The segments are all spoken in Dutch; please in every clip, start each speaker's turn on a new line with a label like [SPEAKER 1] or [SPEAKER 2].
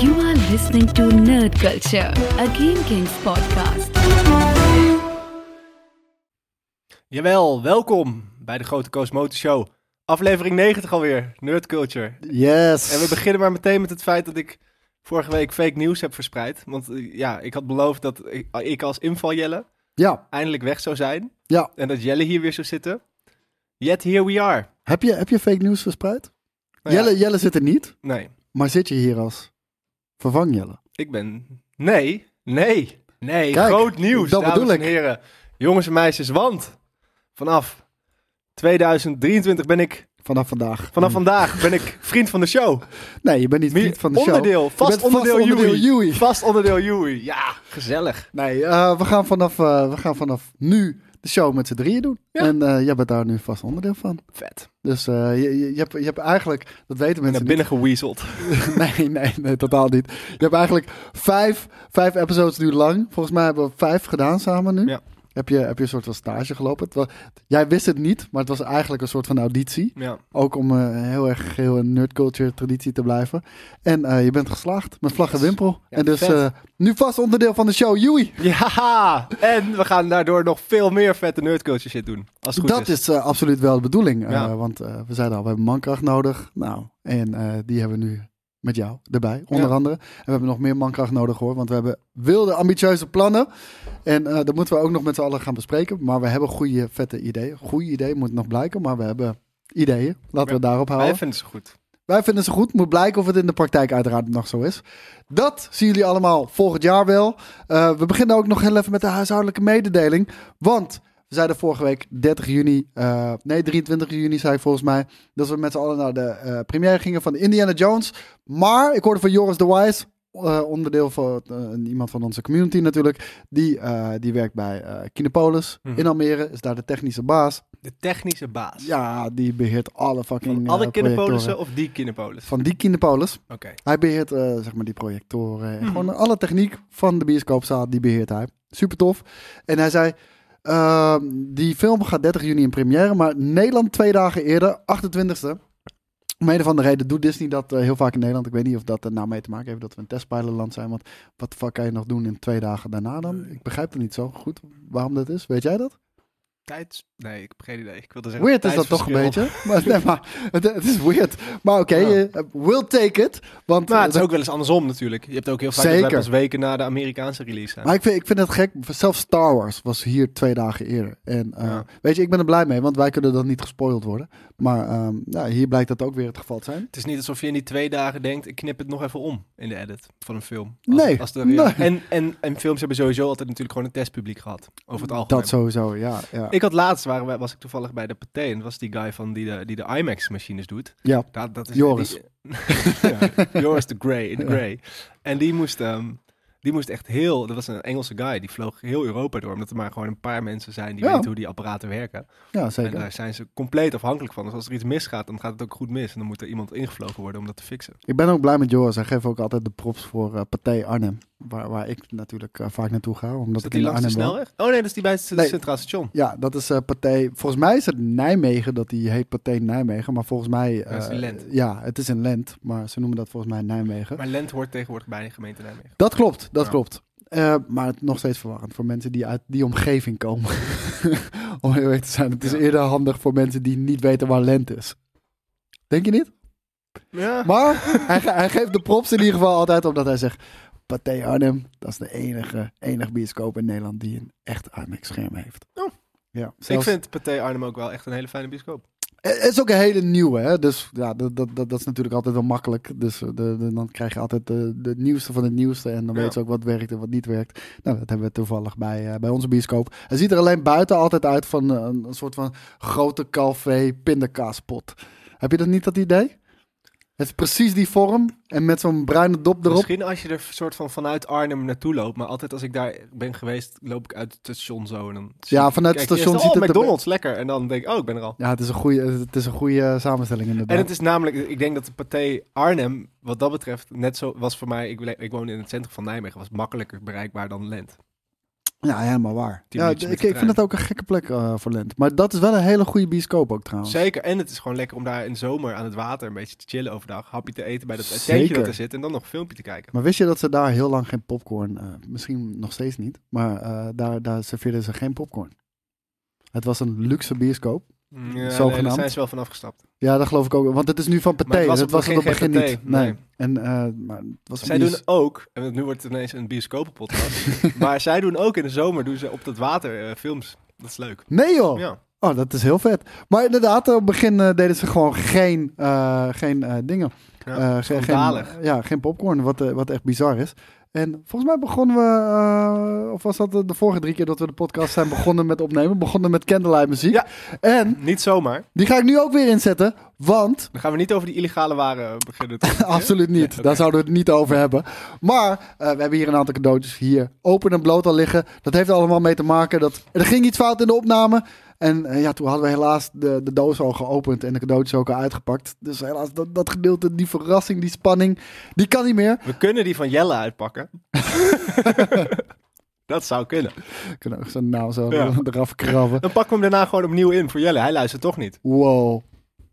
[SPEAKER 1] You are listening to Nerd Culture, a Game Kings podcast.
[SPEAKER 2] Jawel, welkom bij de Grote Koos Motor Show. Aflevering 90 alweer, Nerd Culture.
[SPEAKER 3] Yes.
[SPEAKER 2] En we beginnen maar meteen met het feit dat ik vorige week fake nieuws heb verspreid. Want eh, ja, ik had beloofd dat ik- eh, ik als inval Jelle
[SPEAKER 3] Ja,
[SPEAKER 2] eindelijk weg zou zijn.
[SPEAKER 3] ja.
[SPEAKER 2] En dat Jelle hier weer zou zitten. Yet here we are.
[SPEAKER 3] Heb je, heb je fake nieuws verspreid?
[SPEAKER 2] Nou ja,
[SPEAKER 3] Jelle, Jelle zit er niet,
[SPEAKER 2] Nee,
[SPEAKER 3] maar zit je hier als vervang Jelle?
[SPEAKER 2] ik ben... Nee, nee, nee.
[SPEAKER 3] Kijk,
[SPEAKER 2] groot nieuws,
[SPEAKER 3] dat
[SPEAKER 2] dames
[SPEAKER 3] bedoel
[SPEAKER 2] en
[SPEAKER 3] ik.
[SPEAKER 2] heren. Jongens en meisjes, want vanaf 2023 ben ik...
[SPEAKER 3] Vanaf vandaag.
[SPEAKER 2] Vanaf vandaag ben ik vriend van de show.
[SPEAKER 3] Nee, je bent niet
[SPEAKER 2] Meer-
[SPEAKER 3] vriend van de show.
[SPEAKER 2] onderdeel,
[SPEAKER 3] Je
[SPEAKER 2] vast
[SPEAKER 3] bent
[SPEAKER 2] onderdeel,
[SPEAKER 3] vast onderdeel
[SPEAKER 2] Joey.
[SPEAKER 3] Joey.
[SPEAKER 2] Vast onderdeel Joey. Ja, gezellig.
[SPEAKER 3] Nee, eh, we, gaan vanaf, eh, we gaan vanaf nu de show met z'n drieën doen.
[SPEAKER 2] Ja.
[SPEAKER 3] En eh, jij bent daar nu vast onderdeel van.
[SPEAKER 2] Vet.
[SPEAKER 3] Dus eh, je, je, je hebt, je hebt eigenlijk, dat weten
[SPEAKER 2] Naar
[SPEAKER 3] mensen niet.
[SPEAKER 2] binnen geweezeld.
[SPEAKER 3] Nee, nee, nee, totaal niet. Je hebt eigenlijk vijf, vijf episodes nu lang. Volgens mij hebben we vijf gedaan samen nu.
[SPEAKER 2] Ja.
[SPEAKER 3] Heb, je, heb je een soort van stage gelopen. Het wa- jij wist het niet, maar het was eigenlijk een soort van auditie.
[SPEAKER 2] Ja.
[SPEAKER 3] Ook om eh, heel erg heel een nerdculture traditie te blijven. En eh, je bent geslaagd met vlag en
[SPEAKER 2] Yes.
[SPEAKER 3] wimpel.
[SPEAKER 2] Ja,
[SPEAKER 3] en dus
[SPEAKER 2] vet.
[SPEAKER 3] eh, nu vast onderdeel van de show, Joey.
[SPEAKER 2] Ja, en we gaan daardoor nog veel meer vette nerdculture shit doen. Als het goed is.
[SPEAKER 3] Dat is, eh, absoluut wel de bedoeling. eh,
[SPEAKER 2] Ja.
[SPEAKER 3] want eh, we zeiden al, we hebben mankracht nodig. Nou, en eh, die hebben we nu met jou erbij, onder
[SPEAKER 2] Ja.
[SPEAKER 3] andere. En we hebben nog meer mankracht nodig hoor, want we hebben wilde, ambitieuze plannen. En eh, dat moeten we ook nog met z'n allen gaan bespreken. Maar we hebben goede, vette ideeën. Goede ideeën moet nog blijken, maar we hebben ideeën. Laten we
[SPEAKER 2] Ja.
[SPEAKER 3] het daarop houden.
[SPEAKER 2] Wij vinden ze goed.
[SPEAKER 3] Wij vinden ze goed. Moet blijken of het in de praktijk uiteraard nog zo is. Dat zien jullie allemaal volgend jaar wel. Eh, we beginnen ook nog heel even met de huishoudelijke mededeling. Want we zeiden vorige week 30 juni, eh, nee 23 juni zei ik volgens mij, dat we met z'n allen naar de eh, première gingen van Indiana Jones. Maar ik hoorde van Joris de Wise, eh, onderdeel van eh, iemand van onze community natuurlijk, die, eh, die werkt bij eh Kinepolis
[SPEAKER 2] Mhm.
[SPEAKER 3] in Almere, is daar de technische baas.
[SPEAKER 2] De technische baas.
[SPEAKER 3] Ja, die beheert alle fucking
[SPEAKER 2] Van alle
[SPEAKER 3] eh,
[SPEAKER 2] kinderpolissen
[SPEAKER 3] projectoren.
[SPEAKER 2] of die kinderpolis?
[SPEAKER 3] Van die Kinepolis.
[SPEAKER 2] Oké.
[SPEAKER 3] Hij beheert eh, zeg maar die projectoren.
[SPEAKER 2] Mhm.
[SPEAKER 3] en Gewoon alle techniek van de bioscoopzaal, die beheert hij. Super tof. En hij zei, ehm, die film gaat 30 juni in première, maar Nederland twee dagen eerder, 28e. Om een of andere reden doet Disney dat eh, heel vaak in Nederland. Ik weet niet of dat er nou mee te maken heeft dat we een testpilotland zijn. Want wat de fuck kan je nog doen in twee dagen daarna dan? Ik begrijp het niet zo goed waarom dat is. Weet jij dat?
[SPEAKER 2] Tijds... Nee, ik heb geen idee. Ik wilde zeggen
[SPEAKER 3] Weird is dat toch een
[SPEAKER 2] tijdsverschil.
[SPEAKER 3] beetje. Maar, nee, maar het, het is weird. Maar oké,
[SPEAKER 2] Ja.
[SPEAKER 3] eh, we'll take it. Want
[SPEAKER 2] Maar het
[SPEAKER 3] eh,
[SPEAKER 2] is ook wel eens andersom natuurlijk. Je hebt ook heel vaak
[SPEAKER 3] Zeker.
[SPEAKER 2] dat wij pas weken na de Amerikaanse release zijn.
[SPEAKER 3] Maar ik vind, ik vind het gek. Zelfs Star Wars was hier twee dagen eerder. En eh,
[SPEAKER 2] Ja.
[SPEAKER 3] weet je, ik ben er blij mee, want wij kunnen dan niet gespoild worden. Maar ehm, ja, hier blijkt dat ook weer het geval te zijn.
[SPEAKER 2] Het is niet alsof je in die twee dagen denkt, ik knip het nog even om in de edit van een film. Als-
[SPEAKER 3] Nee,
[SPEAKER 2] als de-
[SPEAKER 3] nee.
[SPEAKER 2] En, en, en films hebben sowieso altijd natuurlijk gewoon een testpubliek gehad. Over het algemeen.
[SPEAKER 3] Dat sowieso, ja. ja.
[SPEAKER 2] Ik had laatst, waren wij, was ik toevallig bij de Pathé en was die guy van die de, die de IMAX-machines doet.
[SPEAKER 3] Ja.
[SPEAKER 2] Dat, dat is,
[SPEAKER 3] Joris.
[SPEAKER 2] die- ja, Joris de Grey, de Grey. En die moest, ehm, die moest echt heel, dat was een Engelse guy, die vloog heel Europa door, omdat er maar gewoon een paar mensen zijn die
[SPEAKER 3] Ja.
[SPEAKER 2] weten hoe die apparaten werken.
[SPEAKER 3] ja,
[SPEAKER 2] En
[SPEAKER 3] zeker.
[SPEAKER 2] daar zijn ze compleet afhankelijk van. Dus als er iets misgaat, dan gaat het ook goed mis. En dan moet er iemand ingevlogen worden om dat te fixen.
[SPEAKER 3] Ik ben ook blij met Joris. Hij geeft ook altijd de props voor eh Pathé Arnhem. Waar, waar ik natuurlijk eh, vaak naartoe ga. Omdat
[SPEAKER 2] Is dat
[SPEAKER 3] ik
[SPEAKER 2] die
[SPEAKER 3] in
[SPEAKER 2] langs de
[SPEAKER 3] Arnhem woon.
[SPEAKER 2] snelweg? Oh nee, dat is die bij het
[SPEAKER 3] Nee.
[SPEAKER 2] Centraal Station.
[SPEAKER 3] Ja, dat is eh Pathé. Volgens mij is het Nijmegen dat die heet Pathé Nijmegen. Maar volgens mij...
[SPEAKER 2] Ja, het is
[SPEAKER 3] eh,
[SPEAKER 2] in Lent.
[SPEAKER 3] Ja, het is in Lent. Maar ze noemen dat volgens mij Nijmegen.
[SPEAKER 2] Maar Lent hoort tegenwoordig bij de gemeente Nijmegen.
[SPEAKER 3] Dat klopt, dat
[SPEAKER 2] Ja.
[SPEAKER 3] klopt. Eh, maar het, nog steeds verwarrend voor mensen die uit die omgeving komen. Om heel eerlijk te zijn, het is
[SPEAKER 2] Ja.
[SPEAKER 3] eerder handig voor mensen die niet weten waar Lent is. Denk je niet?
[SPEAKER 2] Ja.
[SPEAKER 3] Maar hij, ge- hij geeft de props in ieder geval altijd omdat hij zegt... Pathé Arnhem, dat is de enige, enige bioscoop in Nederland die een echt IMAX-scherm heeft.
[SPEAKER 2] Oh.
[SPEAKER 3] Ja,
[SPEAKER 2] Ik
[SPEAKER 3] zelfs-
[SPEAKER 2] vind Pathé Arnhem ook wel echt een hele fijne bioscoop.
[SPEAKER 3] Eh, Het is ook een hele nieuwe, hè? dus ja, dat, dat, dat, dat is natuurlijk altijd wel makkelijk. Dus eh, de, de- dan krijg je altijd de, de nieuwste van het nieuwste en dan
[SPEAKER 2] Ja.
[SPEAKER 3] weten ze ook wat werkt en wat niet werkt. Nou, dat hebben we toevallig bij, eh, bij onze bioscoop. Hij ziet er alleen buiten altijd uit van eh, een, een soort van grote café pindakaaspot. Heb je dat niet, dat idee? Het is precies die vorm en met zo'n bruine dop erop.
[SPEAKER 2] Misschien als je er soort van vanuit Arnhem naartoe loopt, maar altijd als ik daar ben geweest, loop ik uit het station zo en dan. zie
[SPEAKER 3] Ja,
[SPEAKER 2] ik-
[SPEAKER 3] vanuit het
[SPEAKER 2] kijk
[SPEAKER 3] station
[SPEAKER 2] eerst,
[SPEAKER 3] ziet
[SPEAKER 2] oh,
[SPEAKER 3] het er-
[SPEAKER 2] McDonald's lekker en dan denk ik, oh, ik ben er al.
[SPEAKER 3] Ja, het is een goede, het is een goede eh, samenstelling inderdaad.
[SPEAKER 2] En het is namelijk, ik denk dat de partij Arnhem, wat dat betreft, net zo was voor mij. Ik, le- ik woon in het centrum van Nijmegen, was makkelijker bereikbaar dan Lent.
[SPEAKER 3] Ja, helemaal waar.
[SPEAKER 2] Tien
[SPEAKER 3] Ja, ik,
[SPEAKER 2] minuutjes met
[SPEAKER 3] ik
[SPEAKER 2] de
[SPEAKER 3] vind
[SPEAKER 2] trein.
[SPEAKER 3] het ook een gekke plek eh, voor Lent. Maar dat is wel een hele goede bioscoop ook trouwens.
[SPEAKER 2] Zeker, en het is gewoon lekker om daar in de zomer aan het water een beetje te chillen overdag. Hapje te eten bij dat tentje
[SPEAKER 3] Zeker.
[SPEAKER 2] dat er zit en dan nog een filmpje te kijken.
[SPEAKER 3] Maar wist je dat ze daar heel lang geen popcorn, eh, misschien nog steeds niet, maar eh, daar, daar serveerden ze geen popcorn. Het was een luxe bioscoop.
[SPEAKER 2] Mm, Ja, nee, daar
[SPEAKER 3] Zogenaamd.
[SPEAKER 2] zijn ze wel van afgestapt.
[SPEAKER 3] Ja, het was op het begin geen Pathé. Ja, dat geloof ik ook. Want het is nu van Pathé.
[SPEAKER 2] het was
[SPEAKER 3] dat
[SPEAKER 2] op het
[SPEAKER 3] was het op het
[SPEAKER 2] begin
[SPEAKER 3] begin
[SPEAKER 2] geen
[SPEAKER 3] niet.
[SPEAKER 2] Pathé,
[SPEAKER 3] Nee.
[SPEAKER 2] nee.
[SPEAKER 3] En, eh, maar het was
[SPEAKER 2] Zij
[SPEAKER 3] een
[SPEAKER 2] doen
[SPEAKER 3] bios-
[SPEAKER 2] ook, en nu wordt het ineens een bioscopenpodcast, maar zij doen ook in de zomer doen ze op dat water eh, films. Dat is leuk.
[SPEAKER 3] Nee joh!
[SPEAKER 2] Ja.
[SPEAKER 3] Oh, dat is heel vet. Maar inderdaad, op het begin eh, deden ze gewoon geen, eh, geen eh, dingen.
[SPEAKER 2] Ja,
[SPEAKER 3] Eh, ge- geen,
[SPEAKER 2] schandalig.
[SPEAKER 3] ja, geen popcorn, wat, eh, wat echt bizar is. En volgens mij begonnen we, eh, of was dat de, de vorige drie keer dat we de podcast zijn begonnen met opnemen, begonnen met candlelight muziek.
[SPEAKER 2] Ja.
[SPEAKER 3] En
[SPEAKER 2] Niet zomaar.
[SPEAKER 3] die ga ik nu ook weer inzetten, want
[SPEAKER 2] Dan gaan we niet over die illegale waren eh, beginnen. toch?
[SPEAKER 3] Absoluut niet. Daar zouden we het niet over hebben. Maar eh, we hebben hier een aantal cadeautjes hier open en bloot al liggen. Dat heeft er allemaal mee te maken dat er ging iets fout in de opname. En eh, ja, toen hadden we helaas de, de doos al geopend en de cadeautjes ook al uitgepakt. Dus helaas, dat, dat gedeelte, die verrassing, die spanning, die kan niet meer.
[SPEAKER 2] We kunnen die van Jelle uitpakken. dat zou kunnen.
[SPEAKER 3] We kunnen ook zijn naam zo
[SPEAKER 2] Ja.
[SPEAKER 3] eraf krabben.
[SPEAKER 2] Dan pakken we hem daarna gewoon opnieuw in voor Jelle. Hij luistert toch niet.
[SPEAKER 3] Wow.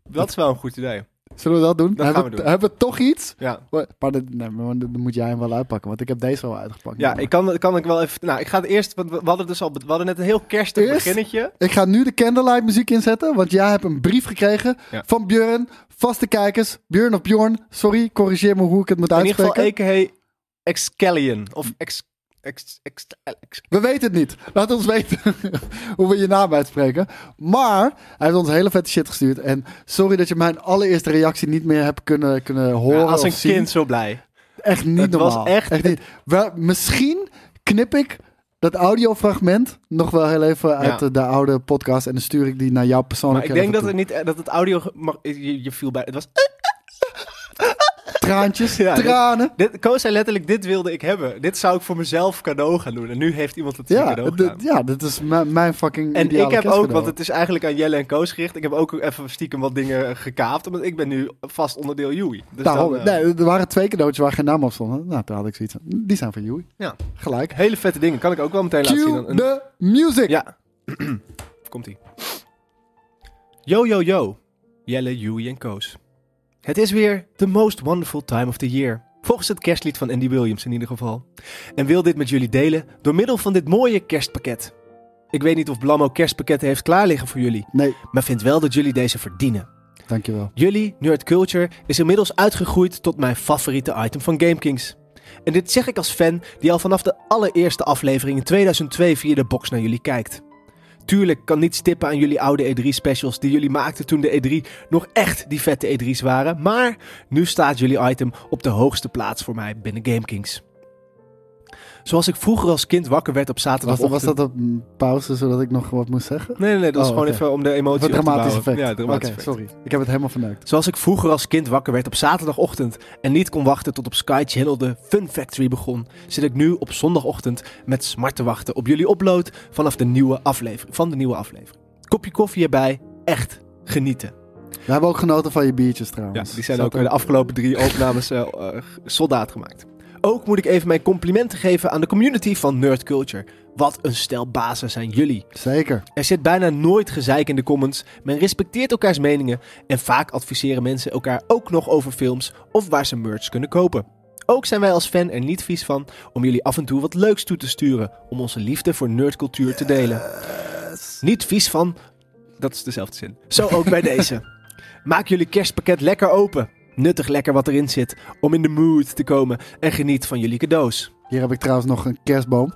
[SPEAKER 2] Dat is wel een goed idee.
[SPEAKER 3] Zullen we dat doen?
[SPEAKER 2] Dat
[SPEAKER 3] hebben,
[SPEAKER 2] gaan we doen.
[SPEAKER 3] hebben we toch iets?
[SPEAKER 2] Ja,
[SPEAKER 3] Maar dat, nee, maar dat- dat moet jij hem wel uitpakken, want ik heb deze al uitgepakt.
[SPEAKER 2] ja ik kan, kan ik wel even... Nou, ik ga het eerst... Want we we hadden, dus al, we hadden net een heel kerstig
[SPEAKER 3] Eerst?
[SPEAKER 2] beginnetje.
[SPEAKER 3] Ik ga nu de candlelight muziek inzetten, want jij hebt een brief gekregen
[SPEAKER 2] Ja.
[SPEAKER 3] van Björn, vaste kijkers. Björn of Bjorn, sorry, corrigeer me hoe ik het moet
[SPEAKER 2] In ieder
[SPEAKER 3] uitspreken.
[SPEAKER 2] geval a.k.a. Excallion. Of ex, ex, ex, ex-
[SPEAKER 3] We weten het niet. Laat ons weten hoe we je naam uitspreken. Maar hij heeft ons hele vette shit gestuurd. En sorry dat je mijn allereerste reactie niet meer hebt kunnen, kunnen horen
[SPEAKER 2] Ja, als een
[SPEAKER 3] of zien. Oh,
[SPEAKER 2] kind zo blij.
[SPEAKER 3] Echt niet
[SPEAKER 2] Het was
[SPEAKER 3] normaal.
[SPEAKER 2] echt-
[SPEAKER 3] niet. Wel, misschien knip ik dat audiofragment nog wel heel even uit
[SPEAKER 2] Ja.
[SPEAKER 3] de, de oude podcast. En dan stuur ik die naar jou
[SPEAKER 2] Maar
[SPEAKER 3] persoonlijk.
[SPEAKER 2] ik denk
[SPEAKER 3] even
[SPEAKER 2] dat het,
[SPEAKER 3] toe.
[SPEAKER 2] niet, dat het audio... ge- Mag, je, je viel bij... Het was...
[SPEAKER 3] Traantjes,
[SPEAKER 2] Ja, dit-
[SPEAKER 3] tranen.
[SPEAKER 2] Dit, Koos zei letterlijk, dit wilde ik hebben. Dit zou ik voor mezelf cadeau gaan doen. En nu heeft iemand het
[SPEAKER 3] Ja,
[SPEAKER 2] cadeau
[SPEAKER 3] d-
[SPEAKER 2] gedaan.
[SPEAKER 3] ja, dat is mijn, mijn fucking
[SPEAKER 2] En
[SPEAKER 3] ideale
[SPEAKER 2] ik heb ook,
[SPEAKER 3] kerstcadeau.
[SPEAKER 2] want het is eigenlijk aan Jelle en Koos gericht. Ik heb ook even stiekem wat dingen gekaapt. Omdat ik ben nu vast onderdeel Joey. Dus
[SPEAKER 3] Daarom,
[SPEAKER 2] dan, eh,
[SPEAKER 3] Nou, nee, er waren twee cadeautjes waar geen naam op stonden. Nou, toen had ik zoiets van, die zijn van Joey.
[SPEAKER 2] Ja.
[SPEAKER 3] Gelijk.
[SPEAKER 2] Hele vette dingen. Kan ik ook wel meteen laten zien.
[SPEAKER 3] Cue
[SPEAKER 2] Dan een-
[SPEAKER 3] the music.
[SPEAKER 2] Ja. Komt ie. Yo, yo, yo. Jelle, Joey en Koos. Het is weer the most wonderful time of the year. Volgens het kerstlied van Andy Williams in ieder geval. En wil dit met jullie delen door middel van dit mooie kerstpakket. Ik weet niet of Blammo kerstpakketten heeft klaarliggen voor jullie.
[SPEAKER 3] Nee,
[SPEAKER 2] Maar vind wel dat jullie deze verdienen.
[SPEAKER 3] dankjewel.
[SPEAKER 2] Jullie Nerd Culture is inmiddels uitgegroeid tot mijn favoriete item van GameKings. En dit zeg ik als fan die al vanaf de allereerste aflevering in 2002 via de box naar jullie kijkt. Tuurlijk kan niet stippen aan jullie oude E3 specials die jullie maakten toen de E3 nog echt die vette E3's waren, maar nu staat jullie item op de hoogste plaats voor mij binnen GameKings. Zoals ik vroeger als kind wakker werd op
[SPEAKER 3] Was,
[SPEAKER 2] zaterdagochtend...
[SPEAKER 3] was dat een pauze zodat ik nog wat moest zeggen?
[SPEAKER 2] Nee, nee, nee, dat is
[SPEAKER 3] Oh,
[SPEAKER 2] gewoon
[SPEAKER 3] oké.
[SPEAKER 2] even om de emotie
[SPEAKER 3] Wat
[SPEAKER 2] op te bouwen.
[SPEAKER 3] dramatisch effect.
[SPEAKER 2] Ja, dramatisch
[SPEAKER 3] Oké,
[SPEAKER 2] effect.
[SPEAKER 3] sorry. Ik heb het helemaal verneukt.
[SPEAKER 2] Zoals ik vroeger als kind wakker werd op zaterdagochtend en niet kon wachten tot op Sky Channel de Fun Factory begon, zit ik nu op zondagochtend met smart te wachten op jullie upload vanaf de nieuwe aflevering, van de nieuwe aflevering. Kopje koffie erbij, echt genieten.
[SPEAKER 3] We hebben ook genoten van je biertjes
[SPEAKER 2] Ja,
[SPEAKER 3] trouwens.
[SPEAKER 2] die zijn
[SPEAKER 3] Zat
[SPEAKER 2] ook in de afgelopen drie opnames eh, eh, soldaat gemaakt. Ook moet ik even mijn complimenten geven aan de community van Nerd Culture. Wat een stel bazen zijn jullie.
[SPEAKER 3] Zeker.
[SPEAKER 2] Er zit bijna nooit gezeik in de comments. Men respecteert elkaars meningen. En vaak adviseren mensen elkaar ook nog over films of waar ze merch kunnen kopen. Ook zijn wij als fan er niet vies van om jullie af en toe wat leuks toe te sturen. Om onze liefde voor nerdcultuur te delen. Niet vies van. Dat is dezelfde zin. Zo ook bij deze. Maak jullie kerstpakket lekker open. Nuttig lekker wat erin zit. Om in de mood te komen. En geniet van jullie cadeaus.
[SPEAKER 3] Hier heb ik trouwens nog een kerstboom.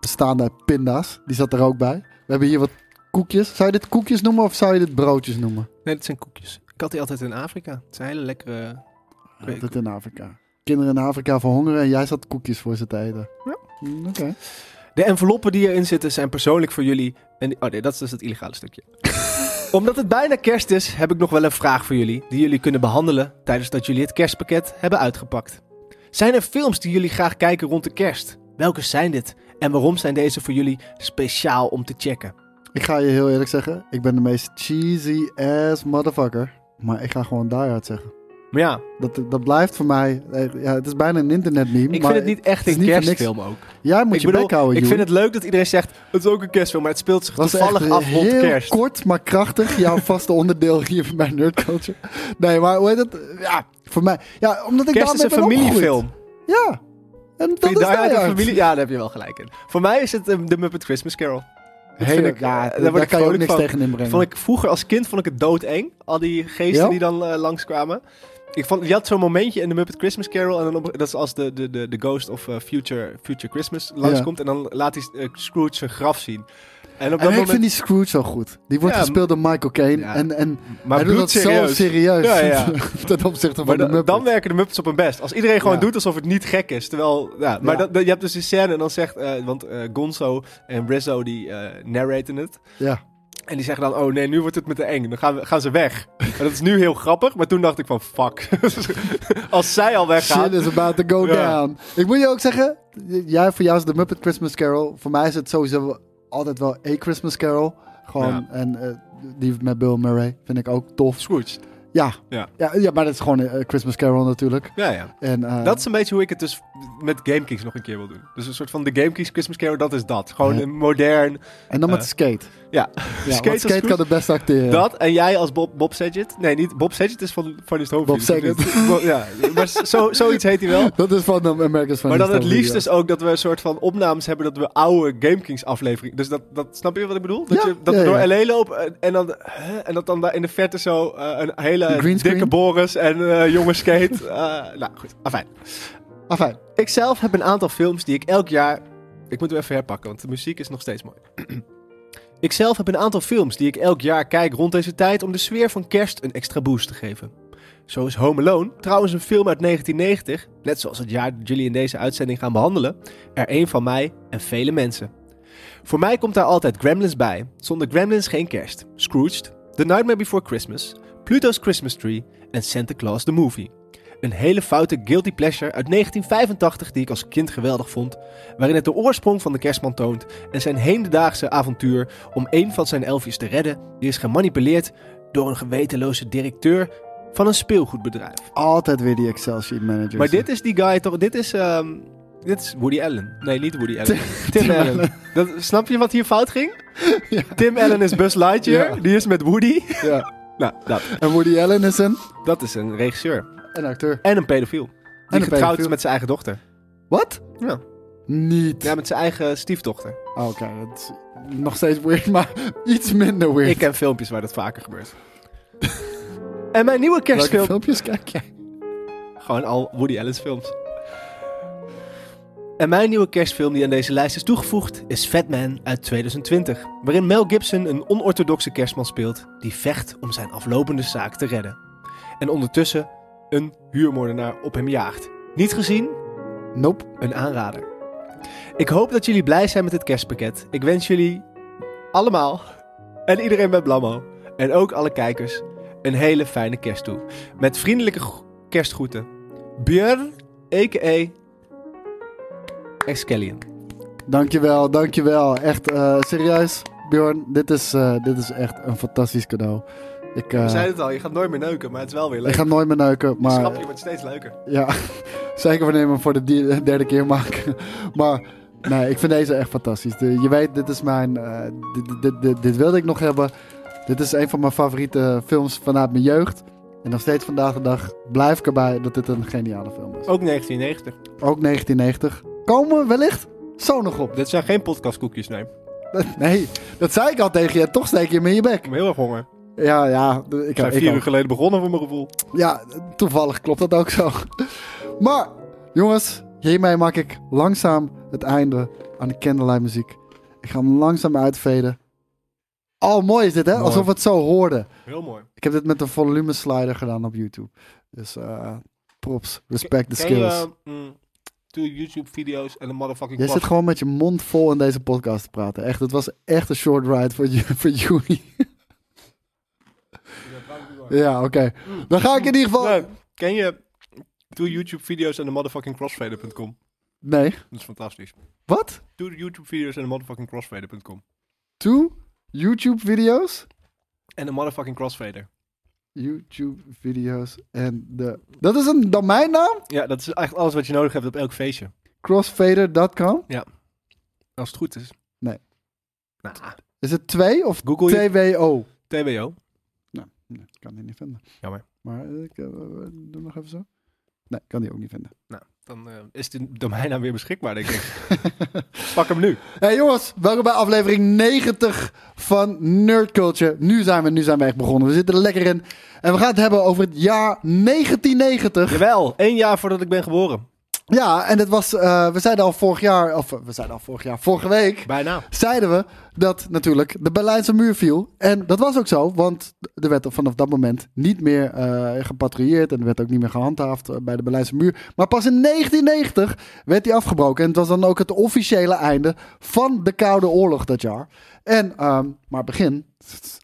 [SPEAKER 3] Bestaande uit pinda's. Die zat er ook bij. We hebben hier wat koekjes. Zou je dit koekjes noemen of zou je dit broodjes noemen?
[SPEAKER 2] Nee, dat zijn koekjes. Ik had die altijd in Afrika. Het zijn hele lekkere. Weet ik
[SPEAKER 3] Altijd in Afrika. Kinderen in Afrika verhongeren en jij zat koekjes voor ze te eten.
[SPEAKER 2] Ja.
[SPEAKER 3] Mm, Oké.
[SPEAKER 2] De enveloppen die erin zitten zijn persoonlijk voor jullie. En die- oh nee, dat is dus het illegale stukje. Omdat het bijna kerst is, heb ik nog wel een vraag voor jullie. Die jullie kunnen behandelen tijdens dat jullie het kerstpakket hebben uitgepakt. Zijn er films die jullie graag kijken rond de kerst? Welke zijn dit? En waarom zijn deze voor jullie speciaal om te checken?
[SPEAKER 3] Ik ga je heel eerlijk zeggen. Ik ben de meest cheesy ass motherfucker. Maar ik ga gewoon die hard zeggen.
[SPEAKER 2] Maar ja,
[SPEAKER 3] Dat, dat blijft voor mij... eh, Ja, het is bijna een internetmeme.
[SPEAKER 2] ik
[SPEAKER 3] maar
[SPEAKER 2] vind het niet echt
[SPEAKER 3] is
[SPEAKER 2] een
[SPEAKER 3] niet voor niks.
[SPEAKER 2] kerstfilm ook.
[SPEAKER 3] Jij moet
[SPEAKER 2] ik
[SPEAKER 3] je bek
[SPEAKER 2] bedoel,
[SPEAKER 3] houden,
[SPEAKER 2] ik
[SPEAKER 3] Joe.
[SPEAKER 2] vind het leuk dat iedereen zegt, het is ook een kerstfilm, maar het speelt zich
[SPEAKER 3] was
[SPEAKER 2] toevallig
[SPEAKER 3] echt
[SPEAKER 2] af rond
[SPEAKER 3] heel
[SPEAKER 2] kerst.
[SPEAKER 3] kort, maar krachtig. Jouw vaste onderdeel hier bij Nerd Culture. Nee, maar hoe heet het? Ja, voor mij. Ja, omdat ik
[SPEAKER 2] Kerst is
[SPEAKER 3] daarmee
[SPEAKER 2] een
[SPEAKER 3] ben opgegroeid.
[SPEAKER 2] familiefilm.
[SPEAKER 3] Ja. En dat
[SPEAKER 2] Vind
[SPEAKER 3] is
[SPEAKER 2] je Die Hard een
[SPEAKER 3] Hard.
[SPEAKER 2] familie? Ja, daar heb je wel gelijk in. Voor mij is het eh, de Muppet Christmas Carol. Dat
[SPEAKER 3] Heel-
[SPEAKER 2] vind ik,
[SPEAKER 3] ja,
[SPEAKER 2] eh,
[SPEAKER 3] daar
[SPEAKER 2] daar word ik
[SPEAKER 3] kan je ook
[SPEAKER 2] vrolijk
[SPEAKER 3] niks
[SPEAKER 2] van.
[SPEAKER 3] tegen inbrengen.
[SPEAKER 2] Vond ik, vroeger als kind vond ik het doodeng. Al die geesten
[SPEAKER 3] Ja?
[SPEAKER 2] die dan eh, langskwamen. Ik vond, je had zo'n momentje in de Muppet Christmas Carol. En dan op- dat is als de, de, de, de Ghost of eh, Future, Future Christmas langskomt. En dan laat hij eh, Scrooge zijn graf zien. En op
[SPEAKER 3] en
[SPEAKER 2] dat
[SPEAKER 3] ik
[SPEAKER 2] moment.
[SPEAKER 3] vind die Scrooge zo goed. Die wordt
[SPEAKER 2] Ja,
[SPEAKER 3] gespeeld door Michael Caine.
[SPEAKER 2] ja.
[SPEAKER 3] En, en
[SPEAKER 2] maar
[SPEAKER 3] hij doet dat zo
[SPEAKER 2] bloedserieus.
[SPEAKER 3] serieus.
[SPEAKER 2] Ja, ja.
[SPEAKER 3] ten opzichte van
[SPEAKER 2] Maar
[SPEAKER 3] de
[SPEAKER 2] da-
[SPEAKER 3] Muppets.
[SPEAKER 2] dan werken de Muppets op hun best. Als iedereen gewoon
[SPEAKER 3] Ja.
[SPEAKER 2] doet alsof het niet gek is. Terwijl, ja, maar
[SPEAKER 3] Ja.
[SPEAKER 2] dat- dat- je hebt dus die scène en dan zegt, eh, want eh, Gonzo en Rizzo die eh narraten het.
[SPEAKER 3] ja.
[SPEAKER 2] En die zeggen dan, oh nee, nu wordt het met de eng. Dan gaan, we, gaan ze weg. En dat is nu heel grappig, maar toen dacht ik van, fuck. Als zij al weggaan.
[SPEAKER 3] Shit is about to go
[SPEAKER 2] Ja.
[SPEAKER 3] down. Ik moet je ook zeggen, jij, voor jou is de Muppet Christmas Carol. Voor mij is het sowieso wel- altijd wel A Christmas Carol. Gewoon,
[SPEAKER 2] Ja.
[SPEAKER 3] en eh, die met Bill Murray vind ik ook tof.
[SPEAKER 2] Scrooge.
[SPEAKER 3] Ja,
[SPEAKER 2] Ja.
[SPEAKER 3] ja, ja maar dat is gewoon eh, Christmas Carol natuurlijk.
[SPEAKER 2] Ja, ja.
[SPEAKER 3] En, eh,
[SPEAKER 2] Dat is een beetje hoe ik het dus met GameKings nog een keer wil doen. Dus een soort van de GameKings Christmas Carol, dat is dat. Gewoon
[SPEAKER 3] Ja.
[SPEAKER 2] een modern.
[SPEAKER 3] en dan met
[SPEAKER 2] eh,
[SPEAKER 3] Skate.
[SPEAKER 2] Ja,
[SPEAKER 3] Ja,
[SPEAKER 2] Skate
[SPEAKER 3] skate
[SPEAKER 2] is
[SPEAKER 3] skate
[SPEAKER 2] goed.
[SPEAKER 3] kan het best acteren.
[SPEAKER 2] dat. En jij als Bob, Bob Saget. Nee, niet Bob Saget is van Funniest Home
[SPEAKER 3] Bob
[SPEAKER 2] Videos. Ja, maar zo, zoiets heet hij wel.
[SPEAKER 3] Dat is van eh, de Americans van
[SPEAKER 2] Maar dan het liefst is ook dat we een soort van opnames hebben dat we oude GameKings afleveringen. Dus dat, dat snap je wat ik bedoel? Dat,
[SPEAKER 3] Ja,
[SPEAKER 2] je, dat
[SPEAKER 3] ja,
[SPEAKER 2] we door
[SPEAKER 3] ja.
[SPEAKER 2] LA lopen eh, en, en dan, hè? en dat dan daar in de verte zo eh, een hele
[SPEAKER 3] Een green
[SPEAKER 2] dikke
[SPEAKER 3] screen?
[SPEAKER 2] Boris en eh, jonge skate. eh, nou goed, afijn.
[SPEAKER 3] Enfin,
[SPEAKER 2] Ik zelf heb een aantal films die ik elk jaar. Ik moet hem even herpakken, want de muziek is nog steeds mooi. ik zelf heb een aantal films die ik elk jaar kijk rond deze tijd om de sfeer van kerst een extra boost te geven. Zo is Home Alone, trouwens een film uit 1990, net zoals het jaar dat jullie in deze uitzending gaan behandelen, er één van mij en vele mensen. Voor mij komt daar altijd Gremlins bij. Zonder Gremlins geen kerst. Scrooged, The Nightmare Before Christmas, Pluto's Christmas Tree en Santa Claus the Movie. Een hele foute guilty pleasure uit 1985 die ik als kind geweldig vond, waarin het de oorsprong van de kerstman toont en zijn hedendaagse avontuur om een van zijn elfjes te redden, die is gemanipuleerd door een gewetenloze directeur van een speelgoedbedrijf.
[SPEAKER 3] altijd weer die Excel sheet manager.
[SPEAKER 2] Maar dit is die guy toch, dit is, ehm, Dus, eh, dit is Woody Allen. Nee, niet Woody Allen. Tim, Allen. Dat, snap je wat hier fout ging? Tim Allen is Buzz Lightyear,
[SPEAKER 3] Ja.
[SPEAKER 2] die is met Woody.
[SPEAKER 3] Ja.
[SPEAKER 2] Nou, dat,
[SPEAKER 3] En Woody Allen is een,
[SPEAKER 2] dat is een regisseur.
[SPEAKER 3] een acteur.
[SPEAKER 2] En een pedofiel. Die
[SPEAKER 3] een
[SPEAKER 2] getrouwd is
[SPEAKER 3] pedofiel.
[SPEAKER 2] met zijn eigen dochter.
[SPEAKER 3] Wat?
[SPEAKER 2] Ja.
[SPEAKER 3] Niet.
[SPEAKER 2] Ja, met zijn eigen stiefdochter.
[SPEAKER 3] Oh, Oké, dat is nog steeds weird, maar iets minder weird.
[SPEAKER 2] Ik ken filmpjes waar dat vaker gebeurt. en mijn nieuwe
[SPEAKER 3] Welke
[SPEAKER 2] kerstfilm...
[SPEAKER 3] filmpjes kijk jij?
[SPEAKER 2] Gewoon al Woody Allen's films. En mijn nieuwe kerstfilm die aan deze lijst is toegevoegd is Fat Man uit 2020. Waarin Mel Gibson een onorthodoxe kerstman speelt die vecht om zijn aflopende zaak te redden. En ondertussen een huurmoordenaar op hem jaagt. Niet gezien,
[SPEAKER 3] Nope.
[SPEAKER 2] een aanrader. Ik hoop dat jullie blij zijn met het kerstpakket. Ik wens jullie allemaal en iedereen bij Blammo en ook alle kijkers een hele fijne kerst toe. Met vriendelijke gro- kerstgroeten. Björn, a.k.a. Excallion.
[SPEAKER 3] Eh. Dankjewel, dankjewel. Echt eh, serieus, Bjorn. Dit is, eh, dit is echt een fantastisch cadeau. Ik, eh,
[SPEAKER 2] We zeiden het al, je gaat nooit meer neuken, maar het is wel weer
[SPEAKER 3] ik
[SPEAKER 2] leuk.
[SPEAKER 3] ga nooit meer neuken,
[SPEAKER 2] Het
[SPEAKER 3] maar
[SPEAKER 2] Schapje wordt steeds leuker.
[SPEAKER 3] ja, zeker wanneer we hem voor de die- derde keer maken. maar nee, ik vind deze echt fantastisch. De- je weet, dit is mijn, eh, dit, dit, dit, dit wilde ik nog hebben. Dit is een van mijn favoriete films vanuit mijn jeugd. En nog steeds vandaag de dag blijf ik erbij dat dit een geniale film is.
[SPEAKER 2] Ook 1990.
[SPEAKER 3] Ook 1990. Komen we wellicht zo nog op.
[SPEAKER 2] Dit zijn geen podcastkoekjes, nee. Ik
[SPEAKER 3] Nee, dat zei ik al tegen je. Toch steek je hem in je bek.
[SPEAKER 2] ben heel erg honger.
[SPEAKER 3] Ja, ja. d- Ik,
[SPEAKER 2] Ik zijn
[SPEAKER 3] ik
[SPEAKER 2] vier uur
[SPEAKER 3] ook.
[SPEAKER 2] geleden begonnen, voor mijn gevoel.
[SPEAKER 3] Ja, toevallig klopt dat ook zo. Maar, jongens, hiermee maak ik langzaam het einde aan de candlelight muziek. Ik ga hem langzaam uitveden. Oh, mooi is dit, hè?
[SPEAKER 2] Mooi.
[SPEAKER 3] Alsof we het zo hoorden.
[SPEAKER 2] Heel mooi.
[SPEAKER 3] Ik heb dit met een volume slider gedaan op YouTube. Dus eh, props, respect the
[SPEAKER 2] Ken je,
[SPEAKER 3] skills.
[SPEAKER 2] eh, mm, Doe YouTube-video's en een motherfucking
[SPEAKER 3] Jij zit
[SPEAKER 2] podcast.
[SPEAKER 3] gewoon met je mond vol in deze podcast te praten. Echt, het was echt een short ride voor, ju- voor juni. Ja, oké. Dan ga ik in ieder geval...
[SPEAKER 2] Nee, ken je... Doe YouTube-video's en de motherfucking crossfader.com.
[SPEAKER 3] Nee.
[SPEAKER 2] Dat is fantastisch.
[SPEAKER 3] Wat?
[SPEAKER 2] Doe YouTube-video's en de motherfucking crossfader.com.
[SPEAKER 3] Two YouTube video's?
[SPEAKER 2] En de motherfucking crossfader.
[SPEAKER 3] YouTube-video's en de... Dat is een domeinnaam?
[SPEAKER 2] Ja, dat is echt alles wat je nodig hebt op elk feestje.
[SPEAKER 3] Crossfader.com?
[SPEAKER 2] Als het goed is.
[SPEAKER 3] Nee.
[SPEAKER 2] Nou,
[SPEAKER 3] Is het 2 of
[SPEAKER 2] Google je-
[SPEAKER 3] TWO?
[SPEAKER 2] TBO.
[SPEAKER 3] Nee, ik kan die niet vinden.
[SPEAKER 2] Jammer.
[SPEAKER 3] Maar eh, ik eh, doe nog even zo. Nee, ik kan die ook niet vinden.
[SPEAKER 2] Dan eh, is de domeinnaam weer beschikbaar, denk ik. Pak hem nu.
[SPEAKER 3] Hey jongens, welkom bij aflevering 90 van Nerd Culture. Nu zijn we, nu zijn we echt begonnen. We zitten er lekker in. En we gaan het hebben over het jaar 1990.
[SPEAKER 2] Jawel, één jaar voordat ik ben geboren.
[SPEAKER 3] Ja, en het was, eh, we zeiden al vorig jaar, of eh, we zeiden al vorig jaar, vorige week,
[SPEAKER 2] Bijna.
[SPEAKER 3] zeiden we dat natuurlijk de Berlijnse muur viel. En dat was ook zo, want er werd vanaf dat moment niet meer eh gepatrouilleerd en er werd ook niet meer gehandhaafd eh, bij de Berlijnse muur. Maar pas in 1990 werd die afgebroken en het was dan ook het officiële einde van de Koude Oorlog dat jaar. En, ehm, maar begin,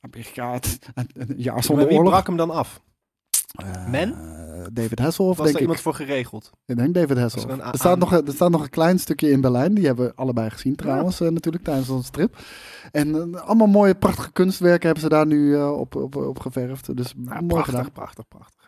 [SPEAKER 3] Amerika, het- een jaar
[SPEAKER 2] Maar
[SPEAKER 3] zonder
[SPEAKER 2] wie
[SPEAKER 3] oorlog.
[SPEAKER 2] brak hem dan af? Men?
[SPEAKER 3] Eh, David Hasselhoff,
[SPEAKER 2] Was
[SPEAKER 3] denk
[SPEAKER 2] er
[SPEAKER 3] ik.
[SPEAKER 2] iemand voor geregeld?
[SPEAKER 3] Ik denk David Hasselhoff.
[SPEAKER 2] Was er een a-
[SPEAKER 3] Er staat,
[SPEAKER 2] aan-
[SPEAKER 3] nog, een- er staat nog een klein stukje in Berlijn. Die hebben we allebei gezien trouwens, eh, natuurlijk, tijdens onze trip. En eh, allemaal mooie, prachtige kunstwerken hebben ze daar nu eh, op, op, op geverfd. Dus mooi gedaan.
[SPEAKER 2] prachtig, prachtig.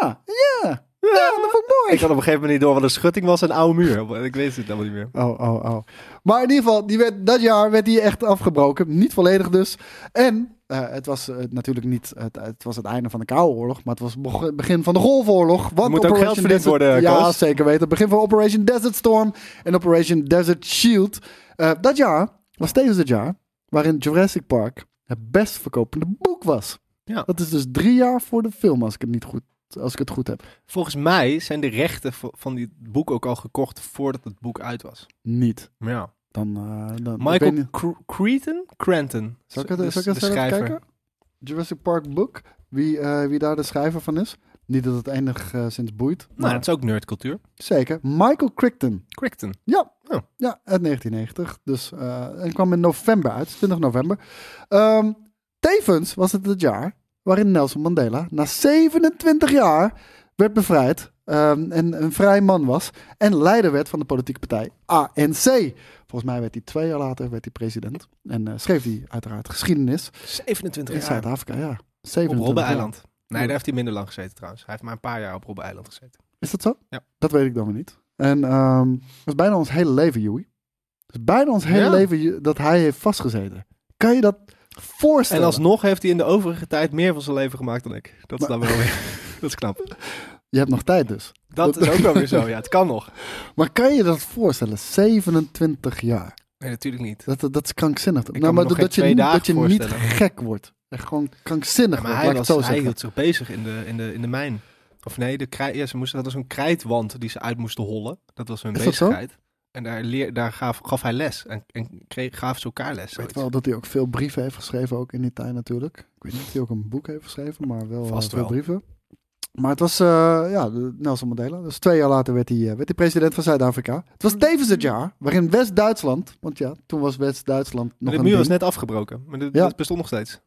[SPEAKER 3] Ja, ja. Ja, dat vond ik mooi.
[SPEAKER 2] Ik had op een gegeven moment niet door wat een schutting was en een oude muur. Ik weet het allemaal niet meer.
[SPEAKER 3] Oh, oh, oh. Maar in ieder geval, die werd, dat jaar werd die echt afgebroken. Niet volledig dus. En eh, het was eh, natuurlijk niet het, het, was het einde van de Koude Oorlog, maar het was beg- het begin van de Golfoorlog. Want
[SPEAKER 2] moet ook geld verdiend
[SPEAKER 3] Desert-
[SPEAKER 2] worden,
[SPEAKER 3] Ja,
[SPEAKER 2] Koos.
[SPEAKER 3] zeker weten. Het begin van Operation Desert Storm en Operation Desert Shield. Eh, dat jaar was tevens het jaar waarin Jurassic Park het best verkopende boek was.
[SPEAKER 2] Ja.
[SPEAKER 3] Dat is dus drie jaar voor de film, als ik het, niet goed, als ik het goed heb.
[SPEAKER 2] Volgens mij zijn de rechten vo- van dit boek ook al gekocht voordat het boek uit was.
[SPEAKER 3] Niet.
[SPEAKER 2] Ja.
[SPEAKER 3] Dan, eh, dan, ik weet
[SPEAKER 2] Michael
[SPEAKER 3] niet.
[SPEAKER 2] Cr- Creighton? Cranton.
[SPEAKER 3] Zal ik
[SPEAKER 2] De-
[SPEAKER 3] het, zal ik
[SPEAKER 2] de
[SPEAKER 3] het eens even
[SPEAKER 2] schrijver.
[SPEAKER 3] kijken? Jurassic Park Book, wie, eh, wie daar de schrijver van is. Niet dat het eindig eh, sinds boeit.
[SPEAKER 2] Nou,
[SPEAKER 3] Maar
[SPEAKER 2] het is ook nerdcultuur.
[SPEAKER 3] Zeker. Michael Crichton.
[SPEAKER 2] Crichton. Oh.
[SPEAKER 3] Ja, uit 1990. Dus, eh, en kwam in november uit, 20 november. Ehm, tevens was het het jaar waarin Nelson Mandela na 27 jaar werd bevrijd ehm, en een vrij man was en leider werd van de politieke partij ANC. Volgens mij werd hij twee jaar later werd hij president en eh, schreef hij uiteraard geschiedenis
[SPEAKER 2] 27
[SPEAKER 3] in
[SPEAKER 2] jaar.
[SPEAKER 3] Zuid-Afrika. Ja,
[SPEAKER 2] Op
[SPEAKER 3] 27
[SPEAKER 2] Robben
[SPEAKER 3] jaar.
[SPEAKER 2] Eiland. Nee, daar heeft hij minder lang gezeten trouwens. Hij heeft maar een paar jaar op Robben Eiland gezeten.
[SPEAKER 3] Is dat zo?
[SPEAKER 2] Ja.
[SPEAKER 3] Dat weet ik dan weer niet. En ehm, dat is bijna ons hele leven, Joey. Dat is bijna ons hele
[SPEAKER 2] Ja.
[SPEAKER 3] leven Ju- dat hij heeft vastgezeten. Kan je dat
[SPEAKER 2] En
[SPEAKER 3] voorstellen?
[SPEAKER 2] alsnog heeft hij in de overige tijd meer van zijn leven gemaakt dan ik. Dat is
[SPEAKER 3] Maar-
[SPEAKER 2] dan wel weer. Dat is knap.
[SPEAKER 3] Je hebt nog tijd dus.
[SPEAKER 2] Dat is ook wel weer zo. Ja, het kan nog.
[SPEAKER 3] Maar kan je dat voorstellen? 27 jaar.
[SPEAKER 2] Nee, natuurlijk niet.
[SPEAKER 3] Dat, dat, dat is krankzinnig. Nou,
[SPEAKER 2] kan me
[SPEAKER 3] maar
[SPEAKER 2] nog
[SPEAKER 3] dat, dat je,
[SPEAKER 2] geen
[SPEAKER 3] niet-
[SPEAKER 2] twee
[SPEAKER 3] dat je
[SPEAKER 2] dagen
[SPEAKER 3] niet
[SPEAKER 2] voorstellen.
[SPEAKER 3] gek wordt. Echt gewoon krankzinnig
[SPEAKER 2] Ja,
[SPEAKER 3] wordt,
[SPEAKER 2] maar
[SPEAKER 3] laat
[SPEAKER 2] hij, was,
[SPEAKER 3] ik het zo
[SPEAKER 2] hij
[SPEAKER 3] zeggen.
[SPEAKER 2] hield zich bezig in de, in de, in de mijn. Of nee, de krij, ja, ze moesten, hadden zo'n krijtwand die ze uit moesten hollen. Dat was hun
[SPEAKER 3] Is dat zo?
[SPEAKER 2] bezigheid. En daar, leer, daar gaf, gaf hij les. En, en kreeg, gaven ze elkaar les.
[SPEAKER 3] Ik weet
[SPEAKER 2] zoiets.
[SPEAKER 3] wel dat hij ook veel brieven heeft geschreven, ook in die tijd natuurlijk. Ik weet niet of hij ook een boek heeft geschreven, maar wel
[SPEAKER 2] Vast
[SPEAKER 3] eh, veel
[SPEAKER 2] wel.
[SPEAKER 3] brieven. Maar het was eh, ja, de- Nelson Mandela. Dus twee jaar later werd hij, eh, werd hij president van Zuid-Afrika. Het was tevens het jaar waarin West-Duitsland, want ja, toen was West-Duitsland
[SPEAKER 2] Maar
[SPEAKER 3] nog
[SPEAKER 2] de
[SPEAKER 3] een
[SPEAKER 2] muur was
[SPEAKER 3] ding.
[SPEAKER 2] net afgebroken. Maar dit-
[SPEAKER 3] Ja.
[SPEAKER 2] dat bestond nog steeds.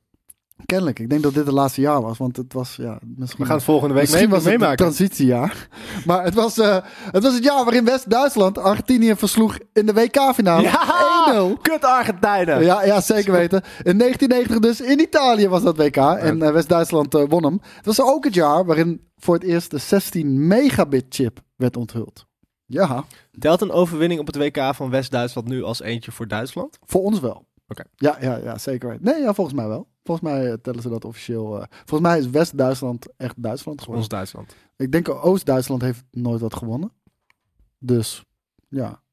[SPEAKER 3] Kennelijk, ik denk dat dit het laatste jaar was, want het was ja, misschien...
[SPEAKER 2] We gaan het volgende week mee,
[SPEAKER 3] Misschien was het een
[SPEAKER 2] meemaken.
[SPEAKER 3] transitiejaar. Maar het was, eh, het was het jaar waarin West-Duitsland Argentinië versloeg in de WK-finale.
[SPEAKER 2] Ja!
[SPEAKER 3] 1-0.
[SPEAKER 2] Kut Argentijnen!
[SPEAKER 3] Ja, ja, zeker weten. In 1990 dus, in Italië was dat WK. En eh, West-Duitsland eh, won hem. Het was ook het jaar waarin voor het eerst de 16 megabit chip werd onthuld. Ja,
[SPEAKER 2] Telt een overwinning op het WK van West-Duitsland nu als eentje voor Duitsland?
[SPEAKER 3] voor ons wel.
[SPEAKER 2] Oké.
[SPEAKER 3] Ja, ja, ja, zeker weten. Nee, ja, volgens mij wel. Volgens mij eh, tellen ze dat officieel. eh, volgens mij is West-Duitsland echt Duitsland geworden.
[SPEAKER 2] Ons Duitsland.
[SPEAKER 3] Ik denk Oost-Duitsland heeft nooit wat gewonnen. Dus ja,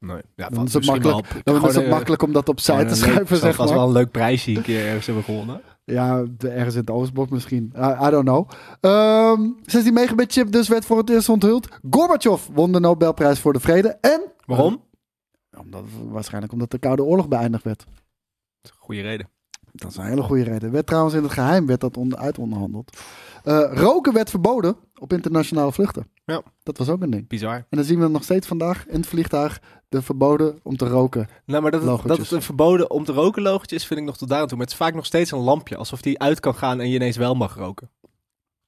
[SPEAKER 2] Nee. Ja,
[SPEAKER 3] dan is het makkelijk, dan is het makkelijk om dat opzij te schuiven,
[SPEAKER 2] eh, Dat
[SPEAKER 3] zeg
[SPEAKER 2] was
[SPEAKER 3] maar.
[SPEAKER 2] wel een leuk prijsje een keer ergens hebben gewonnen.
[SPEAKER 3] Ja, de- ergens in het Oostblok misschien. I, I don't know. Ehm 16 megabit chip dus werd voor het eerst onthuld. Gorbachev won de Nobelprijs voor de Vrede. En...
[SPEAKER 2] Waarom?
[SPEAKER 3] Omdat, waarschijnlijk omdat de Koude Oorlog beëindigd werd.
[SPEAKER 2] Goede reden.
[SPEAKER 3] Dat is een hele goede reden. Werd trouwens in het geheim werd dat on, uitonderhandeld. Eh, roken werd verboden op internationale vluchten.
[SPEAKER 2] Ja.
[SPEAKER 3] Dat was ook een ding.
[SPEAKER 2] Bizar.
[SPEAKER 3] En dan zien we nog steeds vandaag in het vliegtuig de verboden om te roken.
[SPEAKER 2] Nou, maar dat het,
[SPEAKER 3] Logotjes.
[SPEAKER 2] dat het een verboden om te roken logotje is, vind ik nog tot daar aan toe. Maar het is vaak nog steeds een lampje, alsof die uit kan gaan en je ineens wel mag roken.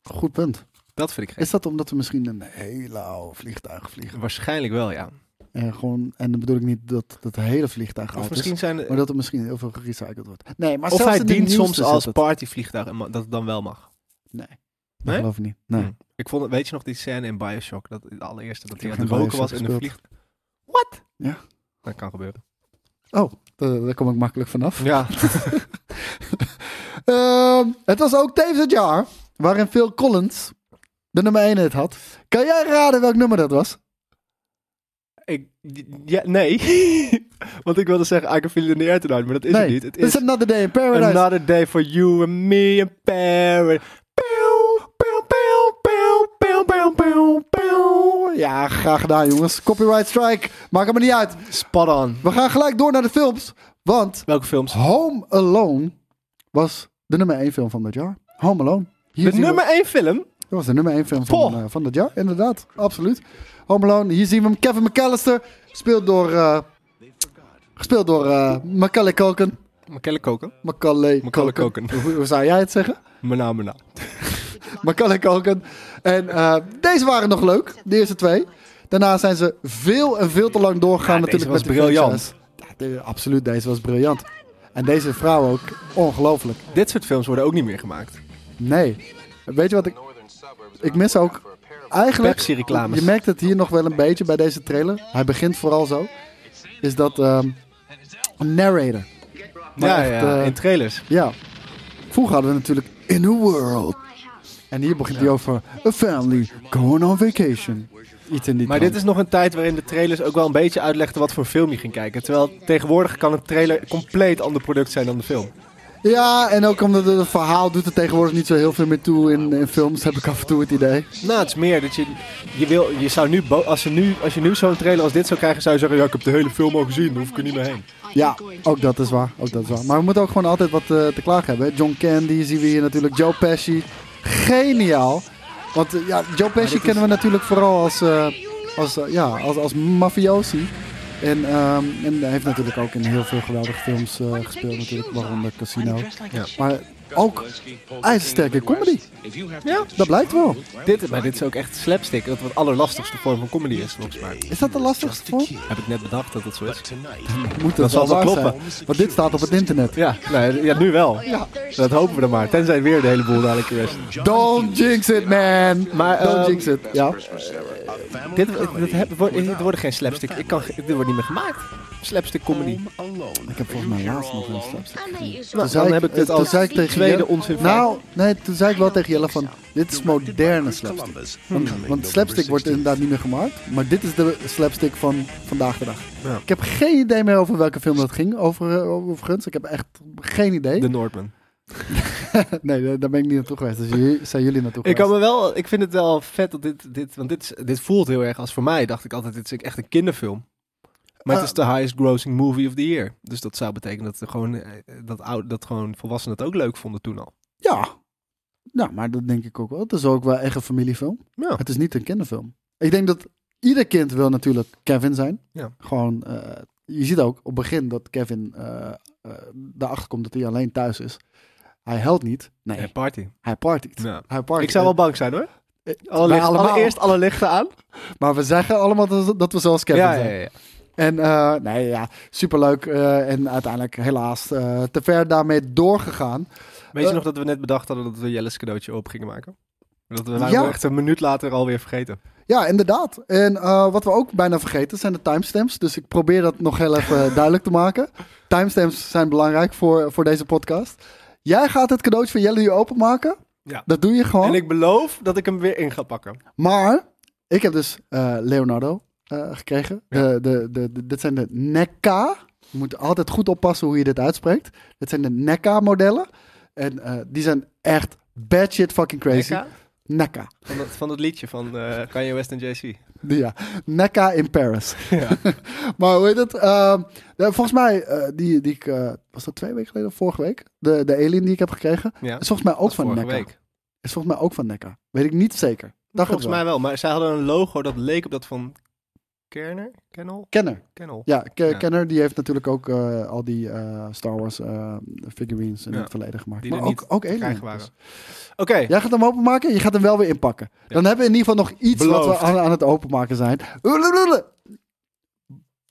[SPEAKER 3] Goed punt.
[SPEAKER 2] Dat vind ik gek.
[SPEAKER 3] Is dat omdat we misschien een hele oude vliegtuig vliegen?
[SPEAKER 2] Waarschijnlijk wel, ja.
[SPEAKER 3] En, gewoon, en dan bedoel ik niet dat dat hele vliegtuig
[SPEAKER 2] Of
[SPEAKER 3] uit is.
[SPEAKER 2] misschien zijn...
[SPEAKER 3] Maar dat er misschien heel veel gerecycled wordt. Nee, maar
[SPEAKER 2] Of
[SPEAKER 3] zelfs
[SPEAKER 2] hij
[SPEAKER 3] in de
[SPEAKER 2] dient
[SPEAKER 3] nieuwste
[SPEAKER 2] soms
[SPEAKER 3] zit
[SPEAKER 2] als
[SPEAKER 3] het.
[SPEAKER 2] partyvliegtuig en ma- dat het dan wel mag.
[SPEAKER 3] Dat
[SPEAKER 2] Nee?
[SPEAKER 3] geloof ik niet. Nee. Hmm.
[SPEAKER 2] Hm. Ik vond, het- weet je nog die scène in Bioshock? Dat de allereerste dat
[SPEAKER 3] Ik
[SPEAKER 2] hij
[SPEAKER 3] heb
[SPEAKER 2] aan het
[SPEAKER 3] geen
[SPEAKER 2] roken was in
[SPEAKER 3] Bioshock
[SPEAKER 2] de
[SPEAKER 3] gespeeld.
[SPEAKER 2] vlieg. Wat?
[SPEAKER 3] Ja.
[SPEAKER 2] Dat kan gebeuren.
[SPEAKER 3] Oh, daar, daar kom ik makkelijk vanaf.
[SPEAKER 2] Ja.
[SPEAKER 3] Ehm, het was ook tevens het jaar waarin Phil Collins de nummer 1 hit had. Kan jij raden welk nummer dat was?
[SPEAKER 2] ik, ja nee. Want ik wilde zeggen, I can feel it in the air tonight, maar dat is
[SPEAKER 3] nee,
[SPEAKER 2] het niet. Het
[SPEAKER 3] It's
[SPEAKER 2] is
[SPEAKER 3] Another Day in Paradise.
[SPEAKER 2] Another Day for You and Me in Paradise. Pew, pew, pew, pew, pew, pew, pew, pew.
[SPEAKER 3] Ja, graag gedaan jongens. Copyright strike. Maakt het maar niet uit.
[SPEAKER 2] Spot on.
[SPEAKER 3] We gaan gelijk door naar de films. Want
[SPEAKER 2] Welke films?
[SPEAKER 3] Home Alone was de nummer 1 film van dat jaar. Home Alone. Hier
[SPEAKER 2] De
[SPEAKER 3] zien we-
[SPEAKER 2] nummer 1 film?
[SPEAKER 3] Dat was de nummer 1 film van,
[SPEAKER 2] Poh.
[SPEAKER 3] eh, van dat jaar, inderdaad. Absoluut. Home Alone, hier zien we hem. Kevin McAllister, gespeeld door... eh, gespeeld door eh Macaulay Culkin.
[SPEAKER 2] Macaulay Culkin.
[SPEAKER 3] Macaulay,
[SPEAKER 2] Macaulay Culkin.
[SPEAKER 3] Hoe, hoe zou jij het zeggen?
[SPEAKER 2] Mijn naam, mijn naam.
[SPEAKER 3] Macaulay Culkin. En eh, deze waren nog leuk, de eerste twee. Daarna zijn ze veel en veel te lang doorgegaan
[SPEAKER 2] Ja, deze
[SPEAKER 3] natuurlijk
[SPEAKER 2] was
[SPEAKER 3] met die
[SPEAKER 2] briljant.
[SPEAKER 3] franchise. Ja, de- absoluut, deze was briljant. En deze vrouw ook, ongelooflijk.
[SPEAKER 2] Dit soort films worden ook niet meer gemaakt.
[SPEAKER 3] Nee. Weet je wat ik... Ik mis ook... Eigenlijk...
[SPEAKER 2] Pepsi-reclames.
[SPEAKER 3] Je merkt het hier nog wel een beetje bij deze trailer. Hij begint vooral zo. Is dat... ehm, een narrator.
[SPEAKER 2] Ja,
[SPEAKER 3] echt,
[SPEAKER 2] ja,
[SPEAKER 3] eh,
[SPEAKER 2] in trailers.
[SPEAKER 3] Ja. Vroeger hadden we natuurlijk In a World. En hier begint hij over A family going on vacation. Iets in die
[SPEAKER 2] Maar
[SPEAKER 3] trant.
[SPEAKER 2] dit is nog een tijd waarin de trailers ook wel een beetje uitlegden wat voor film je ging kijken. Terwijl tegenwoordig kan een trailer compleet ander product zijn dan de film.
[SPEAKER 3] Ja, en ook omdat het, het verhaal doet er tegenwoordig niet zo heel veel meer toe in, in films, heb ik af en toe het idee.
[SPEAKER 2] Nou, het is meer dat je... Je, wil, je zou nu, bo- als, je nu... Als je nu zo'n trailer als dit zou krijgen, zou je zeggen... Ja, ik heb de hele film al gezien, daar hoef ik er niet meer heen.
[SPEAKER 3] Ja, ook dat is waar. Ook dat is waar. Maar we moeten ook gewoon altijd wat eh, te klagen hebben. hè. John Candy zien we hier natuurlijk. Joe Pesci. Geniaal. Want eh, ja, Joe Pesci
[SPEAKER 2] dit
[SPEAKER 3] kennen we natuurlijk vooral als, eh, als, eh, ja, als, als mafiosi. En, ehm, en hij heeft natuurlijk ook in heel veel geweldige films eh, gespeeld natuurlijk. Waaronder Casino.
[SPEAKER 2] Ja.
[SPEAKER 3] Maar ook ijzersterke comedy.
[SPEAKER 2] Ja,
[SPEAKER 3] Dat blijkt wel.
[SPEAKER 2] dit, maar dit is ook echt slapstick. Dat wat de allerlastigste vorm van comedy is, volgens mij.
[SPEAKER 3] Is dat de lastigste voor?
[SPEAKER 2] Heb ik net bedacht dat dat zo is.
[SPEAKER 3] Moet
[SPEAKER 2] Dat
[SPEAKER 3] dat
[SPEAKER 2] zal
[SPEAKER 3] wel
[SPEAKER 2] wel
[SPEAKER 3] waar
[SPEAKER 2] kloppen.
[SPEAKER 3] zijn. Want dit staat op het internet.
[SPEAKER 2] Ja, nou, ja nu wel. Dat hopen we dan maar. Tenzij weer de hele boel dadelijk weer is.
[SPEAKER 3] Don't jinx it, man.
[SPEAKER 2] Maar,
[SPEAKER 3] Don't
[SPEAKER 2] ehm,
[SPEAKER 3] jinx it. Ja.
[SPEAKER 2] Dit, dit, heb- wordt- dit wordt geen slapstick. Ik kan, ge- dit wordt niet meer gemaakt. Slapstick comedy.
[SPEAKER 3] Ik heb volgens mij laatst nog een slapstick.
[SPEAKER 2] Nou,
[SPEAKER 3] Toen
[SPEAKER 2] dan
[SPEAKER 3] Nou, zei
[SPEAKER 2] heb ik dit
[SPEAKER 3] toen
[SPEAKER 2] als
[SPEAKER 3] zei ik tegen
[SPEAKER 2] tweede
[SPEAKER 3] Jelle-
[SPEAKER 2] onzin van-
[SPEAKER 3] Nou, nee, toen zei ik wel tegen Jelle van, dit is moderne slapstick. Want,
[SPEAKER 2] Hmm.
[SPEAKER 3] want slapstick wordt inderdaad niet meer gemaakt, maar dit is de slapstick van vandaag de dag.
[SPEAKER 2] Ja.
[SPEAKER 3] Ik heb geen idee meer over welke film dat ging, over, eh, overigens. Ik heb echt geen idee.
[SPEAKER 2] De Noordman.
[SPEAKER 3] Nee, daar- daar ben ik niet naartoe geweest, dus jullie- zijn jullie naartoe
[SPEAKER 2] Ik,
[SPEAKER 3] geweest.
[SPEAKER 2] kan me wel, ik vind het wel vet dat dit, dit want dit, is- dit voelt heel erg als voor mij, dacht ik altijd, dit is echt een kinderfilm. Maar het
[SPEAKER 3] Ah.
[SPEAKER 2] is de highest grossing movie of the year. Dus dat zou betekenen dat, er gewoon, eh, dat, oud, dat gewoon volwassenen het ook leuk vonden toen al.
[SPEAKER 3] Ja, nou, maar dat denk ik ook wel. Het is ook wel echt een familiefilm.
[SPEAKER 2] Ja.
[SPEAKER 3] Het is niet een kinderfilm. Ik denk dat ieder kind wil natuurlijk Kevin zijn.
[SPEAKER 2] Ja.
[SPEAKER 3] Gewoon, eh, je ziet ook op het begin dat Kevin eh erachter komt dat hij alleen thuis is. Hij helpt niet. Nee,
[SPEAKER 2] Nee, party.
[SPEAKER 3] hij partyt.
[SPEAKER 2] Ja.
[SPEAKER 3] Hij partyt.
[SPEAKER 2] Ik zou wel bang zijn hoor. Alle
[SPEAKER 3] wij
[SPEAKER 2] licht-
[SPEAKER 3] eh, allemaal.
[SPEAKER 2] allereerst alle lichten aan.
[SPEAKER 3] Maar we zeggen allemaal dat, dat we zoals Kevin
[SPEAKER 2] Ja, ja,
[SPEAKER 3] zijn.
[SPEAKER 2] ja, ja.
[SPEAKER 3] En eh, nee, ja, superleuk. eh, en uiteindelijk helaas eh, te ver daarmee doorgegaan.
[SPEAKER 2] Weet je
[SPEAKER 3] Eh,
[SPEAKER 2] nog dat we net bedacht hadden dat we Jelle's cadeautje open gingen maken? Dat we waren
[SPEAKER 3] Ja.
[SPEAKER 2] we echt een minuut later alweer vergeten.
[SPEAKER 3] Ja, inderdaad. En eh, wat we ook bijna vergeten zijn de timestamps. Dus ik probeer dat nog heel even eh, duidelijk te maken. Timestamps zijn belangrijk voor, voor deze podcast. Jij gaat het cadeautje van Jelle hier openmaken.
[SPEAKER 2] Ja.
[SPEAKER 3] Dat doe je gewoon.
[SPEAKER 2] En ik beloof dat ik hem weer in ga pakken.
[SPEAKER 3] Maar ik heb dus eh, Leonardo eh, gekregen. De, de, de, de- dit zijn de NECA. Je moet altijd goed oppassen hoe je dit uitspreekt. Dit zijn de NECA modellen. En eh, die zijn echt bad shit fucking crazy.
[SPEAKER 2] Mecca?
[SPEAKER 3] NECA.
[SPEAKER 2] Van dat, van dat liedje van eh Kanye West en JC.
[SPEAKER 3] Ja, NECA in Paris.
[SPEAKER 2] Ja.
[SPEAKER 3] maar hoe heet het? Ehm, ja, volgens mij, eh, die, die ik, eh, was dat twee weken geleden of vorige week? De, de alien die ik heb gekregen.
[SPEAKER 2] Ja.
[SPEAKER 3] Is volgens mij ook
[SPEAKER 2] was
[SPEAKER 3] van
[SPEAKER 2] vorige
[SPEAKER 3] NECA.
[SPEAKER 2] week.
[SPEAKER 3] Is volgens mij ook van NECA. Weet ik niet zeker. Dacht
[SPEAKER 2] Volgens
[SPEAKER 3] het wel.
[SPEAKER 2] mij wel, maar zij hadden een logo dat leek op dat van Kerner? Kennel?
[SPEAKER 3] Kenner.
[SPEAKER 2] Kennel.
[SPEAKER 3] Ja, Ke-
[SPEAKER 2] Ja.
[SPEAKER 3] Kenner die heeft natuurlijk ook eh, al die eh, Star Wars eh, figurines in
[SPEAKER 2] Ja.
[SPEAKER 3] het verleden gemaakt.
[SPEAKER 2] Die
[SPEAKER 3] maar
[SPEAKER 2] er
[SPEAKER 3] ook,
[SPEAKER 2] niet
[SPEAKER 3] ook
[SPEAKER 2] te
[SPEAKER 3] alien.
[SPEAKER 2] krijgen waren.
[SPEAKER 3] Dus
[SPEAKER 2] Oké,
[SPEAKER 3] Jij gaat hem openmaken, je gaat hem wel weer inpakken. Dan hebben we in ieder geval nog iets wat
[SPEAKER 2] Beloofd.
[SPEAKER 3] we aan, aan het openmaken zijn. Ulululule.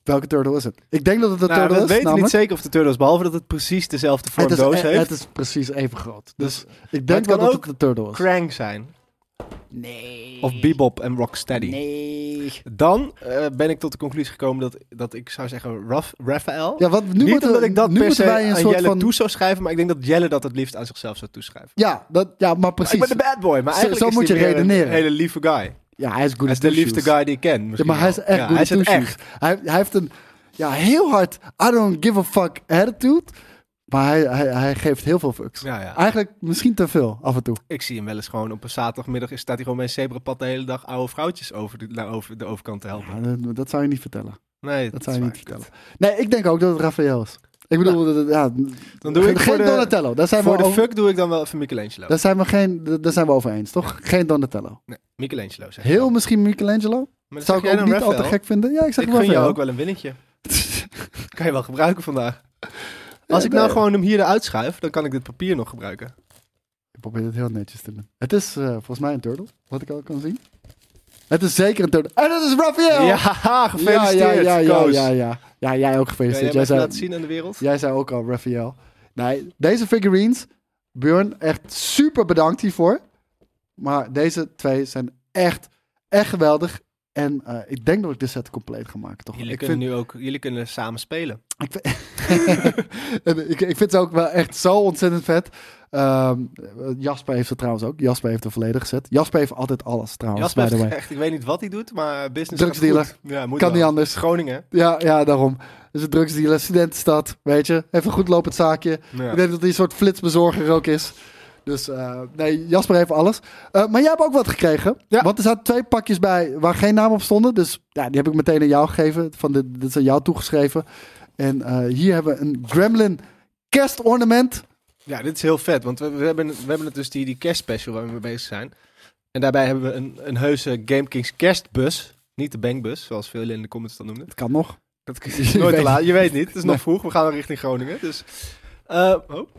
[SPEAKER 3] Welke turtle is het? Ik denk dat het een
[SPEAKER 2] Nou, we
[SPEAKER 3] turtle
[SPEAKER 2] weten
[SPEAKER 3] is,
[SPEAKER 2] niet
[SPEAKER 3] namelijk.
[SPEAKER 2] zeker of de Turtles, behalve dat het precies dezelfde
[SPEAKER 3] het, is,
[SPEAKER 2] vormdoos
[SPEAKER 3] eh,
[SPEAKER 2] heeft,
[SPEAKER 3] het is precies even groot. Dus ik
[SPEAKER 2] kan
[SPEAKER 3] denk wel dat
[SPEAKER 2] ook
[SPEAKER 3] het een turtle is.
[SPEAKER 2] Krang zijn.
[SPEAKER 3] nee.
[SPEAKER 2] Of Bebop en Rocksteady.
[SPEAKER 3] Nee.
[SPEAKER 2] Dan eh, ben ik tot de conclusie gekomen dat, dat ik zou zeggen Raf, Raphael.
[SPEAKER 3] Ja, want nu
[SPEAKER 2] Niet
[SPEAKER 3] moeten,
[SPEAKER 2] omdat ik dat
[SPEAKER 3] nu
[SPEAKER 2] per
[SPEAKER 3] moeten
[SPEAKER 2] se
[SPEAKER 3] wij een
[SPEAKER 2] aan
[SPEAKER 3] soort
[SPEAKER 2] Jelle
[SPEAKER 3] van...
[SPEAKER 2] toe zou schrijven, maar ik denk dat Jelle dat het liefst aan zichzelf zou toeschrijven.
[SPEAKER 3] Ja, dat, ja, maar precies.
[SPEAKER 2] Ik ben de bad boy, maar
[SPEAKER 3] Zo-
[SPEAKER 2] eigenlijk
[SPEAKER 3] zo
[SPEAKER 2] is
[SPEAKER 3] moet
[SPEAKER 2] hij
[SPEAKER 3] je
[SPEAKER 2] meer
[SPEAKER 3] redeneren.
[SPEAKER 2] een hele lieve guy.
[SPEAKER 3] Ja, hij is good
[SPEAKER 2] Hij is
[SPEAKER 3] at
[SPEAKER 2] de
[SPEAKER 3] two
[SPEAKER 2] liefste
[SPEAKER 3] shoes.
[SPEAKER 2] guy die ik ken.
[SPEAKER 3] Ja,
[SPEAKER 2] misschien
[SPEAKER 3] maar hij is
[SPEAKER 2] wel.
[SPEAKER 3] echt
[SPEAKER 2] Ja,
[SPEAKER 3] good
[SPEAKER 2] hij
[SPEAKER 3] at
[SPEAKER 2] is het
[SPEAKER 3] two shoes.
[SPEAKER 2] echt.
[SPEAKER 3] Hij, hij heeft een ja, heel hard I don't give a fuck attitude. Maar hij, hij, hij geeft heel veel fucks.
[SPEAKER 2] Ja, ja.
[SPEAKER 3] Eigenlijk misschien te veel af en toe.
[SPEAKER 2] Ik zie hem wel eens gewoon op een zaterdagmiddag. Staat hij gewoon bij een zebrapad de hele dag oude vrouwtjes over de, naar over de overkant te helpen.
[SPEAKER 3] Ja, dat, dat zou je niet vertellen.
[SPEAKER 2] Nee,
[SPEAKER 3] Dat
[SPEAKER 2] dat,
[SPEAKER 3] zou
[SPEAKER 2] is
[SPEAKER 3] je
[SPEAKER 2] waar.
[SPEAKER 3] niet vertellen. Nee, ik denk ook dat het Raphaël is. Ik bedoel, dat- dat- ja,
[SPEAKER 2] Dan doe
[SPEAKER 3] geen,
[SPEAKER 2] ik
[SPEAKER 3] geen
[SPEAKER 2] voor de,
[SPEAKER 3] Donatello. Daar zijn,
[SPEAKER 2] voor
[SPEAKER 3] we
[SPEAKER 2] de
[SPEAKER 3] over,
[SPEAKER 2] fuck doe ik dan wel even Michelangelo.
[SPEAKER 3] daar, zijn we geen, daar- daar zijn we over eens, toch? Geen Donatello.
[SPEAKER 2] Nee, Michelangelo zeg ik
[SPEAKER 3] Heel
[SPEAKER 2] dan.
[SPEAKER 3] misschien Michelangelo.
[SPEAKER 2] Maar dat zeg
[SPEAKER 3] Zou ik
[SPEAKER 2] jij
[SPEAKER 3] ook
[SPEAKER 2] dan
[SPEAKER 3] niet al
[SPEAKER 2] Raphael?
[SPEAKER 3] te gek vinden. Ja, ik zeg
[SPEAKER 2] Ik gun jou
[SPEAKER 3] Raphaël.
[SPEAKER 2] ook wel een winnetje. kan je wel gebruiken vandaag. Als ik
[SPEAKER 3] nee.
[SPEAKER 2] nou gewoon hem hier eruit schuif, dan kan ik dit papier nog gebruiken.
[SPEAKER 3] Ik probeer het heel netjes te doen. Het is eh, volgens mij een turtle, wat ik al kan zien. Het is zeker een turtle. En het is Raphaël!
[SPEAKER 2] Ja, haha, gefeliciteerd,
[SPEAKER 3] ja, ja, ja,
[SPEAKER 2] Koos.
[SPEAKER 3] ja, ja. Ja, jij
[SPEAKER 2] Kan
[SPEAKER 3] ook
[SPEAKER 2] jij hem
[SPEAKER 3] gefeliciteerd. Jij
[SPEAKER 2] even
[SPEAKER 3] zei,
[SPEAKER 2] laten zien aan de wereld?
[SPEAKER 3] jij zei ook al Raphaël. Nee, deze figurines, Björn, echt super bedankt hiervoor. Maar deze twee zijn echt, echt geweldig. En eh, ik denk dat ik de set compleet ga maken, toch?
[SPEAKER 2] Jullie
[SPEAKER 3] ik
[SPEAKER 2] kunnen
[SPEAKER 3] vind,
[SPEAKER 2] nu ook, jullie kunnen samen spelen.
[SPEAKER 3] ik, vind, En ik, ik vind ze ook wel echt zo ontzettend vet. Ehm, Jasper heeft ze trouwens ook. Jasper heeft de volledige set. Jasper heeft altijd alles trouwens,
[SPEAKER 2] Jasper
[SPEAKER 3] by the
[SPEAKER 2] heeft
[SPEAKER 3] way.
[SPEAKER 2] echt, ik weet niet wat hij doet, maar business
[SPEAKER 3] Drugsdealer.
[SPEAKER 2] gaat goed. Ja, moet
[SPEAKER 3] Kan
[SPEAKER 2] wel.
[SPEAKER 3] niet anders.
[SPEAKER 2] Groningen.
[SPEAKER 3] Ja, ja, daarom. Dus een drugsdealer, studentenstad, weet je. Even een goed lopend zaakje.
[SPEAKER 2] Ja.
[SPEAKER 3] Ik denk dat hij een soort flitsbezorger ook is. Dus eh, nee, Jasper heeft alles. Eh, maar jij hebt ook wat gekregen.
[SPEAKER 2] Ja.
[SPEAKER 3] Want er zaten twee pakjes bij waar geen naam op stonden. Dus ja, die heb ik meteen aan jou gegeven. Van dit, dit is aan jou toegeschreven. En eh, hier hebben we een Gremlin kerstornament.
[SPEAKER 2] Ja, dit is heel vet, want we, we hebben, we hebben het dus die, die kerstspecial waar we mee bezig zijn. En daarbij hebben we een, een heuse Game Kings kerstbus. Niet de bankbus, zoals veel in de comments dan noemden.
[SPEAKER 3] Dat kan nog.
[SPEAKER 2] Dat
[SPEAKER 3] Je
[SPEAKER 2] is nooit te
[SPEAKER 3] weet-
[SPEAKER 2] laat. Je weet niet. Het is
[SPEAKER 3] Nee.
[SPEAKER 2] nog vroeg. We gaan richting Groningen. Dus. eh, oh.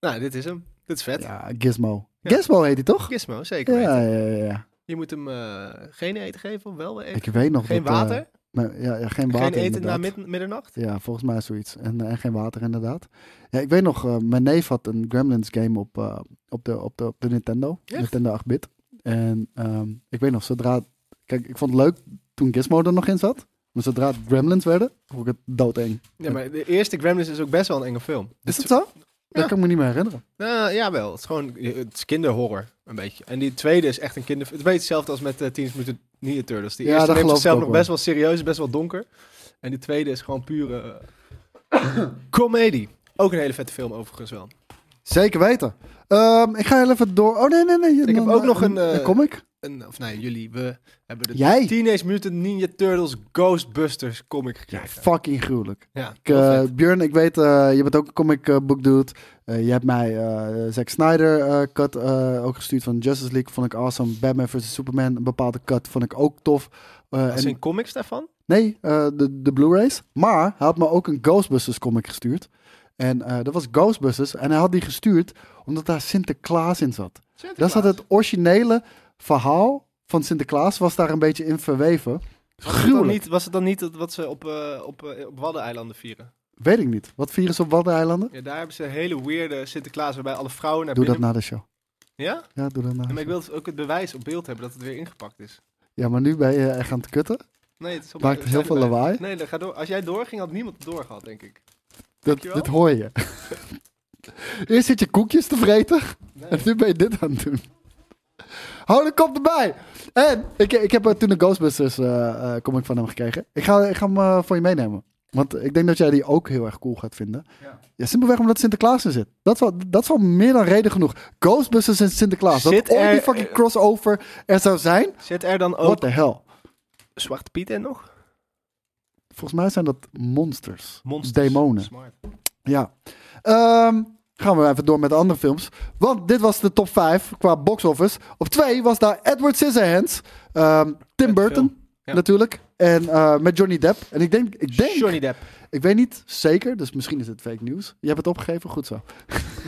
[SPEAKER 2] Nou, dit is hem. Dit is vet.
[SPEAKER 3] Ja, Gizmo.
[SPEAKER 2] Ja.
[SPEAKER 3] Gizmo heet hij toch?
[SPEAKER 2] Gizmo, zeker.
[SPEAKER 3] Ja,
[SPEAKER 2] weten.
[SPEAKER 3] ja, ja, ja.
[SPEAKER 2] Je moet hem eh, geen eten geven of wel eten.
[SPEAKER 3] Ik weet nog
[SPEAKER 2] Geen
[SPEAKER 3] dat, eh,
[SPEAKER 2] water.
[SPEAKER 3] nee, ja, ja, geen water
[SPEAKER 2] geen eten
[SPEAKER 3] inderdaad.
[SPEAKER 2] na mid- middernacht.
[SPEAKER 3] Ja, volgens mij zoiets. En, eh, en geen water inderdaad. Ja, ik weet nog, eh, mijn neef had een Gremlins game op, eh, op, de, op, de, op de Nintendo.
[SPEAKER 2] Echt?
[SPEAKER 3] Nintendo 8-bit. En ehm, ik weet nog, zodra... Kijk, ik vond het leuk toen Gizmo er nog in zat. Maar zodra het Gremlins werden, vond ik het doodeng.
[SPEAKER 2] Ja, maar de eerste Gremlins is ook best wel een enge film.
[SPEAKER 3] Is het zo? Dat
[SPEAKER 2] Ja.
[SPEAKER 3] kan ik me niet meer herinneren.
[SPEAKER 2] Nou, jawel. Het is gewoon het is kinderhorror, een beetje. En die tweede is echt een kinder... Het weet hetzelfde als met eh Teenage Mutant Ninja Turtles. Die
[SPEAKER 3] Ja,
[SPEAKER 2] eerste
[SPEAKER 3] dat
[SPEAKER 2] neemt
[SPEAKER 3] geloof ik
[SPEAKER 2] zichzelf
[SPEAKER 3] ook
[SPEAKER 2] nog
[SPEAKER 3] wel.
[SPEAKER 2] best wel serieus, best wel donker. En die tweede is gewoon pure... eh, comedy. Ook een hele vette film overigens wel.
[SPEAKER 3] Zeker weten. Ehm, ik ga heel even door... Oh, nee, nee, nee.
[SPEAKER 2] Ik heb ook nog een,
[SPEAKER 3] Kom
[SPEAKER 2] eh,
[SPEAKER 3] comic.
[SPEAKER 2] En, of nee, jullie, we hebben de
[SPEAKER 3] Jij?
[SPEAKER 2] Teenage Mutant Ninja Turtles Ghostbusters comic
[SPEAKER 3] Ja,
[SPEAKER 2] gekregen.
[SPEAKER 3] fucking gruwelijk.
[SPEAKER 2] Ja,
[SPEAKER 3] Ik, eh,
[SPEAKER 2] heel vet.
[SPEAKER 3] Björn, ik weet, eh, je bent ook een comic eh, book dude. Eh, je hebt mij eh Zack Snyder eh, cut eh, ook gestuurd van Justice League. Vond ik awesome. Batman vs. Superman, een bepaalde cut, vond ik ook tof. Eh,
[SPEAKER 2] Dat
[SPEAKER 3] en-
[SPEAKER 2] zijn comics daarvan?
[SPEAKER 3] nee, eh, de, de Blu-rays. Maar hij had me ook een Ghostbusters comic gestuurd. En eh, dat was Ghostbusters. En hij had die gestuurd omdat daar Sinterklaas in zat. Daar zat het originele verhaal van Sinterklaas, was daar een beetje in verweven.
[SPEAKER 2] Was het, dan
[SPEAKER 3] Gruwelijk.
[SPEAKER 2] niet, was het dan niet het wat ze op, eh, op, eh, op Waddeneilanden vieren?
[SPEAKER 3] Weet ik niet. Wat virus op Waddeneilanden?
[SPEAKER 2] Ja, daar hebben ze een hele weirde Sinterklaas waarbij alle vrouwen naar
[SPEAKER 3] Doe dat
[SPEAKER 2] binnen...
[SPEAKER 3] na de show.
[SPEAKER 2] Ja?
[SPEAKER 3] Ja, doe dat na de
[SPEAKER 2] Ja,
[SPEAKER 3] show.
[SPEAKER 2] Maar ik wil ook het bewijs op beeld hebben dat het weer ingepakt is.
[SPEAKER 3] Ja, maar nu ben je echt aan het kutten.
[SPEAKER 2] Nee, het is allemaal-
[SPEAKER 3] Maakt
[SPEAKER 2] het
[SPEAKER 3] heel
[SPEAKER 2] zijn
[SPEAKER 3] veel
[SPEAKER 2] erbij.
[SPEAKER 3] lawaai.
[SPEAKER 2] Nee, dan ga door. als jij doorging had niemand het doorgehad, denk ik.
[SPEAKER 3] Dat,
[SPEAKER 2] je wel.
[SPEAKER 3] dit hoor je. Eerst zit je koekjes te vreten.
[SPEAKER 2] Nee.
[SPEAKER 3] En nu ben je dit aan het doen. Hou de kop erbij. En ik, ik heb eh, toen een Ghostbusters eh, eh, comic van hem gekregen. Ik ga, ik ga hem eh, voor je meenemen. Want ik denk dat jij die ook heel erg cool gaat vinden.
[SPEAKER 2] Ja.
[SPEAKER 3] Ja, simpelweg omdat Sinterklaas er zit. Dat is, wel, dat is wel meer dan reden genoeg. Ghostbusters en Sinterklaas.
[SPEAKER 2] Zit
[SPEAKER 3] dat ooit
[SPEAKER 2] er-
[SPEAKER 3] die fucking crossover er zou zijn.
[SPEAKER 2] Zit er dan
[SPEAKER 3] What
[SPEAKER 2] ook
[SPEAKER 3] the hell.
[SPEAKER 2] Zwarte Piet in nog?
[SPEAKER 3] Volgens mij zijn dat monsters.
[SPEAKER 2] Monsters.
[SPEAKER 3] Demonen.
[SPEAKER 2] Smart.
[SPEAKER 3] Ja. Ehm, gaan we even door met de andere films. Want dit was de top 5 qua box office. Op 2 was daar Edward Scissorhands. ehm, Tim
[SPEAKER 2] Vette
[SPEAKER 3] Burton
[SPEAKER 2] film. Ja.
[SPEAKER 3] natuurlijk. En eh, met Johnny Depp. En ik denk, ik denk,
[SPEAKER 2] Johnny Depp.
[SPEAKER 3] ik weet niet zeker, dus misschien is het fake news. Je hebt het opgegeven, goed zo.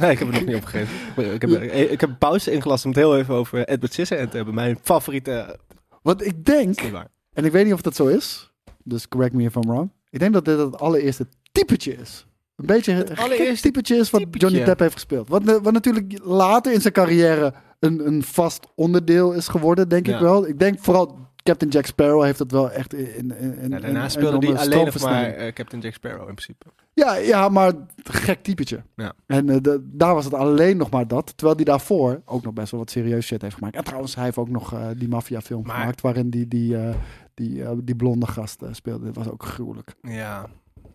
[SPEAKER 2] Nee, ik heb het nog niet opgegeven. Ik heb, ik heb een pauze ingelast om het heel even over Edward Scissorhands te hebben. Mijn favoriete...
[SPEAKER 3] Want ik denk,
[SPEAKER 2] Is niet waar.
[SPEAKER 3] en ik weet niet of dat zo is, dus correct me if I'm wrong. Ik denk dat dit het allereerste typetje is. Een beetje het gek
[SPEAKER 2] allereerste
[SPEAKER 3] typetje is wat
[SPEAKER 2] typetje.
[SPEAKER 3] Johnny Depp heeft gespeeld. Wat, na- wat natuurlijk later in zijn carrière een, een vast onderdeel is geworden, denk
[SPEAKER 2] Ja.
[SPEAKER 3] ik wel. Ik denk vooral Captain Jack Sparrow heeft dat wel echt in... in, in in-
[SPEAKER 2] Ja, daarna
[SPEAKER 3] in-
[SPEAKER 2] speelde hij alleen
[SPEAKER 3] enorme
[SPEAKER 2] nog maar
[SPEAKER 3] stroomversnelling.
[SPEAKER 2] eh, Captain Jack Sparrow in principe.
[SPEAKER 3] Ja, ja, maar gek typetje.
[SPEAKER 2] Ja.
[SPEAKER 3] En eh, de- daar was het alleen nog maar dat. Terwijl hij daarvoor ook nog best wel wat serieus shit heeft gemaakt. En trouwens, hij heeft ook nog eh, die maffiafilm
[SPEAKER 2] Maar-
[SPEAKER 3] gemaakt... waarin die, die, eh, die, eh, die blonde gast eh, speelde. Dat was ook gruwelijk.
[SPEAKER 2] Ja,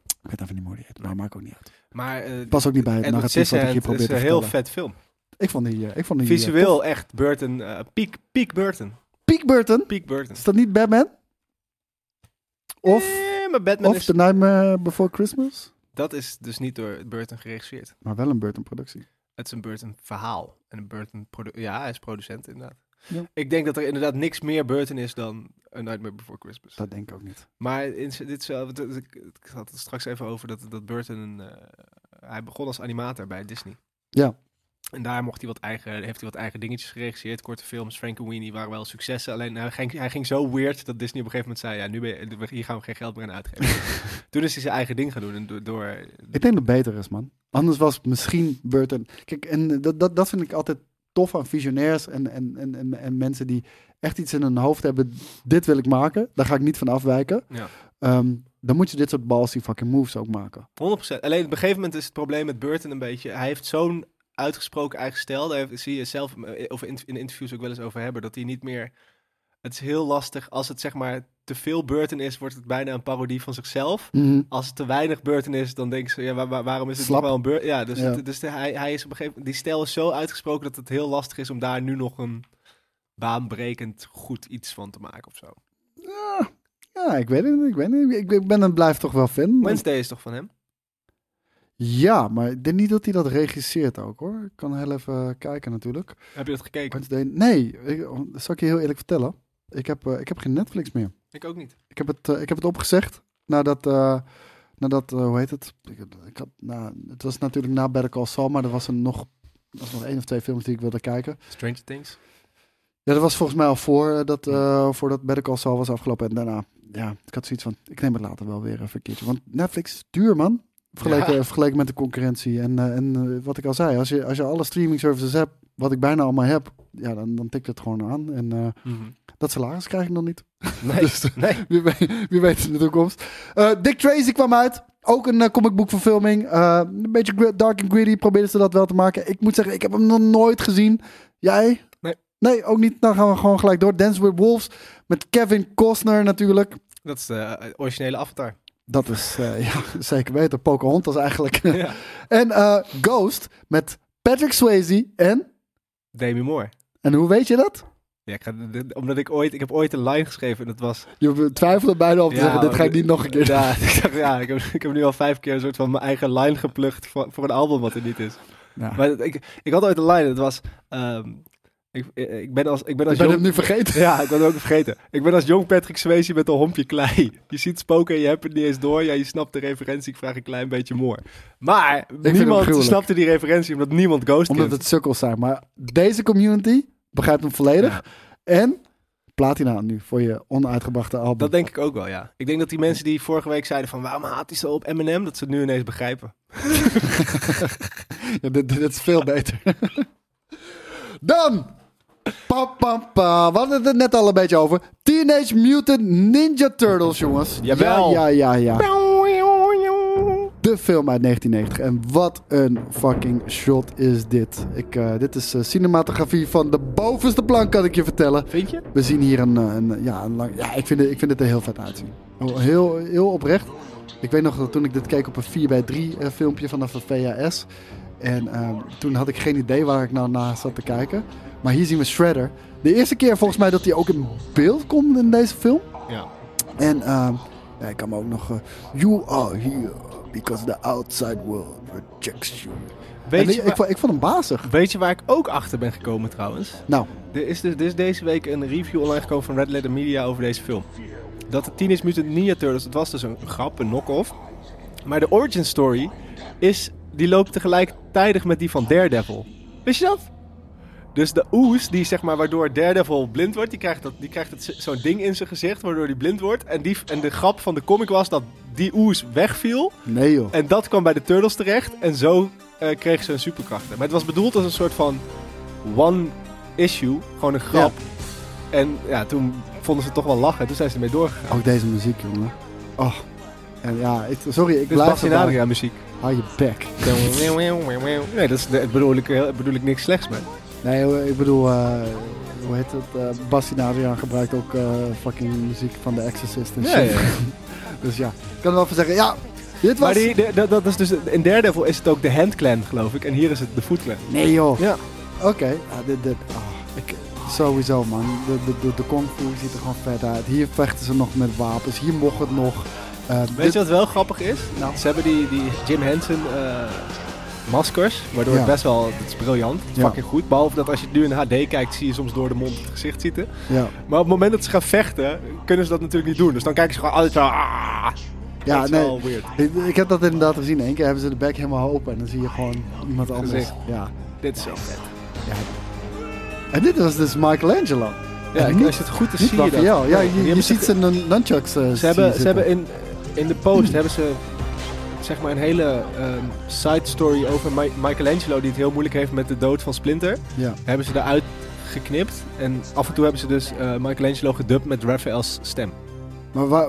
[SPEAKER 3] Ik weet even niet hoe die heet, maar maakt ook niet uit.
[SPEAKER 2] maar eh
[SPEAKER 3] Pas ook niet bij het eh,
[SPEAKER 2] Edward
[SPEAKER 3] narratief wat ik hier
[SPEAKER 2] Scissorhands
[SPEAKER 3] probeer
[SPEAKER 2] is
[SPEAKER 3] te
[SPEAKER 2] een heel
[SPEAKER 3] vertellen.
[SPEAKER 2] vet film.
[SPEAKER 3] Ik vond die... eh, ik vond die eh, tof.
[SPEAKER 2] Visueel echt Burton, eh piek, piek Burton.
[SPEAKER 3] Peak Burton.
[SPEAKER 2] Piek Burton.
[SPEAKER 3] Is dat niet Batman? Of,
[SPEAKER 2] Eh, maar Batman
[SPEAKER 3] of
[SPEAKER 2] is...
[SPEAKER 3] The Nightmare Before Christmas?
[SPEAKER 2] Dat is dus niet door Burton geregisseerd.
[SPEAKER 3] Maar wel een Burton-productie.
[SPEAKER 2] Het is een Burton verhaal. En een Burton... produ- Ja, hij is producent inderdaad.
[SPEAKER 3] Ja.
[SPEAKER 2] Ik denk dat er inderdaad niks meer Burton is dan A Nightmare Before Christmas.
[SPEAKER 3] Dat denk ik ook niet.
[SPEAKER 2] Maar in, z- dit is wel, want het- ik, ik had het straks even over dat, dat Burton, een, eh, hij begon als animator bij Disney.
[SPEAKER 3] Ja.
[SPEAKER 2] En daar mocht hij wat eigen, heeft hij wat eigen dingetjes geregisseerd, korte films. Frank en Weenie waren wel successen. Alleen hij ging, hij ging zo weird dat Disney op een gegeven moment zei, ja, nu ben je, hier gaan we geen geld meer aan uitgeven. Toen is hij zijn eigen ding gaan doen. En do- door,
[SPEAKER 3] Ik denk dat het beter is, man. Anders was het misschien Burton. Kijk, en dat, dat, dat vind ik altijd tof aan visionairs en, en, en, en, en mensen die echt iets in hun hoofd hebben. Dit wil ik maken, daar ga ik niet van afwijken.
[SPEAKER 2] Ja.
[SPEAKER 3] Ehm, dan moet je dit soort ballsy fucking moves ook maken.
[SPEAKER 2] 100%. Alleen op een gegeven moment is het probleem met Burton een beetje. Hij heeft zo'n uitgesproken eigen stijl. Daar heeft- zie je zelf eh, of in in interviews ook wel eens over hebben. Dat hij niet meer. Het is heel lastig als het zeg maar te veel Burton is, wordt het bijna een parodie van zichzelf.
[SPEAKER 3] Mhm.
[SPEAKER 2] Als het te weinig Burton is, dan denken ze, ja, waar- waar- waarom is het
[SPEAKER 3] Slap.
[SPEAKER 2] nog wel een Burton? Ja, dus,
[SPEAKER 3] Ja.
[SPEAKER 2] het- dus de- hij, hij is op een gegeven moment, die stijl is zo uitgesproken dat het heel lastig is om daar nu nog een baanbrekend goed iets van te maken of zo.
[SPEAKER 3] Ja, ik weet het niet. Ik, weet het niet. Ik- ik ben en blijf toch wel fan.
[SPEAKER 2] Wednesday is toch van hem?
[SPEAKER 3] Ja, maar ik denk niet dat hij dat regisseert ook hoor. Ik kan heel even eh, kijken natuurlijk.
[SPEAKER 2] Heb je dat gekeken?
[SPEAKER 3] Wednesday- Nee, ik, zal ik je heel eerlijk vertellen. Ik heb, eh, ik heb geen Netflix meer.
[SPEAKER 2] Ik ook niet.
[SPEAKER 3] Ik heb het, eh, ik heb het opgezegd nadat, eh, nadat eh, hoe heet het? Ik, ik had, nou, het was natuurlijk na Better Call Saul, maar er was een nog, er was nog één of twee films die ik wilde kijken.
[SPEAKER 2] Stranger Things.
[SPEAKER 3] Ja, dat was volgens mij al voor, eh, dat, eh voordat Better Call Saul was afgelopen. En daarna, ja, ik had zoiets van, ik neem het later wel weer even een keertje. Want Netflix is duur, man. Vergeleken,
[SPEAKER 2] Ja.
[SPEAKER 3] vergeleken met de concurrentie. En, eh, en eh, wat ik al zei, als je, als je alle streaming services hebt, wat ik bijna allemaal heb, ja, dan, dan tikt het gewoon aan. En eh, dat salaris krijg ik nog niet.
[SPEAKER 2] Mhm. Nee, nee.
[SPEAKER 3] Dus, Wie weet, wie weet in de toekomst. Eh, Dick Tracy kwam uit. Ook een eh, comicboekverfilming. Eh, een beetje gr- dark and gritty probeerden ze dat wel te maken. Ik moet zeggen, ik heb hem nog nooit gezien. Jij?
[SPEAKER 2] Nee.
[SPEAKER 3] Nee, ook niet. Dan gaan we gewoon gelijk door. Dance with Wolves met Kevin Costner natuurlijk.
[SPEAKER 2] Dat is de eh, originele avatar.
[SPEAKER 3] Dat is eh, ja, zeker weten. Pocahontas eigenlijk.
[SPEAKER 2] Ja.
[SPEAKER 3] en eh, Ghost met Patrick Swayze en...
[SPEAKER 2] Demi Moore.
[SPEAKER 3] En hoe weet je dat?
[SPEAKER 2] Ja, ik ga, dit- omdat ik ooit, ik heb ooit een line geschreven en dat was...
[SPEAKER 3] Je twijfelde bijna om te
[SPEAKER 2] Ja,
[SPEAKER 3] zeggen, dit ga ik niet nog een keer doen.
[SPEAKER 2] Ja, ik, dacht, ja ik, heb, ik heb nu al vijf keer een soort van mijn eigen line geplukt voor, voor een album wat er niet is.
[SPEAKER 3] Ja.
[SPEAKER 2] Maar dat- ik, ik had ooit een line, dat was... ehm, ik, eh, ik ben als, ik ben
[SPEAKER 3] Ik
[SPEAKER 2] als
[SPEAKER 3] ben hem
[SPEAKER 2] jong...
[SPEAKER 3] nu vergeten.
[SPEAKER 2] Ja, ik ben het ook vergeten. Ik ben als jong Patrick Swayze met een hompje klei. Je ziet spoken en je hebt het niet eens door. Ja, je snapt de referentie. Ik vraag een klein beetje more. Maar
[SPEAKER 3] hem
[SPEAKER 2] niemand
[SPEAKER 3] gruwelijk.
[SPEAKER 2] snapte die referentie omdat niemand Ghost
[SPEAKER 3] Omdat
[SPEAKER 2] kent.
[SPEAKER 3] het sukkels zijn. Maar deze community begrijpt hem volledig.
[SPEAKER 2] Ja.
[SPEAKER 3] En platina nu voor je onuitgebrachte album.
[SPEAKER 2] Dat denk ik ook wel, ja. Ik denk dat die mensen die vorige week zeiden van... waarom haat hij zo op Eminem? Dat ze het nu ineens begrijpen.
[SPEAKER 3] Ja, dit, dit is veel beter. Dan! Pam, pam, pam. We hadden het er net al een beetje over. Teenage Mutant Ninja Turtles, jongens.
[SPEAKER 2] Jawel.
[SPEAKER 3] Ja, ja, ja, ja. De film uit 1990. En wat een fucking shot is dit. Ik, eh, dit is eh, cinematografie van de bovenste plank, kan ik je vertellen.
[SPEAKER 2] Vind je?
[SPEAKER 3] We zien hier een, eh, een, ja, een lang... Ja, ik vind, het, ik vind het er heel vet uitzien. Oh, Heel, heel oprecht. Ik weet nog dat toen ik dit keek op een 4x3 eh, filmpje vanaf een VHS. En ehm, toen had ik geen idee waar ik nou naar zat te kijken. Maar hier zien we Shredder. De eerste keer volgens mij dat hij ook in beeld komt in deze film.
[SPEAKER 2] Ja.
[SPEAKER 3] En ehm ja, ik kan me ook nog... eh, you are here because the outside world rejects you. En
[SPEAKER 2] Weet
[SPEAKER 3] ik,
[SPEAKER 2] je,
[SPEAKER 3] ik,
[SPEAKER 2] waar,
[SPEAKER 3] vond- ik vond hem bazig.
[SPEAKER 2] weet je waar ik ook achter ben gekomen trouwens?
[SPEAKER 3] Nou,
[SPEAKER 2] Er is, dus, er is deze week een review online gekomen van Red Letter Media over deze film. Dat de Teenage Mutant Ninja Turtles, het was dus een grap, een knock-off. Maar de origin story is, die loopt tegelijkertijdig met die van Daredevil. Wist je dat? Dus de oes, die zeg maar, waardoor Daredevil blind wordt, die krijgt, dat, die krijgt het, z- zo'n ding in zijn gezicht, waardoor hij blind wordt. En, die, en de grap van de comic was dat die oes wegviel.
[SPEAKER 3] Nee joh.
[SPEAKER 2] En dat kwam bij de Turtles terecht. En zo eh, kreeg ze hun superkrachten. Maar het was bedoeld als een soort van one issue. Gewoon een grap. En ja, toen vonden ze het toch wel lachen. Toen zijn ze ermee doorgegaan.
[SPEAKER 3] Ook deze muziek, jongen. Oh. En ja, ik- sorry, ik
[SPEAKER 2] Dit is
[SPEAKER 3] blijf
[SPEAKER 2] Basti
[SPEAKER 3] erbij.
[SPEAKER 2] Nadria muziek.
[SPEAKER 3] Hou je bek.
[SPEAKER 2] Nee, dat is, daar bedoel ik, eh, bedoel ik niks slechts mee.
[SPEAKER 3] Nee, hoor, ik bedoel, eh, hoe heet het? Eh Basti Nadriaan gebruikt ook eh, fucking muziek van The Exorcist en
[SPEAKER 2] Ja,
[SPEAKER 3] shit.
[SPEAKER 2] ja, ja.
[SPEAKER 3] Dus ja, ik kan er wel van zeggen, ja, dit was...
[SPEAKER 2] Maar die, de- dat, dat is dus, in Daredevil is het ook de Hand Clan, geloof ik. En hier is het de Foot Clan.
[SPEAKER 3] Nee joh.
[SPEAKER 2] Ja.
[SPEAKER 3] Oké. Ah, dit, dit, ah, ik, sowieso man, de, de, de, de kung fu ziet er gewoon vet uit. Hier vechten ze nog met wapens, hier mocht het nog. Eh,
[SPEAKER 2] Weet
[SPEAKER 3] dit-
[SPEAKER 2] je wat wel grappig is?
[SPEAKER 3] Nou.
[SPEAKER 2] Ze hebben die, die Jim Henson eh, maskers, waardoor
[SPEAKER 3] Ja.
[SPEAKER 2] het best wel, het is briljant, het is
[SPEAKER 3] Ja.
[SPEAKER 2] fucking goed. Behalve dat als je het nu in HD kijkt, zie je soms door de mond het gezicht zitten.
[SPEAKER 3] Ja,
[SPEAKER 2] Maar op het moment dat ze gaan vechten, kunnen ze dat natuurlijk niet doen. Dus dan kijken ze gewoon altijd zo, ah,
[SPEAKER 3] ja
[SPEAKER 2] dat is
[SPEAKER 3] nee.
[SPEAKER 2] wel weird.
[SPEAKER 3] Ik, ik heb dat inderdaad gezien. Eén keer hebben ze de bek helemaal open en dan zie je gewoon iemand anders.
[SPEAKER 2] Gezicht.
[SPEAKER 3] Ja.
[SPEAKER 2] Dit is zo vet.
[SPEAKER 3] En dit was dus Michelangelo.
[SPEAKER 2] Ja,
[SPEAKER 3] En niet-
[SPEAKER 2] als je het goed is,
[SPEAKER 3] Niet
[SPEAKER 2] zie je dat.
[SPEAKER 3] Raphaël. Ja,
[SPEAKER 2] Nee, die
[SPEAKER 3] je, je
[SPEAKER 2] hebben
[SPEAKER 3] ziet
[SPEAKER 2] ze...
[SPEAKER 3] zijn nun- nunchucks. eh,
[SPEAKER 2] Ze
[SPEAKER 3] zien
[SPEAKER 2] hebben, ze
[SPEAKER 3] zitten.
[SPEAKER 2] hebben in, in de post hebben ze zeg maar een hele ehm, side story over Mi- Michelangelo die het heel moeilijk heeft met de dood van Splinter.
[SPEAKER 3] Ja.
[SPEAKER 2] hebben ze eruit geknipt. En af en toe hebben ze dus eh, Michelangelo gedubt met Raphael's stem.
[SPEAKER 3] Maar wa-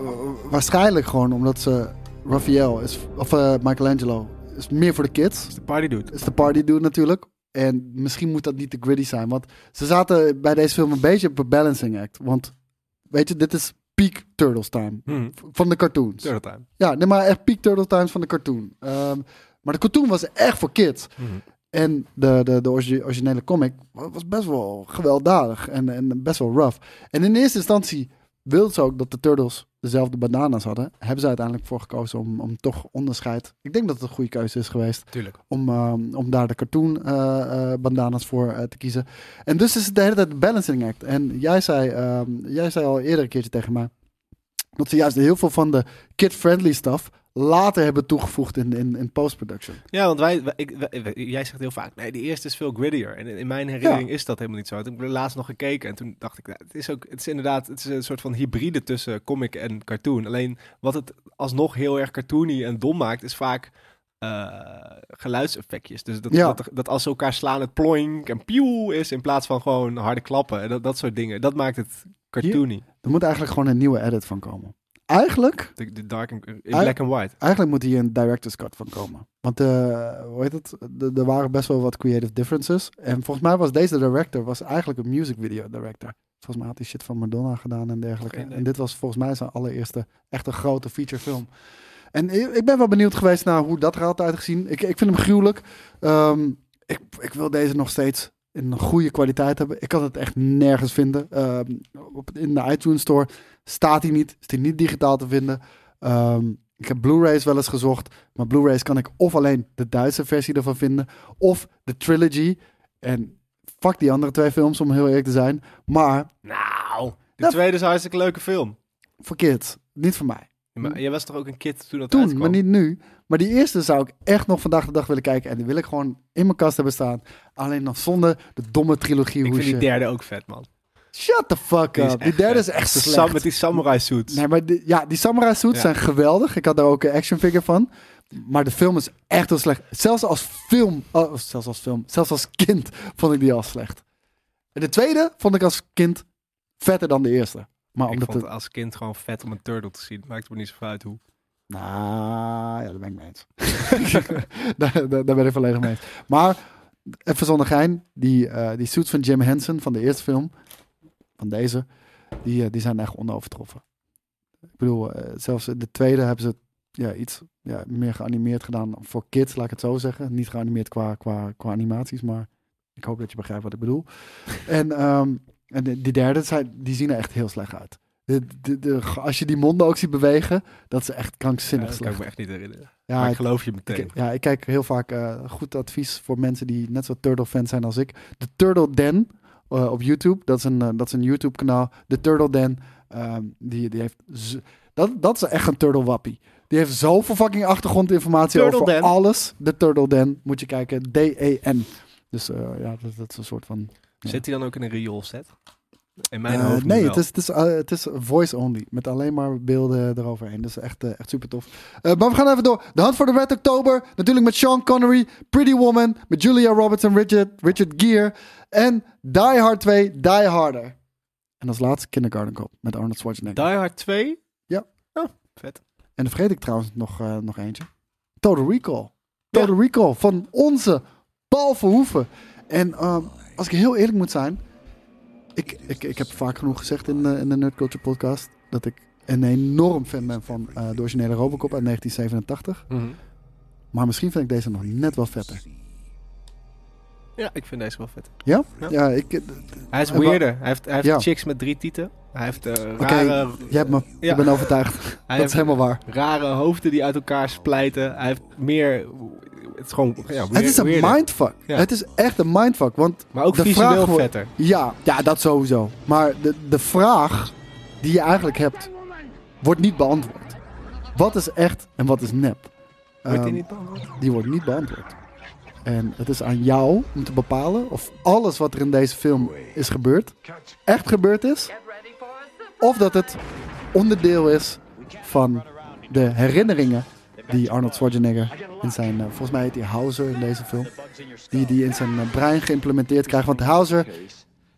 [SPEAKER 3] waarschijnlijk gewoon omdat ze Raphaël is, of eh, Michelangelo is meer voor de kids.
[SPEAKER 2] De party dude.
[SPEAKER 3] Is de party dude natuurlijk. En misschien moet dat niet te gritty zijn. Want ze zaten bij deze film een beetje op een balancing act. Want weet je, dit is peak Turtles time.
[SPEAKER 2] Hmm.
[SPEAKER 3] Van de cartoons.
[SPEAKER 2] Turtle time.
[SPEAKER 3] Ja, nee, maar echt peak Turtle Times van de cartoon. Ehm, maar de cartoon was echt voor kids. En de, de, de origi- originele comic wa- was best wel gewelddadig en, en best wel rough. En in eerste instantie wilden ze ook dat de Turtles dezelfde bananas hadden. Hebben ze uiteindelijk voor gekozen om, om toch onderscheid... Ik denk dat het een goede keuze is geweest
[SPEAKER 2] Tuurlijk.
[SPEAKER 3] om, ehm, om daar de cartoon eh, eh, bandanas voor eh, te kiezen. En dus is het de hele tijd een balancing act. En jij zei, ehm, jij zei al eerder een keertje tegen mij dat ze juist heel veel van de kid-friendly stuff later hebben toegevoegd in, in, in post-production.
[SPEAKER 2] Ja, want wij, wij- ik, wij- wij- jij zegt heel vaak, nee, de eerste is veel grittier. En in in mijn herinnering is dat helemaal niet zo. Toen heb ik er laatst nog gekeken en toen dacht ik, nou, het is ook, het is inderdaad, het is een soort van hybride tussen comic en cartoon. Alleen wat het alsnog heel erg cartoony en dom maakt, is vaak eh, geluidseffectjes. Dus dat,
[SPEAKER 3] Ja.
[SPEAKER 2] dat, dat als ze elkaar slaan, het ploink en pieuw is, in plaats van gewoon harde klappen en dat, dat soort dingen. Dat maakt het cartoony.
[SPEAKER 3] Er moet eigenlijk gewoon een nieuwe edit van komen. Eigenlijk,
[SPEAKER 2] De, de dark en, in
[SPEAKER 3] Ah.
[SPEAKER 2] black and white.
[SPEAKER 3] eigenlijk moet hier een director's cut van komen. Want eh, hoe heet het? De- Er waren best wel wat creative differences. En volgens mij was deze director was eigenlijk een music video director. Volgens mij had hij shit van Madonna gedaan en dergelijke.
[SPEAKER 2] Geen idee.
[SPEAKER 3] En dit was volgens mij zijn allereerste echte grote feature film. En i- ik ben wel benieuwd geweest naar hoe dat er had uitgezien. Ik, ik vind hem gruwelijk. Ehm, ik, ik wil deze nog steeds in een goede kwaliteit hebben. Ik kan het echt nergens vinden. Ehm, op, in de iTunes Store staat hij niet. Is hij niet digitaal te vinden. Ehm, ik heb Blu-rays wel eens gezocht. Maar Blu-rays kan ik of alleen de Duitse versie ervan vinden. Of de trilogy. En fuck die andere twee films, om heel eerlijk te zijn. Maar
[SPEAKER 2] Nou, de
[SPEAKER 3] Nou,
[SPEAKER 2] tweede is een hartstikke leuke film.
[SPEAKER 3] voor kids, niet voor mij.
[SPEAKER 2] Ja, Maar jij was toch ook een kid toen dat
[SPEAKER 3] hm. Toen,
[SPEAKER 2] uitkwam?
[SPEAKER 3] maar niet nu. Maar die eerste zou ik echt nog vandaag de dag willen kijken. En die wil ik gewoon in mijn kast hebben staan. Alleen nog zonder de domme trilogie
[SPEAKER 2] Ik vind die
[SPEAKER 3] hoesje.
[SPEAKER 2] derde ook vet, man.
[SPEAKER 3] Shut the fuck
[SPEAKER 2] Die is
[SPEAKER 3] up. Die
[SPEAKER 2] echt
[SPEAKER 3] derde
[SPEAKER 2] vet.
[SPEAKER 3] is echt
[SPEAKER 2] De
[SPEAKER 3] slecht.
[SPEAKER 2] sam- met die samurai suits.
[SPEAKER 3] Nee, maar die, ja, die samurai suits
[SPEAKER 2] Ja.
[SPEAKER 3] zijn geweldig. Ik had daar ook een action figure van. Maar de film is echt heel slecht. Zelfs als film, oh, zelfs als film, zelfs als kind vond ik die al slecht. En de tweede vond ik als kind vetter dan de eerste. Maar
[SPEAKER 2] ik
[SPEAKER 3] omdat
[SPEAKER 2] vond het
[SPEAKER 3] het,
[SPEAKER 2] als kind gewoon vet om een turtle te zien. Maakt me niet zoveel uit hoe.
[SPEAKER 3] nou, ja, daar ben ik mee eens. daar, daar, daar ben ik volledig mee eens. Maar, even zonder gein, die, eh, die suits van Jim Henson van de eerste film, van deze, die, eh, die zijn echt onovertroffen. Ik bedoel, eh, zelfs in de tweede hebben ze ja, iets ja, meer geanimeerd gedaan voor kids, laat ik het zo zeggen. Niet geanimeerd qua, qua, qua animaties, maar ik hoop dat je begrijpt wat ik bedoel. en ehm, en de- die derde, zijn, die zien er echt heel slecht uit. De- de- de- als je die monden ook ziet bewegen, dat is echt
[SPEAKER 2] Ja,
[SPEAKER 3] krankzinnig
[SPEAKER 2] dat kan ik
[SPEAKER 3] slecht.
[SPEAKER 2] me echt niet herinneren.
[SPEAKER 3] Ja,
[SPEAKER 2] maar ik
[SPEAKER 3] ik-
[SPEAKER 2] geloof je
[SPEAKER 3] ik-
[SPEAKER 2] meteen.
[SPEAKER 3] ja, ik kijk heel vaak eh, goed advies voor mensen die net zo Turtle-fan zijn als ik. De Turtle Den eh, op YouTube. Dat is een, eh, dat is een YouTube-kanaal. De Turtle Den, ehm, die, die heeft... z- Dat, dat is echt een Turtle-wappie. Die heeft zoveel fucking achtergrondinformatie
[SPEAKER 2] Turtle
[SPEAKER 3] over
[SPEAKER 2] Den.
[SPEAKER 3] E alles. De Turtle Den. Moet je kijken. D-E-N. Dus eh, ja, dat, dat is een soort van...
[SPEAKER 2] Zit hij dan ook in een riool set? In mijn
[SPEAKER 3] Eh,
[SPEAKER 2] hoofd
[SPEAKER 3] nee,
[SPEAKER 2] nu
[SPEAKER 3] het
[SPEAKER 2] wel.
[SPEAKER 3] is, het, is, eh, het is voice only. Met alleen maar beelden eroverheen. Dus echt, eh, echt super tof. Eh, maar we gaan even door. De Hunt for the Red October. Natuurlijk met Sean Connery. Pretty Woman. Met Julia Roberts en Richard, Richard Gere. En Die Hard 2. Die Harder. En als laatste Kindergarten Cop. Met Arnold Schwarzenegger.
[SPEAKER 2] Die Hard 2?
[SPEAKER 3] Ja.
[SPEAKER 2] Oh, vet.
[SPEAKER 3] en dan vergeet ik trouwens nog, eh, nog eentje. Total Recall. Total Recall. Van onze Paul Verhoeven. En ehm, als ik heel eerlijk moet zijn... Ik, ik, ik heb vaak genoeg gezegd in, eh, in de Nerd Culture podcast dat ik een enorm fan ben van eh, de originele Robocop uit 1987. Maar misschien vind ik deze nog net wel vetter.
[SPEAKER 2] Ja, ik vind deze wel vet.
[SPEAKER 3] Ja?
[SPEAKER 2] Ja.
[SPEAKER 3] Ja, ik, eh,
[SPEAKER 2] Hij is
[SPEAKER 3] En wa-
[SPEAKER 2] weirder. Hij heeft, hij heeft
[SPEAKER 3] Ja.
[SPEAKER 2] chicks met drie tieten. Hij heeft eh, rare,
[SPEAKER 3] Oké, jij hebt me.
[SPEAKER 2] Ja.
[SPEAKER 3] Ik ben overtuigd.
[SPEAKER 2] hij
[SPEAKER 3] dat is
[SPEAKER 2] heeft
[SPEAKER 3] helemaal waar.
[SPEAKER 2] rare hoofden die uit elkaar splijten. Hij heeft meer... Het is gewoon... Ja,
[SPEAKER 3] Het is een
[SPEAKER 2] weirder.
[SPEAKER 3] mindfuck.
[SPEAKER 2] Ja.
[SPEAKER 3] Het is echt een mindfuck. Want
[SPEAKER 2] Maar ook
[SPEAKER 3] de
[SPEAKER 2] visueel
[SPEAKER 3] vraag wordt-
[SPEAKER 2] vetter.
[SPEAKER 3] ja, ja, dat sowieso. Maar de, de vraag die je eigenlijk hebt, wordt niet beantwoord. Wat is echt en wat is nep?
[SPEAKER 2] Wordt hij
[SPEAKER 3] Ehm,
[SPEAKER 2] niet beantwoord?
[SPEAKER 3] die wordt niet beantwoord. En het is aan jou om te bepalen of alles wat er in deze film is gebeurd, echt gebeurd is. Of dat het onderdeel is van de herinneringen die Arnold Schwarzenegger in zijn, eh, volgens mij heet hij Hauser in deze film, die die in zijn eh, brein geïmplementeerd krijgt. Want Hauser, hij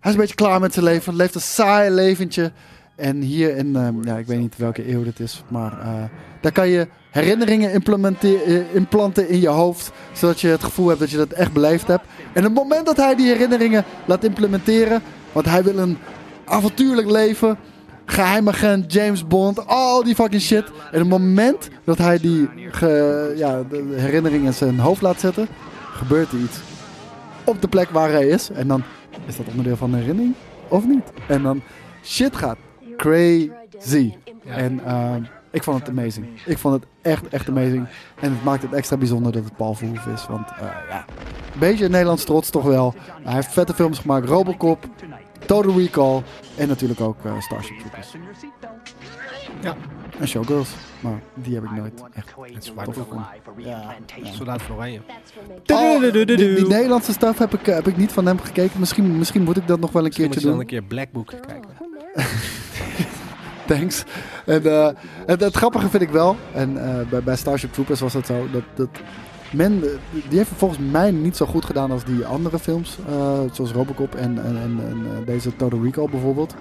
[SPEAKER 3] is een beetje klaar met zijn leven, leeft een saai leventje. En hier in, ehm, ja, ik weet niet welke eeuw dit is, maar eh, daar kan je herinneringen implemente- eh, implanten in je hoofd, zodat je het gevoel hebt dat je dat echt beleefd hebt. En het moment dat hij die herinneringen laat implementeren, want hij wil een avontuurlijk leven, geheimagent, James Bond, al die fucking shit. En het moment dat hij die ge- ja, de de herinneringen in zijn hoofd laat zetten, gebeurt er iets op de plek waar hij is. En dan is dat onderdeel van de herinnering of niet? En dan shit gaat crazy. En ehm, ik vond het amazing. Ik vond het echt, echt amazing. En het maakt het extra bijzonder dat het Paul Verhoeven is. Want eh, ja, een beetje Nederlands trots toch wel. Hij heeft vette films gemaakt. Robocop, Total Recall en natuurlijk ook eh, Starship Troopers.
[SPEAKER 2] Ja.
[SPEAKER 3] En Showgirls. Maar die heb ik nooit echt.
[SPEAKER 2] Het is
[SPEAKER 3] tof
[SPEAKER 2] waard
[SPEAKER 3] gevonden. Ja. ja.
[SPEAKER 2] Soldaat van Oranje.
[SPEAKER 3] Oh, die, die Nederlandse stuff heb ik, eh, heb ik niet van hem gekeken. Misschien, misschien moet ik dat nog wel een
[SPEAKER 2] Moet
[SPEAKER 3] keertje
[SPEAKER 2] je dan een
[SPEAKER 3] doen.
[SPEAKER 2] keer Black Book kijken.
[SPEAKER 3] Thanks. En eh, het, het grappige vind ik wel, en eh, bij, bij Starship Troopers was dat zo, dat, dat men, eh, die heeft het volgens mij niet zo goed gedaan als die andere films, eh, zoals Robocop en, en, en, en, eh, deze Total Recall bijvoorbeeld.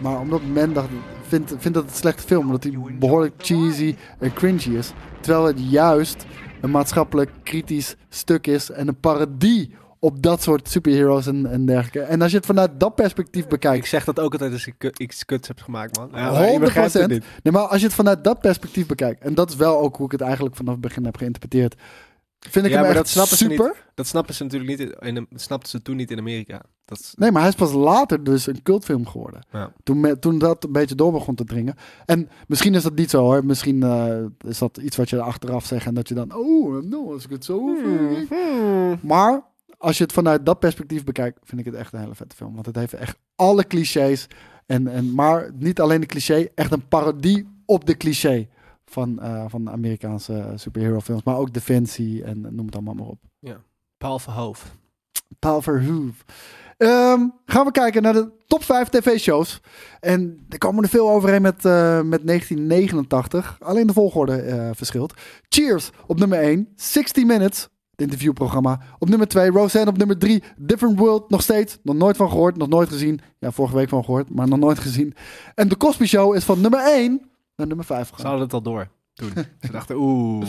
[SPEAKER 3] Maar omdat men dacht, vindt, vindt dat een slechte film, omdat die behoorlijk cheesy en cringy is. Terwijl het juist een maatschappelijk kritisch stuk is en een parodie op dat soort superheroes en, en dergelijke. En als je het vanuit dat perspectief bekijkt,
[SPEAKER 2] Ik zeg dat ook altijd als ik ku- iets kuts heb gemaakt, man. Ja, maar je begrijpt het
[SPEAKER 3] 100%.
[SPEAKER 2] niet.
[SPEAKER 3] Nee, maar als je het vanuit dat perspectief bekijkt, en dat is wel ook hoe ik het eigenlijk vanaf het begin heb geïnterpreteerd, vind ik
[SPEAKER 2] Ja,
[SPEAKER 3] hem
[SPEAKER 2] maar
[SPEAKER 3] echt
[SPEAKER 2] dat snappen ze
[SPEAKER 3] super.
[SPEAKER 2] Dat snappen ze natuurlijk niet. In, in, dat snapten ze toen niet in Amerika. Dat is,
[SPEAKER 3] Nee, maar hij is pas later dus een cultfilm geworden.
[SPEAKER 2] Ja.
[SPEAKER 3] Toen, me- toen dat een beetje door begon te dringen. En misschien is dat niet zo hoor. Misschien eh, is dat iets wat je achteraf zegt en dat je dan, oh, nou, als ik het zo voel. Maar als je het vanuit dat perspectief bekijkt, vind ik het echt een hele vette film. Want het heeft echt alle clichés. En, en, maar niet alleen de cliché, echt een parodie op de cliché van, eh, van de Amerikaanse superhero films. Maar ook Defensie en noem het allemaal maar op.
[SPEAKER 2] Paul Verhoef.
[SPEAKER 3] Paul Verhoeven. Ehm, gaan we kijken naar de top 5 tv-shows. En er komen er veel overheen met, eh, met 1989. Alleen de volgorde eh, verschilt. Cheers op nummer 1. 60 Minutes, het interviewprogramma. Op nummer 2. Roseanne op nummer 3. Different World, nog steeds. Nog nooit van gehoord, nog nooit gezien. Ja, vorige week van gehoord, maar nog nooit gezien. En de Cosby Show is van nummer 1 naar nummer 5
[SPEAKER 2] Ze
[SPEAKER 3] gegaan.
[SPEAKER 2] hadden het al door toen. ze dachten, oeh.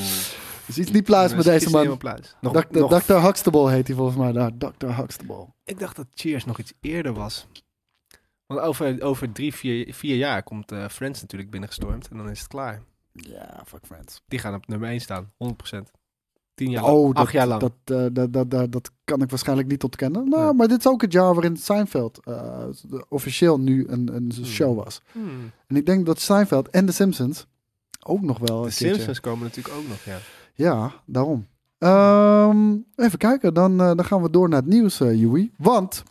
[SPEAKER 3] Dus iets niet plaats met
[SPEAKER 2] Is- is
[SPEAKER 3] deze
[SPEAKER 2] helemaal
[SPEAKER 3] man.
[SPEAKER 2] Plaats. Nog,
[SPEAKER 3] Dr.
[SPEAKER 2] nog-
[SPEAKER 3] Dr. Huxtable heet hij volgens mij daar. Dr. Huxtable.
[SPEAKER 2] Ik dacht dat Cheers nog iets eerder was. Want over, over drie, vier, vier jaar komt eh, Friends natuurlijk binnengestormd. En dan is het klaar.
[SPEAKER 3] Ja, fuck friends.
[SPEAKER 2] Die gaan op nummer 1 staan. 100%. Tien jaar
[SPEAKER 3] oh,
[SPEAKER 2] lang.
[SPEAKER 3] dat,
[SPEAKER 2] acht jaar lang.
[SPEAKER 3] Dat, eh, dat, dat, dat, dat kan ik waarschijnlijk niet ontkennen. Nou,
[SPEAKER 2] Nee.
[SPEAKER 3] maar dit is ook het jaar waarin Seinfeld eh, officieel nu een, een show was.
[SPEAKER 2] Hmm.
[SPEAKER 3] En ik denk dat Seinfeld en The Simpsons ook nog wel.
[SPEAKER 2] De
[SPEAKER 3] een keertje-
[SPEAKER 2] Simpsons komen natuurlijk ook nog, ja.
[SPEAKER 3] Ja, daarom. Ehm, even kijken, dan, eh, dan gaan we door naar het nieuws, eh Joey. Want,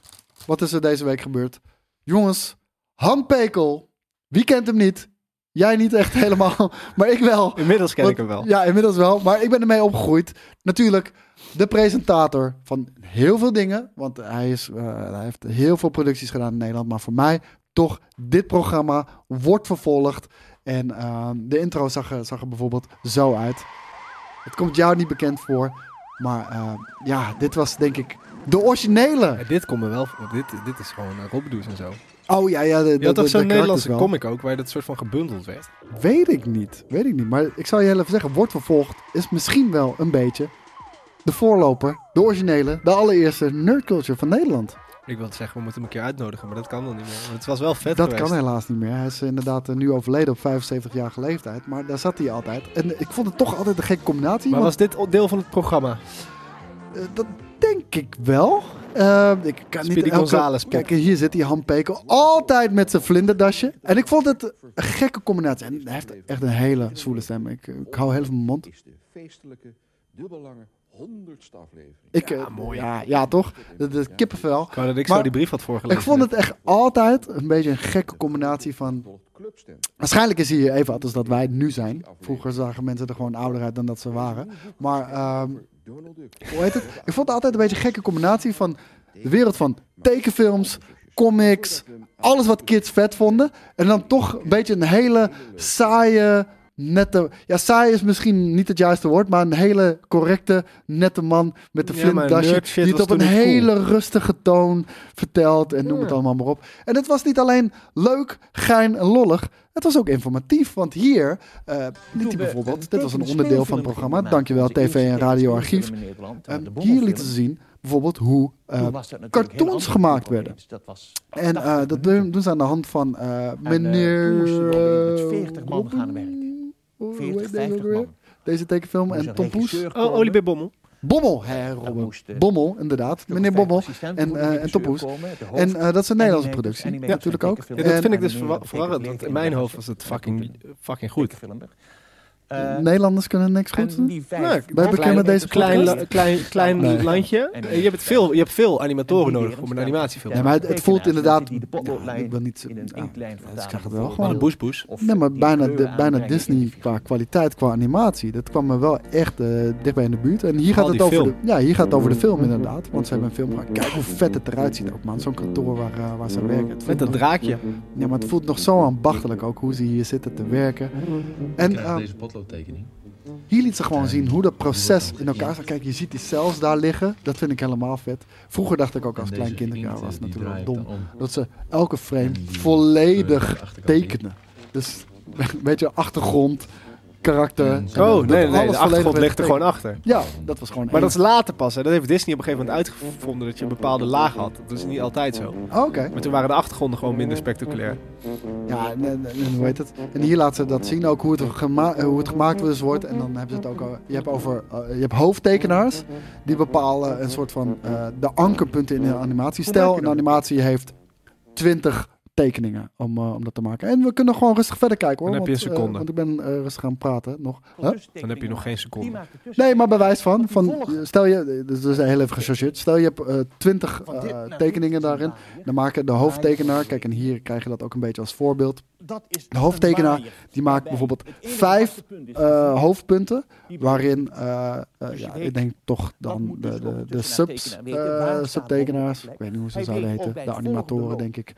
[SPEAKER 3] wat is er deze week gebeurd? Jongens, Han Pekel, wie kent hem niet? Jij niet echt helemaal, maar ik wel.
[SPEAKER 2] Inmiddels ken
[SPEAKER 3] Want-
[SPEAKER 2] ik hem wel.
[SPEAKER 3] Ja, inmiddels wel. Maar ik ben ermee opgegroeid. Natuurlijk, de presentator van heel veel dingen. Want hij, is, eh, hij heeft heel veel producties gedaan in Nederland. Maar voor mij toch, dit programma wordt vervolgd. En ehm, de intro zag, er- zag er bijvoorbeeld zo uit. Het komt jou niet bekend voor. Maar eh, ja, dit was denk ik de originele.
[SPEAKER 2] Ja, dit komt me wel. Dit, dit is gewoon uh, Robbedoes en zo.
[SPEAKER 3] Oh ja, ja. De,
[SPEAKER 2] Je had toch zo'n Nederlandse
[SPEAKER 3] comic?
[SPEAKER 2] comic ook, waar dat soort van gebundeld werd?
[SPEAKER 3] Weet ik niet. Weet ik niet. Maar ik zal je heel even zeggen, wordt vervolgd is misschien wel een beetje de voorloper, de originele, de allereerste nerdculture van Nederland.
[SPEAKER 2] Ik wilde zeggen, we moeten hem een keer uitnodigen, maar dat kan dan niet meer. Want Het was wel vet
[SPEAKER 3] dat
[SPEAKER 2] geweest.
[SPEAKER 3] kan helaas niet meer. Hij is inderdaad eh, nu overleden op 75-jarige leeftijd, maar daar zat hij altijd. En eh, ik vond het toch altijd een gekke combinatie.
[SPEAKER 2] Maar
[SPEAKER 3] want,
[SPEAKER 2] was dit o- deel van het programma?
[SPEAKER 3] eh, dat denk ik wel. Eh, ik kan niet
[SPEAKER 2] Speedy Gonzales pop.
[SPEAKER 3] Kijk, hier zit die handpekel altijd met zijn vlinderdasje. En ik vond het een gekke combinatie. En hij heeft echt een hele zwoele stem. Ik, eh, ik hou heel veel mijn mond.
[SPEAKER 4] is de feestelijke, dubbellange, honderdste aflevering.
[SPEAKER 3] Ik, ja, Ja, ja, toch? De, de kippenvel.
[SPEAKER 2] Ik wou dat ik zo
[SPEAKER 3] Maar
[SPEAKER 2] die brief had voorgelezen.
[SPEAKER 3] Ik vond het echt altijd een beetje een gekke combinatie van...
[SPEAKER 4] Volgt clubstem.
[SPEAKER 3] Waarschijnlijk is hij hier even als dat wij nu zijn. Vroeger zagen mensen er gewoon ouder uit dan dat ze waren. Maar ehm,
[SPEAKER 4] Donald Duck.
[SPEAKER 3] hoe heet het? Ik vond het altijd een beetje een gekke combinatie van de wereld van tekenfilms, comics, alles wat kids vet vonden. En dan toch een beetje een hele saaie, nette... Ja, saai is misschien niet het juiste woord, maar een hele correcte, nette man met een
[SPEAKER 2] Ja, maar
[SPEAKER 3] flink dasje.
[SPEAKER 2] nerd shit
[SPEAKER 3] Die het
[SPEAKER 2] was
[SPEAKER 3] op een
[SPEAKER 2] toen niet cool.
[SPEAKER 3] hele rustige toon vertelt en noem het allemaal maar op. En het was niet alleen leuk, gein en lollig. Het was ook informatief, want hier eh liet hij bijvoorbeeld... Dit was een onderdeel van het programma. Dankjewel, TV en Radio Archief. Ehm, hier lieten ze zien bijvoorbeeld hoe eh, cartoons gemaakt werden. En eh, dat doen, doen ze aan de hand van eh, meneer... eh, Robin, Oh, hoe heet deze ook alweer? Deze tekenfilm en Tom Poes.
[SPEAKER 2] Oh, Olivier Bommel.
[SPEAKER 3] Bommel, hè Robin.
[SPEAKER 5] moest, eh,
[SPEAKER 3] Bommel, inderdaad. Meneer Bommel en, eh en Tom Poes. En eh, dat is een Nederlandse productie. Ja, natuurlijk ook.
[SPEAKER 2] Ja, dat
[SPEAKER 3] En-
[SPEAKER 2] vind ik dus verwa- verwarrend, want in mijn hoofd was het fucking, fucking goed.
[SPEAKER 5] Eh,
[SPEAKER 3] Nederlanders kunnen niks goed doen.
[SPEAKER 2] Nou,
[SPEAKER 3] Wij bekennen deze
[SPEAKER 2] Klein,
[SPEAKER 3] podcast.
[SPEAKER 2] la- klein, klein
[SPEAKER 3] Nee.
[SPEAKER 2] landje.
[SPEAKER 5] En-
[SPEAKER 2] Eh, Je hebt, veel, je hebt veel animatoren
[SPEAKER 5] En die
[SPEAKER 2] nodig om een
[SPEAKER 5] leren
[SPEAKER 2] animatiefilm.
[SPEAKER 3] Ja,
[SPEAKER 2] te
[SPEAKER 3] maar het, het voelt inderdaad...
[SPEAKER 5] eh, Die de potloodlijn
[SPEAKER 3] Ja, ik wil niet... zo-
[SPEAKER 5] in een
[SPEAKER 3] nou,
[SPEAKER 5] inklijn
[SPEAKER 3] Ik
[SPEAKER 5] vandaan.
[SPEAKER 3] krijg het wel
[SPEAKER 2] maken.
[SPEAKER 3] gewoon.
[SPEAKER 2] Maar Boes Boes.
[SPEAKER 3] Nee, maar bijna, de, bijna Disney qua kwaliteit, qua animatie. Dat kwam me wel echt eh, dichtbij in de buurt. En hier gaat,
[SPEAKER 2] die
[SPEAKER 3] het over de,
[SPEAKER 2] film.
[SPEAKER 3] ja, hier gaat het over de film inderdaad. Want ze hebben een film gemaakt. Kijk hoe vet het eruit ziet ook, man. Zo'n kantoor waar, eh, waar ze werken. Het
[SPEAKER 2] Met
[SPEAKER 3] voelt
[SPEAKER 2] dat
[SPEAKER 3] nog-
[SPEAKER 2] draakje. Oh,
[SPEAKER 3] ja, maar het voelt nog zo ambachtelijk ook hoe ze hier zitten te werken. En eh,
[SPEAKER 6] deze potloodtekening.
[SPEAKER 3] hier liet ze gewoon zien hoe dat proces in elkaar zat. Kijk, je ziet die cells daar liggen. Dat vind ik helemaal vet. Vroeger dacht ik ook als
[SPEAKER 6] En
[SPEAKER 3] klein
[SPEAKER 6] deze
[SPEAKER 3] kind, ja,
[SPEAKER 6] inkt,
[SPEAKER 3] was
[SPEAKER 6] die
[SPEAKER 3] natuurlijk wel
[SPEAKER 6] draai ik
[SPEAKER 3] dom.
[SPEAKER 6] dan om.
[SPEAKER 3] Dat ze elke frame
[SPEAKER 6] En die kleur aan de
[SPEAKER 3] volledig
[SPEAKER 6] achterkant
[SPEAKER 3] tekenen. Dus een beetje achtergrond, karakter.
[SPEAKER 6] Oh,
[SPEAKER 2] Oh, nee,
[SPEAKER 3] alles
[SPEAKER 2] nee, de
[SPEAKER 3] volledig
[SPEAKER 2] achtergrond
[SPEAKER 3] werd
[SPEAKER 2] ligt er gewoon
[SPEAKER 3] getekend.
[SPEAKER 2] achter.
[SPEAKER 3] Ja, dat was gewoon
[SPEAKER 2] Maar dat
[SPEAKER 3] één.
[SPEAKER 2] is later pas. Hè. Dat heeft Disney op een gegeven moment uitgevonden dat je een bepaalde laag had. Dat is niet altijd zo.
[SPEAKER 3] Oh, Oké.
[SPEAKER 2] Maar toen waren de achtergronden gewoon minder spectaculair.
[SPEAKER 3] Ja, en, en- en hoe heet het? En hier laten ze dat zien, ook hoe het, gema- eh, hoe het gemaakt dus wordt. En dan hebben ze het ook over... Je hebt, over, eh, je hebt hoofdtekenaars, die bepalen een soort van... eh, de ankerpunten in een animatie. Stel, een animatie heeft 20 tekeningen om, eh, om dat te maken. En we kunnen gewoon rustig verder kijken hoor.
[SPEAKER 2] Dan heb je
[SPEAKER 3] want,
[SPEAKER 2] een
[SPEAKER 3] eh,
[SPEAKER 2] seconde.
[SPEAKER 3] want ik ben eh, rustig aan het praten nog. Huh?
[SPEAKER 2] Dan heb je nog geen seconde.
[SPEAKER 3] Nee, maar bewijs van. van stel je, dat is heel even gechargeerd. Stel je hebt eh, twintig eh, tekeningen daarin. Nou, Dan maken de hoofdtekenaar, kijk en hier krijg je dat ook een beetje als voorbeeld. De hoofdtekenaar die maakt bijvoorbeeld vijf eh, hoofdpunten. Waarin, eh, eh, ja, ik denk toch dan de, de, de subs, eh, subtekenaars, ik weet niet hoe ze zouden heten, de animatoren denk ik.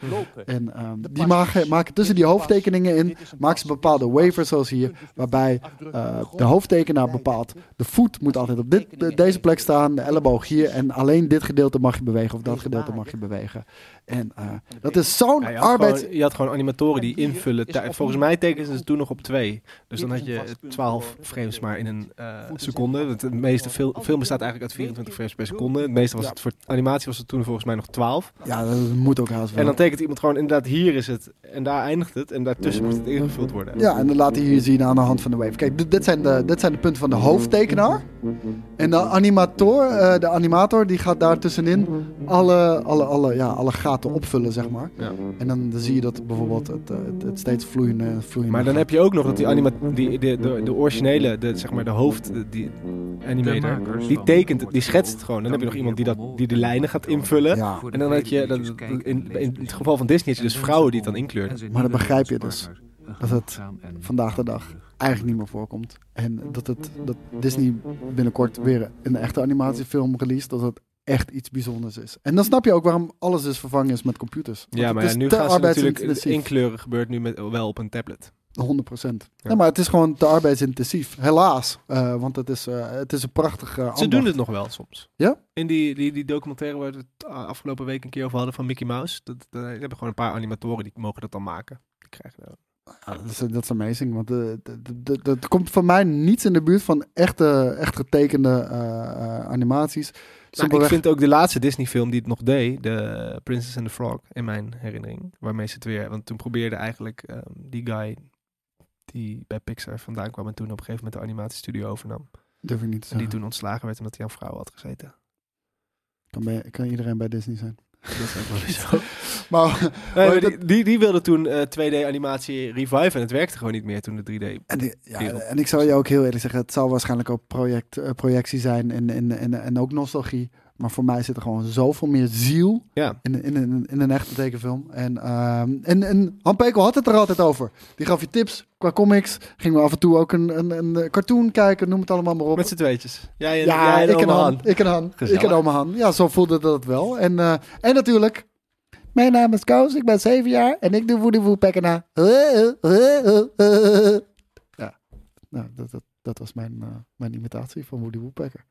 [SPEAKER 3] En ehm, die maken, maken tussen die hoofdtekeningen in, maken ze bepaalde waivers zoals hier, waarbij eh, de hoofdtekenaar bepaalt, de voet moet altijd op dit, de- deze plek staan, de elleboog hier en alleen dit gedeelte mag je bewegen of dat gedeelte mag je bewegen. En eh, dat is zo'n
[SPEAKER 2] Ja, je, had
[SPEAKER 3] arbeids...
[SPEAKER 2] gewoon, je had gewoon animatoren die invullen. tij- Volgens mij tekenden ze toen nog op twee. Dus dan had je 12 frames maar in een eh, seconde. Het, het meeste fil film bestaat eigenlijk uit 24 frames per seconde. Het meeste was het voor animatie was het toen volgens mij nog 12.
[SPEAKER 3] Ja, dat moet ook haast wel.
[SPEAKER 2] En dan tekent iemand gewoon inderdaad hier is het en daar eindigt het. En daartussen moet het ingevuld worden.
[SPEAKER 3] Ja, en dan laat hij hier zien aan de hand van de wave. Kijk, dit, dit zijn, de, dit zijn de punten van de hoofdtekenaar. En de animator, eh, de animator die gaat daar tussenin alle, alle, alle, ja, alle gaten opvullen, zeg maar.
[SPEAKER 2] Ja.
[SPEAKER 3] En dan zie je dat bijvoorbeeld het, eh, het, het steeds vloeiende, vloeiende
[SPEAKER 2] Maar dan
[SPEAKER 3] gaat.
[SPEAKER 2] heb je ook nog dat die, anima die de, de, de originele, de, zeg maar de hoofd, de- die animator, die tekent, het, die schetst het gewoon. Dan heb je nog iemand die, dat, die de lijnen gaat invullen.
[SPEAKER 3] Ja.
[SPEAKER 2] En dan had je, dat- in, in het geval van Disney, had je dus vrouwen dus die het dan inkleurden.
[SPEAKER 3] Maar dat begrijp je dus. dat het vandaag de dag eigenlijk niet meer voorkomt. En dat, het, dat Disney binnenkort weer een echte animatiefilm release, dat het echt iets bijzonders is. En dan snap je ook waarom alles dus vervangen is met computers. Want
[SPEAKER 2] Ja,
[SPEAKER 3] het
[SPEAKER 2] maar ja,
[SPEAKER 3] is
[SPEAKER 2] nu
[SPEAKER 3] te
[SPEAKER 2] gaan ze natuurlijk
[SPEAKER 3] arbeidsintensief.
[SPEAKER 2] inkleuren gebeurt nu met, wel op een tablet.
[SPEAKER 3] 100 procent. Ja. maar het is gewoon te arbeidsintensief. Helaas. Eh, want het is, eh, het is een prachtig eh,
[SPEAKER 2] Ze
[SPEAKER 3] ambacht.
[SPEAKER 2] doen het nog wel soms.
[SPEAKER 3] Ja?
[SPEAKER 2] In die, die, die documentaire waar we het a- afgelopen week een keer over hadden van Mickey Mouse. Dat, dat, die hebben gewoon een paar animatoren die mogen dat dan maken. Die krijgen dat.
[SPEAKER 3] Ja, Ah, dat, is, dat is amazing. Want eh, d- d- d- dat komt voor mij niets in de buurt van echte, echt getekende eh, eh, animaties.
[SPEAKER 2] Nou, ik
[SPEAKER 3] Simpelweg-
[SPEAKER 2] vind ook de laatste Disney film die het nog deed, de Princess and the Frog, in mijn herinnering. Waarmee ze het weer, want toen probeerde eigenlijk ehm, die guy die bij Pixar vandaan kwam en toen op een gegeven moment de animatiestudio overnam.
[SPEAKER 3] Durf ik niet te
[SPEAKER 2] En die
[SPEAKER 3] zeggen.
[SPEAKER 2] toen ontslagen werd omdat hij aan vrouwen had gezeten.
[SPEAKER 3] Kan, bij- kan iedereen bij Disney zijn.
[SPEAKER 2] Dat is ook wel weer zo.
[SPEAKER 3] Maar,
[SPEAKER 2] Nee, maar
[SPEAKER 3] dat-
[SPEAKER 2] Oh, die, die, die wilde toen eh, 2D animatie revive en het werkte gewoon niet meer toen de 3D.
[SPEAKER 3] en, die- ja,
[SPEAKER 2] Kerel.
[SPEAKER 3] en ik zou je ook heel eerlijk zeggen, het zal waarschijnlijk ook project, eh, projectie zijn en, en, en, en ook nostalgie. Maar voor mij zit er gewoon zoveel meer ziel
[SPEAKER 2] Ja,
[SPEAKER 3] in, in, in, in een echte tekenfilm. En, ehm, en, en Han Pekel had het er altijd over. Die gaf je tips qua comics. Gingen we af en toe ook een, een, een cartoon kijken, noem het allemaal maar op.
[SPEAKER 2] met z'n tweetjes. Jij en,
[SPEAKER 3] Ja,
[SPEAKER 2] jij en
[SPEAKER 3] ik, en
[SPEAKER 2] oma
[SPEAKER 3] Han,
[SPEAKER 2] Han.
[SPEAKER 3] ik en Han.
[SPEAKER 2] Gezellig.
[SPEAKER 3] Ik en oma Han. Ja, zo voelde dat wel. En, eh, en natuurlijk... Mijn naam is Koos, ik ben zeven jaar en ik doe Woody Woo Pekkena. Ja, nou, dat, dat, dat was mijn, eh, mijn imitatie van Woody Woo Pekker.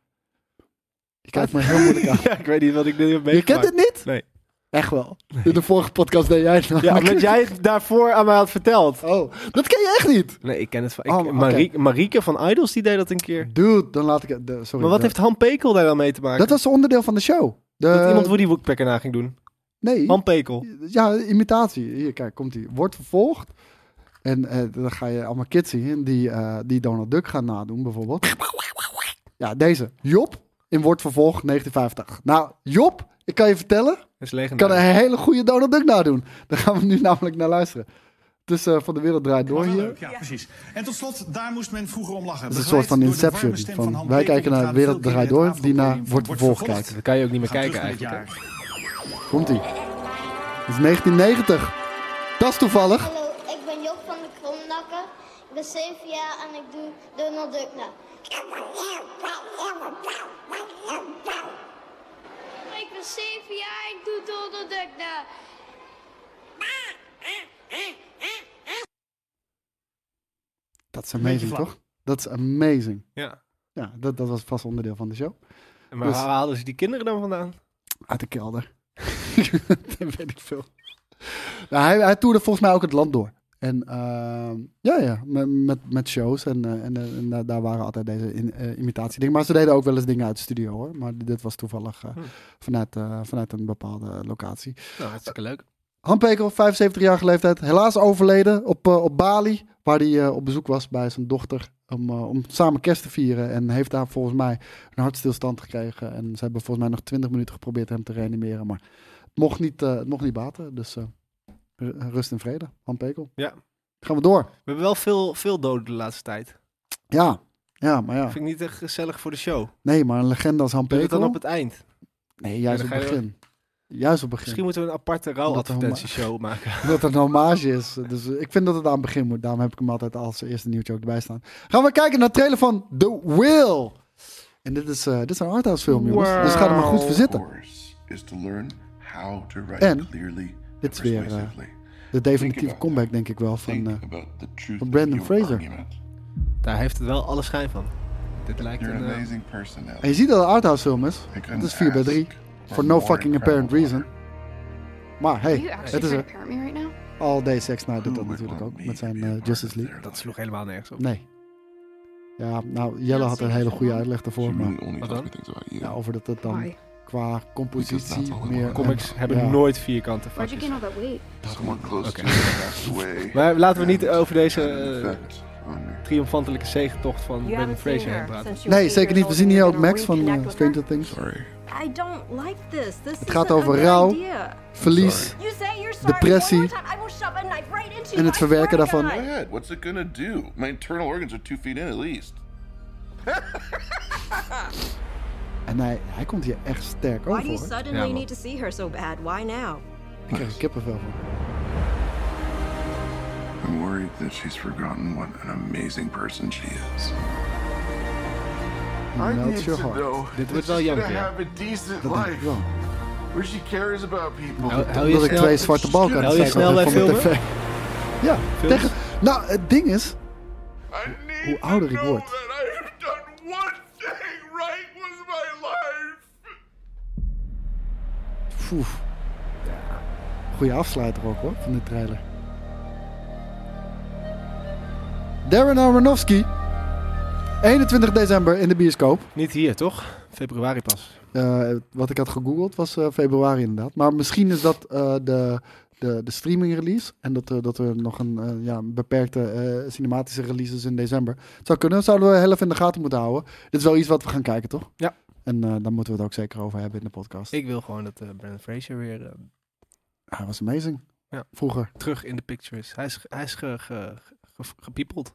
[SPEAKER 3] Je kijkt me heel moeilijk aan.
[SPEAKER 2] Ja, ik weet niet wat ik nu heb
[SPEAKER 3] Je kent
[SPEAKER 2] meegemaakt.
[SPEAKER 3] het niet?
[SPEAKER 2] Nee.
[SPEAKER 3] Echt wel. In de vorige podcast deed jij het nog.
[SPEAKER 2] Ja, omdat jij het daarvoor aan mij had verteld.
[SPEAKER 3] Oh, dat ken je echt niet.
[SPEAKER 2] Nee, ik ken het van... Ik,
[SPEAKER 3] Oh, oké.
[SPEAKER 2] Marieke, Marieke van Idols, die deed dat een keer.
[SPEAKER 3] Dude, dan laat ik het. de- Sorry.
[SPEAKER 2] Maar wat
[SPEAKER 3] de-
[SPEAKER 2] heeft Han Pekel daar dan mee te maken?
[SPEAKER 3] Dat was eh, onderdeel van de show. De,
[SPEAKER 2] Dat iemand Woody Woodpecker na ging doen.
[SPEAKER 3] Nee.
[SPEAKER 2] Han Pekel.
[SPEAKER 3] Ja, imitatie. Hier, kijk, komt ie. Wordt vervolgd. En eh, dan ga je allemaal kids zien die, eh, die Donald Duck gaan nadoen, bijvoorbeeld. Ja, deze. Job in Wordt vervolgd 1950. Nou, Job, ik kan je vertellen,
[SPEAKER 2] Dat is
[SPEAKER 3] kan
[SPEAKER 2] legendarisch.
[SPEAKER 3] een hele goede Donald Duck nadoen. Daar gaan we nu namelijk naar luisteren. Dus eh, van de wereld draait door
[SPEAKER 5] Wel
[SPEAKER 3] hier.
[SPEAKER 5] leuk, ja, precies. En tot slot, daar moest men vroeger om lachen.
[SPEAKER 3] Dat is een
[SPEAKER 5] Begeleid
[SPEAKER 3] soort van
[SPEAKER 5] door de
[SPEAKER 3] Inception,
[SPEAKER 5] warme stem
[SPEAKER 3] van
[SPEAKER 5] Han
[SPEAKER 3] wij
[SPEAKER 5] Pekel
[SPEAKER 3] kijken naar
[SPEAKER 5] gaat
[SPEAKER 3] De Wereld
[SPEAKER 5] veel keer
[SPEAKER 3] Draait
[SPEAKER 5] in het
[SPEAKER 3] Door, die naar
[SPEAKER 5] avondpodium
[SPEAKER 3] Wordt
[SPEAKER 5] van
[SPEAKER 3] Vervolgd
[SPEAKER 5] Vervolgd.
[SPEAKER 3] kijken.
[SPEAKER 2] Dat kan je ook niet meer
[SPEAKER 5] Gaat
[SPEAKER 2] kijken
[SPEAKER 5] terug naar
[SPEAKER 2] eigenlijk.
[SPEAKER 5] dit
[SPEAKER 2] hè?
[SPEAKER 5] jaar.
[SPEAKER 3] Komt ie. Dat is 1990. Dat is toevallig.
[SPEAKER 7] Hallo, ik ben Joop van de Kromdakker. Ik ben 7 jaar en ik doe Donald Duck na. Ik ben 7 jaar en ik doe Donald Duck na.
[SPEAKER 3] Dat is amazing, toch? Dat is amazing.
[SPEAKER 2] Ja.
[SPEAKER 3] Ja, dat, dat was vast onderdeel van de show.
[SPEAKER 2] En Maar
[SPEAKER 3] Dus-
[SPEAKER 2] waar haalden ze die kinderen dan vandaan?
[SPEAKER 3] Uit de kelder. dat weet ik veel. Nou, hij, hij toerde volgens mij ook het land door. En ehm, ja, ja, met, met, met shows. En, eh, en, eh, en daar- daar waren altijd deze in, eh, imitatiedingen. Maar ze deden ook wel eens dingen uit de studio hoor. Maar dit was toevallig eh, vanuit, eh, vanuit een bepaalde locatie.
[SPEAKER 2] Nou, hartstikke leuk.
[SPEAKER 3] Han Pekel, 75-jarige leeftijd, helaas overleden op, eh, op Bali, waar hij eh, op bezoek was bij zijn dochter om, eh, om samen kerst te vieren. En heeft daar volgens mij een hartstilstand gekregen. En ze hebben volgens mij nog 20 minuten geprobeerd hem te reanimeren, maar het mocht niet, eh, het mocht niet baten. Dus eh, ru- rust en vrede, Han Pekel.
[SPEAKER 2] Ja.
[SPEAKER 3] Gaan we door.
[SPEAKER 2] We hebben wel veel, veel doden de laatste tijd.
[SPEAKER 3] Ja, ja, maar ja.
[SPEAKER 2] Vind ik niet echt gezellig voor de show.
[SPEAKER 3] Nee, maar een legende als Han
[SPEAKER 2] Doe het dan op
[SPEAKER 3] Pekel.
[SPEAKER 2] het eind.
[SPEAKER 3] Nee, juist
[SPEAKER 2] Ja,
[SPEAKER 3] op
[SPEAKER 2] dan
[SPEAKER 3] het
[SPEAKER 2] ga je-
[SPEAKER 3] begin. Juist op het begin.
[SPEAKER 2] Misschien moeten we een aparte rouwadvertentieshow maken.
[SPEAKER 3] Dat het een hommage is. Dus eh, ik vind dat het aan het begin moet. Daarom heb ik hem altijd als eerste nieuwtje ook erbij staan. Gaan we kijken naar de trailer van The Will. En dit is, eh, dit is een arthouse film, jongens. Dus ga er maar goed voor zitten.
[SPEAKER 4] course is to learn how to write
[SPEAKER 3] En
[SPEAKER 4] clearly
[SPEAKER 3] dit is weer, eh,
[SPEAKER 4] persuasively.
[SPEAKER 3] De
[SPEAKER 4] Think
[SPEAKER 3] definitieve
[SPEAKER 4] about
[SPEAKER 3] comeback, denk ik wel, van...
[SPEAKER 4] Think
[SPEAKER 3] eh,
[SPEAKER 4] about the truth
[SPEAKER 3] van
[SPEAKER 4] of
[SPEAKER 3] Brandon
[SPEAKER 4] your
[SPEAKER 3] Fraser.
[SPEAKER 4] argument.
[SPEAKER 2] Daar heeft het wel alle schijn van. Dit lijkt
[SPEAKER 4] You're
[SPEAKER 2] een...
[SPEAKER 4] an
[SPEAKER 2] eh,
[SPEAKER 4] amazing person, Ellie.
[SPEAKER 3] en je ziet dat het een arthouse film is.
[SPEAKER 4] I couldn't
[SPEAKER 3] Het is 4 bij 3
[SPEAKER 4] ask for
[SPEAKER 3] For no
[SPEAKER 4] more
[SPEAKER 3] fucking apparent
[SPEAKER 4] incredible
[SPEAKER 3] reason. Maar hey,
[SPEAKER 8] Are you actually
[SPEAKER 3] het is
[SPEAKER 8] trying
[SPEAKER 3] er.
[SPEAKER 8] to parent me right now?
[SPEAKER 3] All Day Sex Night doet
[SPEAKER 4] Who
[SPEAKER 3] dat
[SPEAKER 4] would
[SPEAKER 3] natuurlijk
[SPEAKER 4] want
[SPEAKER 3] ook.
[SPEAKER 4] me
[SPEAKER 3] Met
[SPEAKER 4] to
[SPEAKER 3] zijn
[SPEAKER 4] be a
[SPEAKER 3] eh,
[SPEAKER 4] part of
[SPEAKER 3] Justice League.
[SPEAKER 4] their
[SPEAKER 2] dat
[SPEAKER 4] life?
[SPEAKER 2] sloeg helemaal nergens op.
[SPEAKER 3] Nee. Ja, nou, Jelle had een hele goede uitleg daarvoor.
[SPEAKER 4] She
[SPEAKER 3] Maar
[SPEAKER 4] really only
[SPEAKER 2] Wat
[SPEAKER 4] tells
[SPEAKER 2] dan? Nou,
[SPEAKER 4] me things about you.
[SPEAKER 3] ja, over dat het dan
[SPEAKER 8] Why?
[SPEAKER 3] qua compositie
[SPEAKER 4] all I
[SPEAKER 3] meer...
[SPEAKER 4] want.
[SPEAKER 2] Comics hebben
[SPEAKER 3] Ja.
[SPEAKER 2] nooit vierkante
[SPEAKER 8] Where'd you
[SPEAKER 2] vakjes.
[SPEAKER 8] gain all that weight?
[SPEAKER 4] Someone close
[SPEAKER 2] Oké.
[SPEAKER 4] to you passed away.
[SPEAKER 2] Maar laten we niet
[SPEAKER 4] And
[SPEAKER 2] over
[SPEAKER 3] uh,
[SPEAKER 2] deze
[SPEAKER 4] had an
[SPEAKER 2] eh,
[SPEAKER 4] effect on me.
[SPEAKER 2] triomfantelijke zegentocht van Brandon Fraser heen praten.
[SPEAKER 3] Nee, zeker niet. We zien hier ook Max van eh, Stranger Things.
[SPEAKER 4] Sorry.
[SPEAKER 9] I don't like this. This
[SPEAKER 3] Het gaat
[SPEAKER 9] isn't a
[SPEAKER 3] over
[SPEAKER 9] good
[SPEAKER 3] rouw,
[SPEAKER 9] idea.
[SPEAKER 3] verlies
[SPEAKER 9] You say you're sorry
[SPEAKER 3] Depressie.
[SPEAKER 9] one more time, I will shove a knife right into
[SPEAKER 3] en
[SPEAKER 9] you,
[SPEAKER 3] het
[SPEAKER 9] I
[SPEAKER 3] verwerken
[SPEAKER 9] swear to
[SPEAKER 3] daarvan.
[SPEAKER 9] God.
[SPEAKER 4] Dad, what's it gonna do? My internal organs are two feet in at least.
[SPEAKER 3] En hij, hij komt hier echt sterk
[SPEAKER 9] Why
[SPEAKER 3] over.
[SPEAKER 9] do you
[SPEAKER 3] hoor.
[SPEAKER 9] suddenly
[SPEAKER 2] Ja, man.
[SPEAKER 9] need to see her so bad? Why now?
[SPEAKER 3] Ik krijg er kippenvel van.
[SPEAKER 4] I
[SPEAKER 8] I'm worried that she's forgotten what an amazing person she is.
[SPEAKER 3] I need Melts your to heart. know
[SPEAKER 2] Dit wordt wel jammer, ja.
[SPEAKER 8] a decent
[SPEAKER 3] Dat denk ik wel.
[SPEAKER 8] where she cares about people.
[SPEAKER 2] Hou, hou je
[SPEAKER 3] Dat ik twee
[SPEAKER 2] snel,
[SPEAKER 3] zwarte balken aan het
[SPEAKER 2] hou je
[SPEAKER 3] kijken
[SPEAKER 2] snel bij
[SPEAKER 3] was van de
[SPEAKER 2] filmen?
[SPEAKER 3] tv. Ja,
[SPEAKER 2] Films?
[SPEAKER 3] tegen... Nou, het ding is...
[SPEAKER 8] I need
[SPEAKER 3] hoe ouder
[SPEAKER 8] to
[SPEAKER 3] ik
[SPEAKER 8] know
[SPEAKER 3] word.
[SPEAKER 8] that I have done one thing right with my life.
[SPEAKER 3] Poef. Goeie afsluiter ook hoor, van de trailer. Darren Aronofsky. 21 december in de bioscoop.
[SPEAKER 2] Niet hier, toch? Februari pas.
[SPEAKER 3] Eh, wat ik had gegoogeld was eh, februari inderdaad. Maar misschien is dat eh, de, de, de streaming release. En dat, er- dat er nog een, eh, ja, een beperkte eh, cinematische release is in december. Het zou kunnen, zouden we heel even in de gaten moeten houden. Dit is wel iets wat we gaan kijken, toch?
[SPEAKER 2] Ja.
[SPEAKER 3] En eh, daar moeten we het ook zeker over hebben in de podcast.
[SPEAKER 2] Ik wil gewoon dat eh Brandon Fraser weer eh,
[SPEAKER 3] Hij was amazing.
[SPEAKER 2] Ja.
[SPEAKER 3] Vroeger.
[SPEAKER 2] terug in de picture is. Hij is, hij is ge, ge, ge- gepiepeld.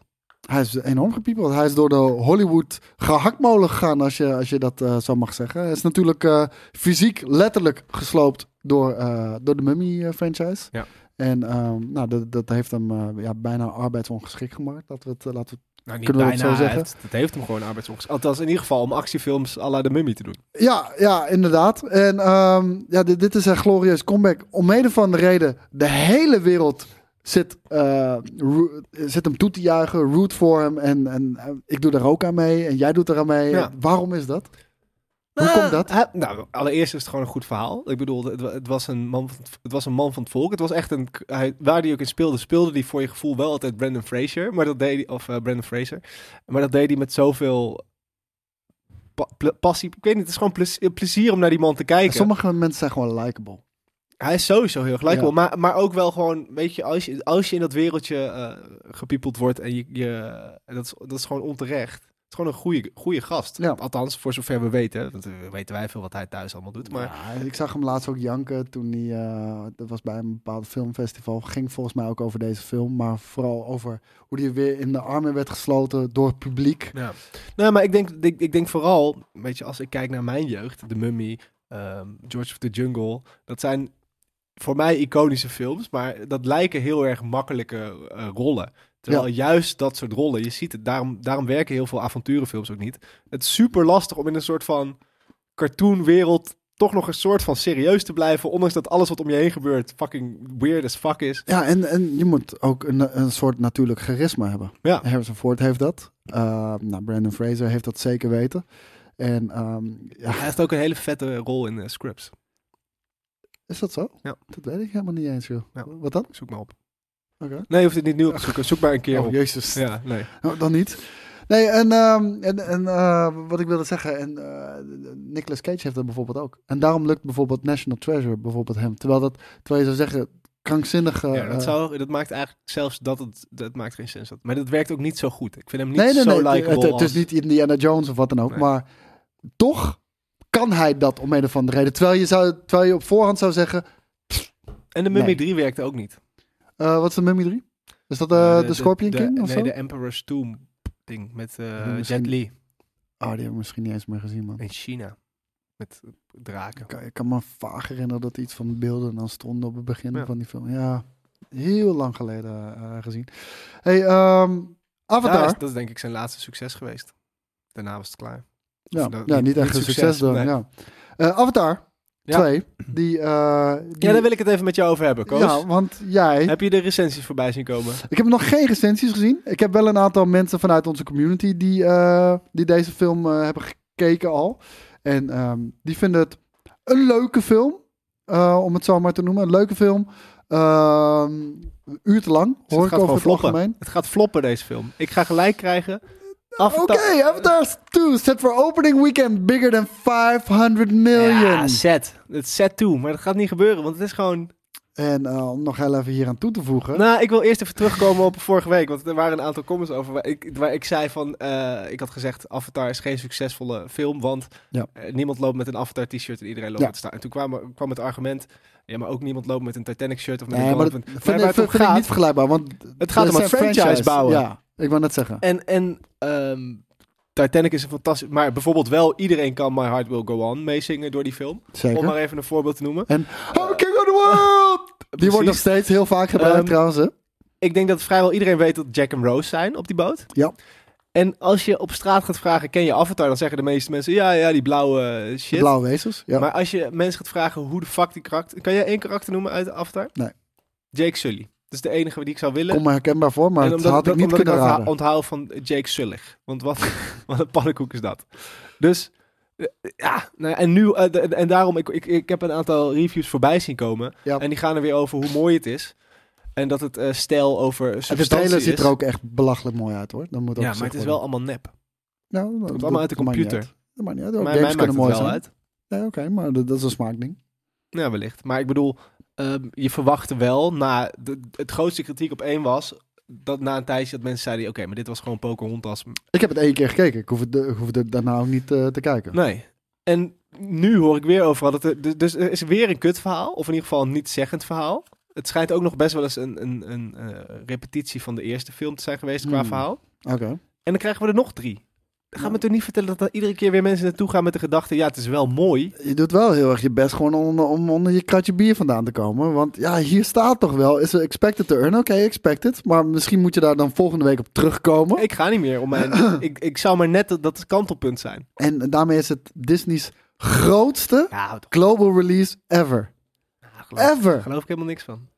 [SPEAKER 3] Hij is enorm gepiepeld. Hij is door de Hollywood gehaktmolen gegaan, als je, als je dat eh, zo mag zeggen. Hij is natuurlijk eh, fysiek letterlijk gesloopt door, eh, door de Mummy-franchise.
[SPEAKER 2] Ja.
[SPEAKER 3] En ehm, nou, dat, dat heeft hem eh, ja, bijna arbeidsongeschikt gemaakt. Laten we het, eh, laten we
[SPEAKER 2] Nou, niet
[SPEAKER 3] Kunnen we dat
[SPEAKER 2] bijna,
[SPEAKER 3] zo
[SPEAKER 2] hij
[SPEAKER 3] zeggen?
[SPEAKER 2] heeft- dat heeft hem gewoon arbeidsongeschikt. Althans, in ieder geval om actiefilms à la de mummy te doen.
[SPEAKER 3] het- Ja, ja, inderdaad. En ehm, ja, dit, dit is een glorieus comeback. Om mede van de reden, de hele wereld zit, eh, ro- zit hem toe te juichen, root voor hem. En, en eh, ik doe daar ook aan mee en jij doet er aan mee.
[SPEAKER 2] Ja.
[SPEAKER 3] Waarom is dat? Hoe komt dat?
[SPEAKER 2] Hij- nou, allereerst is het gewoon een goed verhaal. Ik bedoel, het, wa- het, was een man van, het- het was een man van het volk. Het was echt een. k- Hij, waar hij ook in speelde, speelde hij voor je gevoel wel altijd Brandon Fraser. Maar dat deed hij, of eh, Brandon Fraser. Maar dat deed hij met zoveel pa- ple- passie. Ik weet niet, het is gewoon plez- plezier om naar die man te kijken.
[SPEAKER 3] Sommige mensen zijn gewoon likable.
[SPEAKER 2] Hij is sowieso heel gelijk.
[SPEAKER 3] Ja.
[SPEAKER 2] Maar, maar ook wel gewoon, weet je, als je, als je in dat wereldje eh gepiepeld wordt en je, je en dat, is, dat is gewoon onterecht. Het is gewoon een goede, goede gast.
[SPEAKER 3] Ja.
[SPEAKER 2] Althans, voor zover we weten. Want eh, weten wij veel wat hij thuis allemaal doet. Maar
[SPEAKER 3] Ja, ik zag hem laatst ook janken toen hij, eh, dat was bij een bepaald filmfestival, ging volgens mij ook over deze film, maar vooral over hoe hij weer in de armen werd gesloten door het publiek.
[SPEAKER 2] Ja. Nee, maar ik denk, ik, ik denk vooral, weet je, als ik kijk naar mijn jeugd, The Mummy, ehm, George of the Jungle, dat zijn voor mij iconische films, maar dat lijken heel erg makkelijke eh, rollen. Terwijl juist dat soort rollen, je ziet het, daarom, daarom werken heel veel avonturenfilms ook niet. Het is super lastig om in een soort van cartoonwereld toch nog een soort van serieus te blijven, ondanks dat alles wat om je heen gebeurt fucking weird as fuck is.
[SPEAKER 3] Ja, en, en je moet ook een, een soort natuurlijk charisma hebben.
[SPEAKER 2] Ja.
[SPEAKER 3] Harrison Ford heeft dat. Eh, nou, Brandon Fraser heeft dat zeker weten. En ehm, ja,
[SPEAKER 2] Hij heeft ook een hele vette rol in eh, Scrubs.
[SPEAKER 3] is dat zo?
[SPEAKER 2] Ja.
[SPEAKER 3] Dat weet ik helemaal niet eens, joh.
[SPEAKER 2] Ja.
[SPEAKER 3] Wat dan?
[SPEAKER 2] Zoek maar op.
[SPEAKER 3] Oké.
[SPEAKER 2] Nee, je hoeft het niet nu op te zoeken. Zoek maar een keer
[SPEAKER 3] Oh,
[SPEAKER 2] op.
[SPEAKER 3] jezus.
[SPEAKER 2] Ja, nee.
[SPEAKER 3] Oh, dan niet. Nee, en, ehm, en, en eh, wat ik wilde zeggen, en, eh, Nicolas Cage heeft dat bijvoorbeeld ook. En daarom lukt bijvoorbeeld National Treasure bijvoorbeeld hem. Terwijl, dat, terwijl je zou zeggen, krankzinnige...
[SPEAKER 2] Ja, dat,
[SPEAKER 3] eh,
[SPEAKER 2] zou, dat maakt eigenlijk zelfs dat het dat maakt geen sens. Maar dat werkt ook niet zo goed. Ik vind hem niet
[SPEAKER 3] nee, nee,
[SPEAKER 2] zo
[SPEAKER 3] nee,
[SPEAKER 2] likable.
[SPEAKER 3] het, het
[SPEAKER 2] als-
[SPEAKER 3] is niet Indiana Jones of wat dan ook,
[SPEAKER 2] Nee.
[SPEAKER 3] maar toch kan hij dat om een of andere reden. Terwijl je, zou, terwijl je op voorhand zou zeggen,
[SPEAKER 2] En de Mummy
[SPEAKER 3] nee.
[SPEAKER 2] 3 werkte ook niet.
[SPEAKER 3] eh, wat is de Mummy 3? Is dat eh,
[SPEAKER 2] Eh,
[SPEAKER 3] de, Scorpion
[SPEAKER 2] de-
[SPEAKER 3] King of
[SPEAKER 2] Nee,
[SPEAKER 3] zo?
[SPEAKER 2] de Emperor's Tomb ding met eh,
[SPEAKER 3] Hmm, misschien-
[SPEAKER 2] Jet Li
[SPEAKER 3] Oh, die heb ik misschien niet eens meer gezien, man.
[SPEAKER 2] in China. Met eh, draken.
[SPEAKER 3] Ik kan, ik kan me vaag herinneren dat iets van beelden dan stonden op het begin
[SPEAKER 2] Ja.
[SPEAKER 3] van die film. Ja, heel lang geleden eh, gezien. Hey, ehm, Avatar.
[SPEAKER 2] Ja, dat is- dat is denk ik zijn laatste succes geweest. Daarna was het klaar.
[SPEAKER 3] Ja,
[SPEAKER 2] dat-
[SPEAKER 3] ja,
[SPEAKER 2] niet-
[SPEAKER 3] niet echt
[SPEAKER 2] niet
[SPEAKER 3] een
[SPEAKER 2] succes,
[SPEAKER 3] succes dan.
[SPEAKER 2] nee.
[SPEAKER 3] Ja. Eh, Avatar
[SPEAKER 2] Ja.
[SPEAKER 3] 2. Die, eh die,
[SPEAKER 2] Ja, daar wil ik het even met jou over hebben, Koos.
[SPEAKER 3] Ja, want jij...
[SPEAKER 2] Heb je de recensies voorbij zien komen?
[SPEAKER 3] Ik heb nog geen recensies gezien. Ik heb wel een aantal mensen vanuit onze community die, eh, die deze film eh, hebben gekeken al. En ehm, die vinden het een leuke film, eh, om het zo maar te noemen. Een leuke film. Ehm, een uur te lang,
[SPEAKER 2] Dus
[SPEAKER 3] hoor
[SPEAKER 2] het
[SPEAKER 3] ik
[SPEAKER 2] gaat
[SPEAKER 3] over
[SPEAKER 2] gewoon
[SPEAKER 3] het
[SPEAKER 2] floppen.
[SPEAKER 3] algemeen.
[SPEAKER 2] Het gaat floppen, deze film. Ik ga gelijk krijgen.
[SPEAKER 3] Oké, Avatar 2 set for opening weekend bigger than 500 million.
[SPEAKER 2] Ja, set. Het is set toe. Maar dat gaat niet gebeuren, want het is gewoon...
[SPEAKER 3] En eh, om nog heel even hier aan toe te voegen.
[SPEAKER 2] Nou, ik wil eerst even terugkomen op vorige week. Want er waren een aantal comments over waar ik, waar ik zei van... eh, ik had gezegd, Avatar is geen succesvolle film. Want
[SPEAKER 3] Ja.
[SPEAKER 2] eh, niemand loopt met een Avatar t-shirt en iedereen loopt
[SPEAKER 3] Ja.
[SPEAKER 2] met staan. En toen kwam, kwam het argument... Ja, maar ook niemand loopt met een Titanic shirt of met
[SPEAKER 3] nee,
[SPEAKER 2] een
[SPEAKER 3] maar dat
[SPEAKER 2] Valentine-
[SPEAKER 3] vind,
[SPEAKER 2] waar
[SPEAKER 3] ik,
[SPEAKER 2] het om
[SPEAKER 3] vind ik
[SPEAKER 2] gaat-
[SPEAKER 3] niet vergelijkbaar. Want
[SPEAKER 2] Het gaat om
[SPEAKER 3] een
[SPEAKER 2] een franchise, bouwen.
[SPEAKER 3] Ja, ik wou net zeggen.
[SPEAKER 2] En, en ehm, Titanic is een fantastisch... Maar bijvoorbeeld wel iedereen kan My Heart Will Go On meezingen door die film. Om
[SPEAKER 3] Zeker. Oh,
[SPEAKER 2] maar even een voorbeeld te noemen.
[SPEAKER 3] En I'm king of the world! Die wordt nog
[SPEAKER 2] Precies.
[SPEAKER 3] steeds heel vaak gebruikt
[SPEAKER 2] Ehm,
[SPEAKER 3] trouwens. Hè?
[SPEAKER 2] Ik denk dat vrijwel iedereen weet dat Jack en Rose zijn op die boot.
[SPEAKER 3] Ja.
[SPEAKER 2] En als je op straat gaat vragen, ken je Avatar? Dan zeggen de meeste mensen, ja, ja, die blauwe eh,
[SPEAKER 3] De
[SPEAKER 2] shit.
[SPEAKER 3] blauwe wezens. Ja.
[SPEAKER 2] Maar als je mensen gaat vragen hoe de fuck die karakter... Kan jij één karakter noemen uit Avatar?
[SPEAKER 3] Nee.
[SPEAKER 2] Jake Sully. Dat is de enige die ik zou willen.
[SPEAKER 3] Kom maar herkenbaar voor, maar
[SPEAKER 2] En
[SPEAKER 3] dat had ik
[SPEAKER 2] dat-
[SPEAKER 3] niet
[SPEAKER 2] omdat
[SPEAKER 3] kunnen
[SPEAKER 2] ik dat ha-
[SPEAKER 3] raden.
[SPEAKER 2] onthoud van Jake Sullig. Want wat, wat een pannenkoek is dat. Dus eh, ja, nou ja, en nu, eh, de- en daarom, ik, ik, ik heb een aantal reviews voorbij zien komen.
[SPEAKER 3] Ja.
[SPEAKER 2] En die gaan er weer over hoe mooi het is. En dat het eh stijl over
[SPEAKER 3] De
[SPEAKER 2] substantie
[SPEAKER 3] trailer
[SPEAKER 2] is.
[SPEAKER 3] ziet er ook echt belachelijk mooi uit hoor. Dat moet ook
[SPEAKER 2] ja, maar
[SPEAKER 3] gezegd
[SPEAKER 2] het is wel
[SPEAKER 3] worden.
[SPEAKER 2] allemaal nep.
[SPEAKER 3] Nou, dat-
[SPEAKER 2] komt
[SPEAKER 3] dat
[SPEAKER 2] allemaal uit de
[SPEAKER 3] maakt niet
[SPEAKER 2] computer.
[SPEAKER 3] uit. Dat maakt niet uit. Ook
[SPEAKER 2] Maar mij
[SPEAKER 3] games
[SPEAKER 2] maakt
[SPEAKER 3] kunnen
[SPEAKER 2] het
[SPEAKER 3] mooi
[SPEAKER 2] wel
[SPEAKER 3] zijn.
[SPEAKER 2] uit.
[SPEAKER 3] Nee, oké, maar dat, dat is een smaakding.
[SPEAKER 2] Ja, wellicht. Maar ik bedoel, ehm, je verwachtte wel, na de, het grootste kritiek op één was, dat na een tijdje dat mensen zeiden, oké, maar dit was gewoon Pocahontas.
[SPEAKER 3] Ik heb het één keer gekeken. Ik hoef het, ik hoef het daarna ook niet eh, te kijken.
[SPEAKER 2] Nee. En nu hoor ik weer overal dat er, dus- dus er is weer een kutverhaal, of in ieder geval een niet-zeggend verhaal. Het schijnt ook nog best wel eens een, een, een eh, repetitie van de eerste film te zijn geweest qua
[SPEAKER 3] Hmm.
[SPEAKER 2] verhaal.
[SPEAKER 3] Oké.
[SPEAKER 2] En dan krijgen we er nog drie. Ga me toch niet vertellen dat daar iedere keer weer mensen naartoe gaan met de gedachte, ja, het is wel mooi.
[SPEAKER 3] Je doet wel heel erg je best gewoon om, om onder je kratje bier vandaan te komen. Want ja, hier staat toch wel, is er expected to earn? Oké, expected. Maar misschien moet je daar dan volgende week op terugkomen.
[SPEAKER 2] Ik ga niet meer om mijn... ik, ik zou maar net dat, dat kantelpunt zijn.
[SPEAKER 3] En daarmee is het Disney's grootste
[SPEAKER 2] Ja, houd op.
[SPEAKER 3] global release ever.
[SPEAKER 2] Ja, geloof-
[SPEAKER 3] Ever.
[SPEAKER 2] Geloof ik helemaal niks van.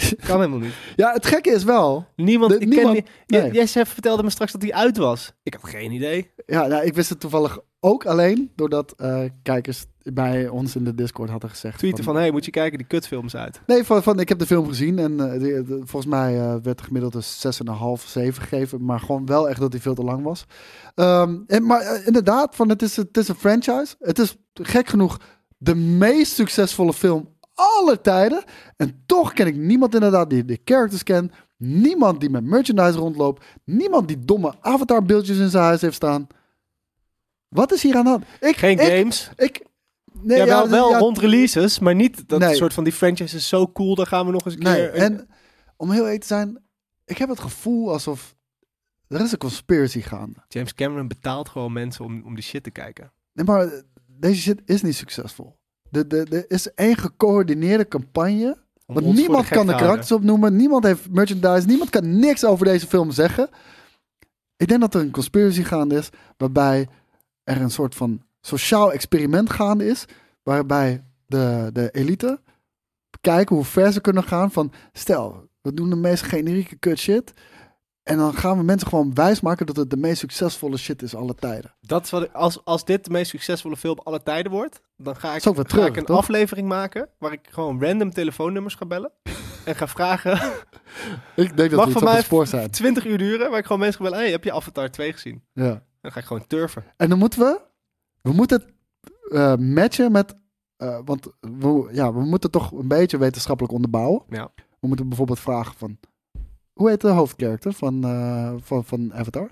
[SPEAKER 2] kan helemaal niet.
[SPEAKER 3] Ja, het gekke is wel.
[SPEAKER 2] Niemand,
[SPEAKER 3] De-
[SPEAKER 2] ik
[SPEAKER 3] niemand-
[SPEAKER 2] ken die,
[SPEAKER 3] nee.
[SPEAKER 2] J- Jesse vertelde me straks dat hij uit was. Ik had geen idee.
[SPEAKER 3] Ja, nou, ik wist het toevallig ook alleen doordat eh, kijkers bij ons in de Discord hadden gezegd.
[SPEAKER 2] Tweeten van, hé, hey, moet je kijken die kutfilms uit.
[SPEAKER 3] Nee, van, van ik heb de film gezien en eh, die- de- volgens mij eh, werd gemiddeld een 6,5, 7 gegeven. Maar gewoon wel echt dat die veel te lang was. Ehm, en, maar eh, inderdaad, van, het, is, het is een franchise. Het is gek genoeg de meest succesvolle film aller tijden. En toch ken ik niemand inderdaad die de characters kent. Niemand die met merchandise rondloopt. Niemand die domme avatarbeeldjes in zijn huis heeft staan. Wat is hier aan de hand? Ik,
[SPEAKER 2] Geen
[SPEAKER 3] ik-
[SPEAKER 2] games.
[SPEAKER 3] Ik, nee,
[SPEAKER 2] ja, wel,
[SPEAKER 3] ja,
[SPEAKER 2] wel
[SPEAKER 3] ja,
[SPEAKER 2] rond releases, maar niet dat
[SPEAKER 3] Nee.
[SPEAKER 2] soort van die franchise is zo cool, daar gaan we nog eens een
[SPEAKER 3] Nee,
[SPEAKER 2] keer... een-
[SPEAKER 3] en om heel eerlijk te zijn, ik heb het gevoel alsof er is een conspiracy gaande.
[SPEAKER 2] James Cameron betaalt gewoon mensen om, om die shit te kijken.
[SPEAKER 3] Nee, maar deze shit is niet succesvol. De- de- Er is één gecoördineerde campagne.
[SPEAKER 2] Om ons
[SPEAKER 3] Want
[SPEAKER 2] voor
[SPEAKER 3] niemand
[SPEAKER 2] de gek
[SPEAKER 3] kan de
[SPEAKER 2] te houden.
[SPEAKER 3] karakters opnoemen. Niemand heeft merchandise. Niemand kan niks over deze film zeggen. Ik denk dat er een conspiracy gaande is. Waarbij er een soort van sociaal experiment gaande is. Waarbij de, de elite kijken hoe ver ze kunnen gaan. Van stel, we doen de meest generieke kut shit. En dan gaan we mensen gewoon wijsmaken dat het de meest succesvolle shit is alle tijden.
[SPEAKER 2] Dat is wat ik- als, als dit de meest succesvolle film aller tijden wordt, dan ga ik,
[SPEAKER 3] Is ook wat
[SPEAKER 2] ga
[SPEAKER 3] terug,
[SPEAKER 2] ik een
[SPEAKER 3] toch?
[SPEAKER 2] aflevering maken waar ik gewoon random telefoonnummers ga bellen. en ga vragen, Mag
[SPEAKER 3] Ik denk dat we iets
[SPEAKER 2] van
[SPEAKER 3] op het
[SPEAKER 2] mij-
[SPEAKER 3] spoor zijn.
[SPEAKER 2] 20 uur duren, waar ik gewoon mensen ga bellen, hey, heb je Avatar 2 gezien?
[SPEAKER 3] Ja.
[SPEAKER 2] Dan ga ik gewoon turven.
[SPEAKER 3] En dan moeten we, we moeten het eh, matchen met, eh, want we, ja, we moeten toch een beetje wetenschappelijk onderbouwen.
[SPEAKER 2] Ja.
[SPEAKER 3] We moeten bijvoorbeeld vragen van, hoe heet de hoofdkarakter van, eh, van, van Avatar?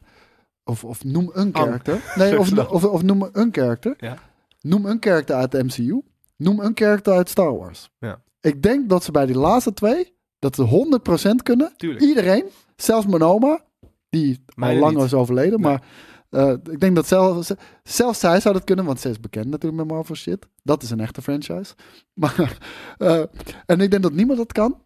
[SPEAKER 3] Of, of noem een karakter. Nee, of, of, of noem een karakter.
[SPEAKER 2] Ja.
[SPEAKER 3] Noem een karakter uit de MCU. Noem een karakter uit Star Wars.
[SPEAKER 2] Ja.
[SPEAKER 3] Ik denk dat ze bij die laatste twee, dat ze 100% kunnen.
[SPEAKER 2] Tuurlijk.
[SPEAKER 3] Iedereen, zelfs mijn oma, die al
[SPEAKER 2] Mijne
[SPEAKER 3] lang
[SPEAKER 2] niet.
[SPEAKER 3] is overleden,
[SPEAKER 2] Nee.
[SPEAKER 3] maar eh, ik denk dat zelfs, ze- zelfs zij zou dat kunnen, want ze is bekend natuurlijk met Marvel shit. Dat is een echte franchise. Maar, eh, en ik denk dat niemand dat kan.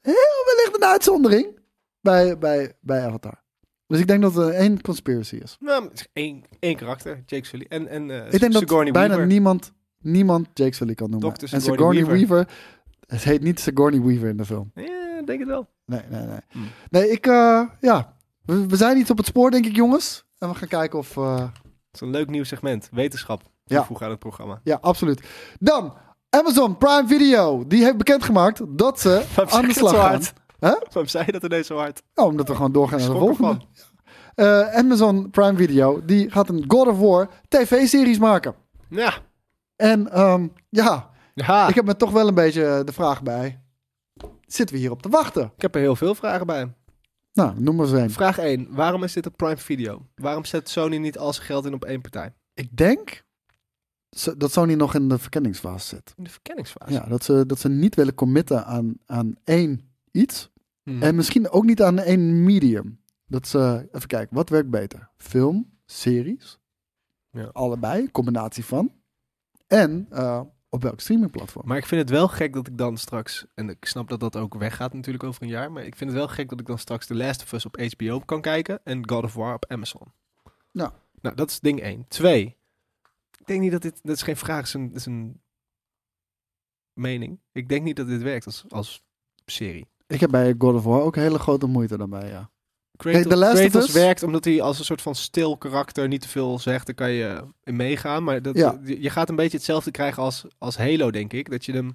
[SPEAKER 3] Heel wellicht een uitzondering bij, bij, bij Avatar. Dus ik denk dat er één conspiracy is.
[SPEAKER 2] Nou, het is één, één karakter, Jake Sully. En, en eh
[SPEAKER 3] ik denk dat
[SPEAKER 2] Sigourney
[SPEAKER 3] bijna
[SPEAKER 2] Weaver.
[SPEAKER 3] niemand, niemand Jake Sully kan noemen.
[SPEAKER 2] Dr.
[SPEAKER 3] en
[SPEAKER 2] Sigourney
[SPEAKER 3] Sigourney Weaver.
[SPEAKER 2] Weaver.
[SPEAKER 3] het heet niet Sigourney Weaver in de film.
[SPEAKER 2] Ja, ik denk het wel.
[SPEAKER 3] Nee, nee, nee.
[SPEAKER 2] Hm.
[SPEAKER 3] Nee, ik, eh, ja. We, we zijn iets op het spoor, denk ik, jongens. En we gaan kijken of... eh,
[SPEAKER 2] Het is een leuk nieuw segment, wetenschap.
[SPEAKER 3] Ja.
[SPEAKER 2] Ja. Vroeg aan het programma.
[SPEAKER 3] Ja, absoluut. Dan, Amazon Prime Video. Die heeft bekendgemaakt dat ze
[SPEAKER 2] Waarom
[SPEAKER 3] aan
[SPEAKER 2] zeg
[SPEAKER 3] de
[SPEAKER 2] je het
[SPEAKER 3] slag
[SPEAKER 2] zo
[SPEAKER 3] gaan.
[SPEAKER 2] hard?
[SPEAKER 3] Hè?
[SPEAKER 2] Waarom zei je dat ineens zo hard?
[SPEAKER 3] Nou, omdat we gewoon doorgaan naar de
[SPEAKER 2] Schrok
[SPEAKER 3] volgende.
[SPEAKER 2] ervan.
[SPEAKER 3] Eh, Amazon Prime Video, die gaat een God of War tv-series maken.
[SPEAKER 2] Ja.
[SPEAKER 3] En ehm, ja,
[SPEAKER 2] ja.
[SPEAKER 3] ik
[SPEAKER 2] Ik, heb,
[SPEAKER 3] heb me toch wel een beetje eh, de vraag bij. Zitten we hierop te wachten?
[SPEAKER 2] er heel veel vragen bij.
[SPEAKER 3] Nou, noem maar eens een.
[SPEAKER 2] Vraag 1. Waarom is dit een Prime Video? Waarom zet Sony niet al zijn geld in op één partij?
[SPEAKER 3] Ik denk zo- dat Sony nog in de verkenningsfase zit.
[SPEAKER 2] In de verkenningsfase.
[SPEAKER 3] Ja, dat ze, dat ze niet willen committen aan, aan één iets.
[SPEAKER 2] Mhm.
[SPEAKER 3] En misschien ook niet aan één medium. Dat ze, even kijken, wat werkt beter? Film, series,
[SPEAKER 2] Ja.
[SPEAKER 3] allebei, een combinatie van. En eh, op welk streamingplatform.
[SPEAKER 2] Maar ik vind het wel gek dat ik dan straks, en ik snap dat dat ook weggaat natuurlijk over een jaar, maar ik vind het wel gek dat ik dan straks The Last of Us op HBO kan kijken en God of War op Amazon.
[SPEAKER 3] Nou.
[SPEAKER 2] Nou, dat is ding één. Twee, ik denk niet dat dit, dat is geen vraag, het is een, het is een mening. Ik denk niet dat dit werkt als, als serie.
[SPEAKER 3] Ik heb bij God of War ook hele grote moeite daarbij, ja.
[SPEAKER 2] Kratos,
[SPEAKER 3] The Last of
[SPEAKER 2] Kratos
[SPEAKER 3] Us?
[SPEAKER 2] werkt omdat hij als een soort van stil karakter niet te veel zegt. Daar kan je in meegaan. Maar dat,
[SPEAKER 3] Ja.
[SPEAKER 2] je je gaat een beetje hetzelfde krijgen als, als Halo, denk ik. Dat je hem...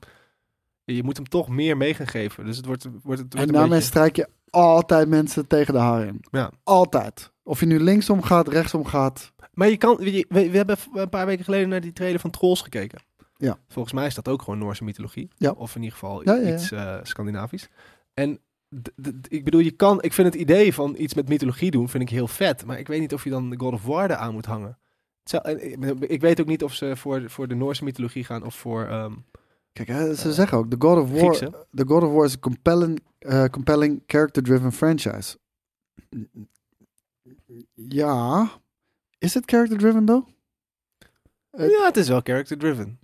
[SPEAKER 2] Je moet hem toch meer mee gaan geven. Dus het wordt, wordt, het wordt
[SPEAKER 3] En
[SPEAKER 2] een
[SPEAKER 3] daarmee
[SPEAKER 2] beetje...
[SPEAKER 3] strijk je altijd mensen tegen de haar in.
[SPEAKER 2] Ja.
[SPEAKER 3] Altijd. Of je nu linksom gaat, rechtsom gaat.
[SPEAKER 2] Maar je kan... je- we, we hebben v- een paar weken geleden naar die trailer van Trolls gekeken.
[SPEAKER 3] Ja.
[SPEAKER 2] Volgens mij is dat ook gewoon Noorse mythologie.
[SPEAKER 3] Ja.
[SPEAKER 2] Of in ieder geval
[SPEAKER 3] Ja, ja, ja.
[SPEAKER 2] iets eh, Scandinavisch. En d- d- ik bedoel, je kan... Ik vind het idee van iets met mythologie doen, vind ik heel vet. Maar ik weet niet of je dan de God of War aan moet hangen. Het zou- en ik- Ik weet ook niet of ze voor, voor de Noorse mythologie gaan of voor ehm
[SPEAKER 3] Kijk, hè,
[SPEAKER 2] Eh,
[SPEAKER 3] ze zeggen ook, The God of War,
[SPEAKER 2] Griekse.
[SPEAKER 3] The God of War is a compelling, eh, compelling character-driven franchise. Ja. Is het character-driven, though? Het-
[SPEAKER 2] Ja, het is wel character driven.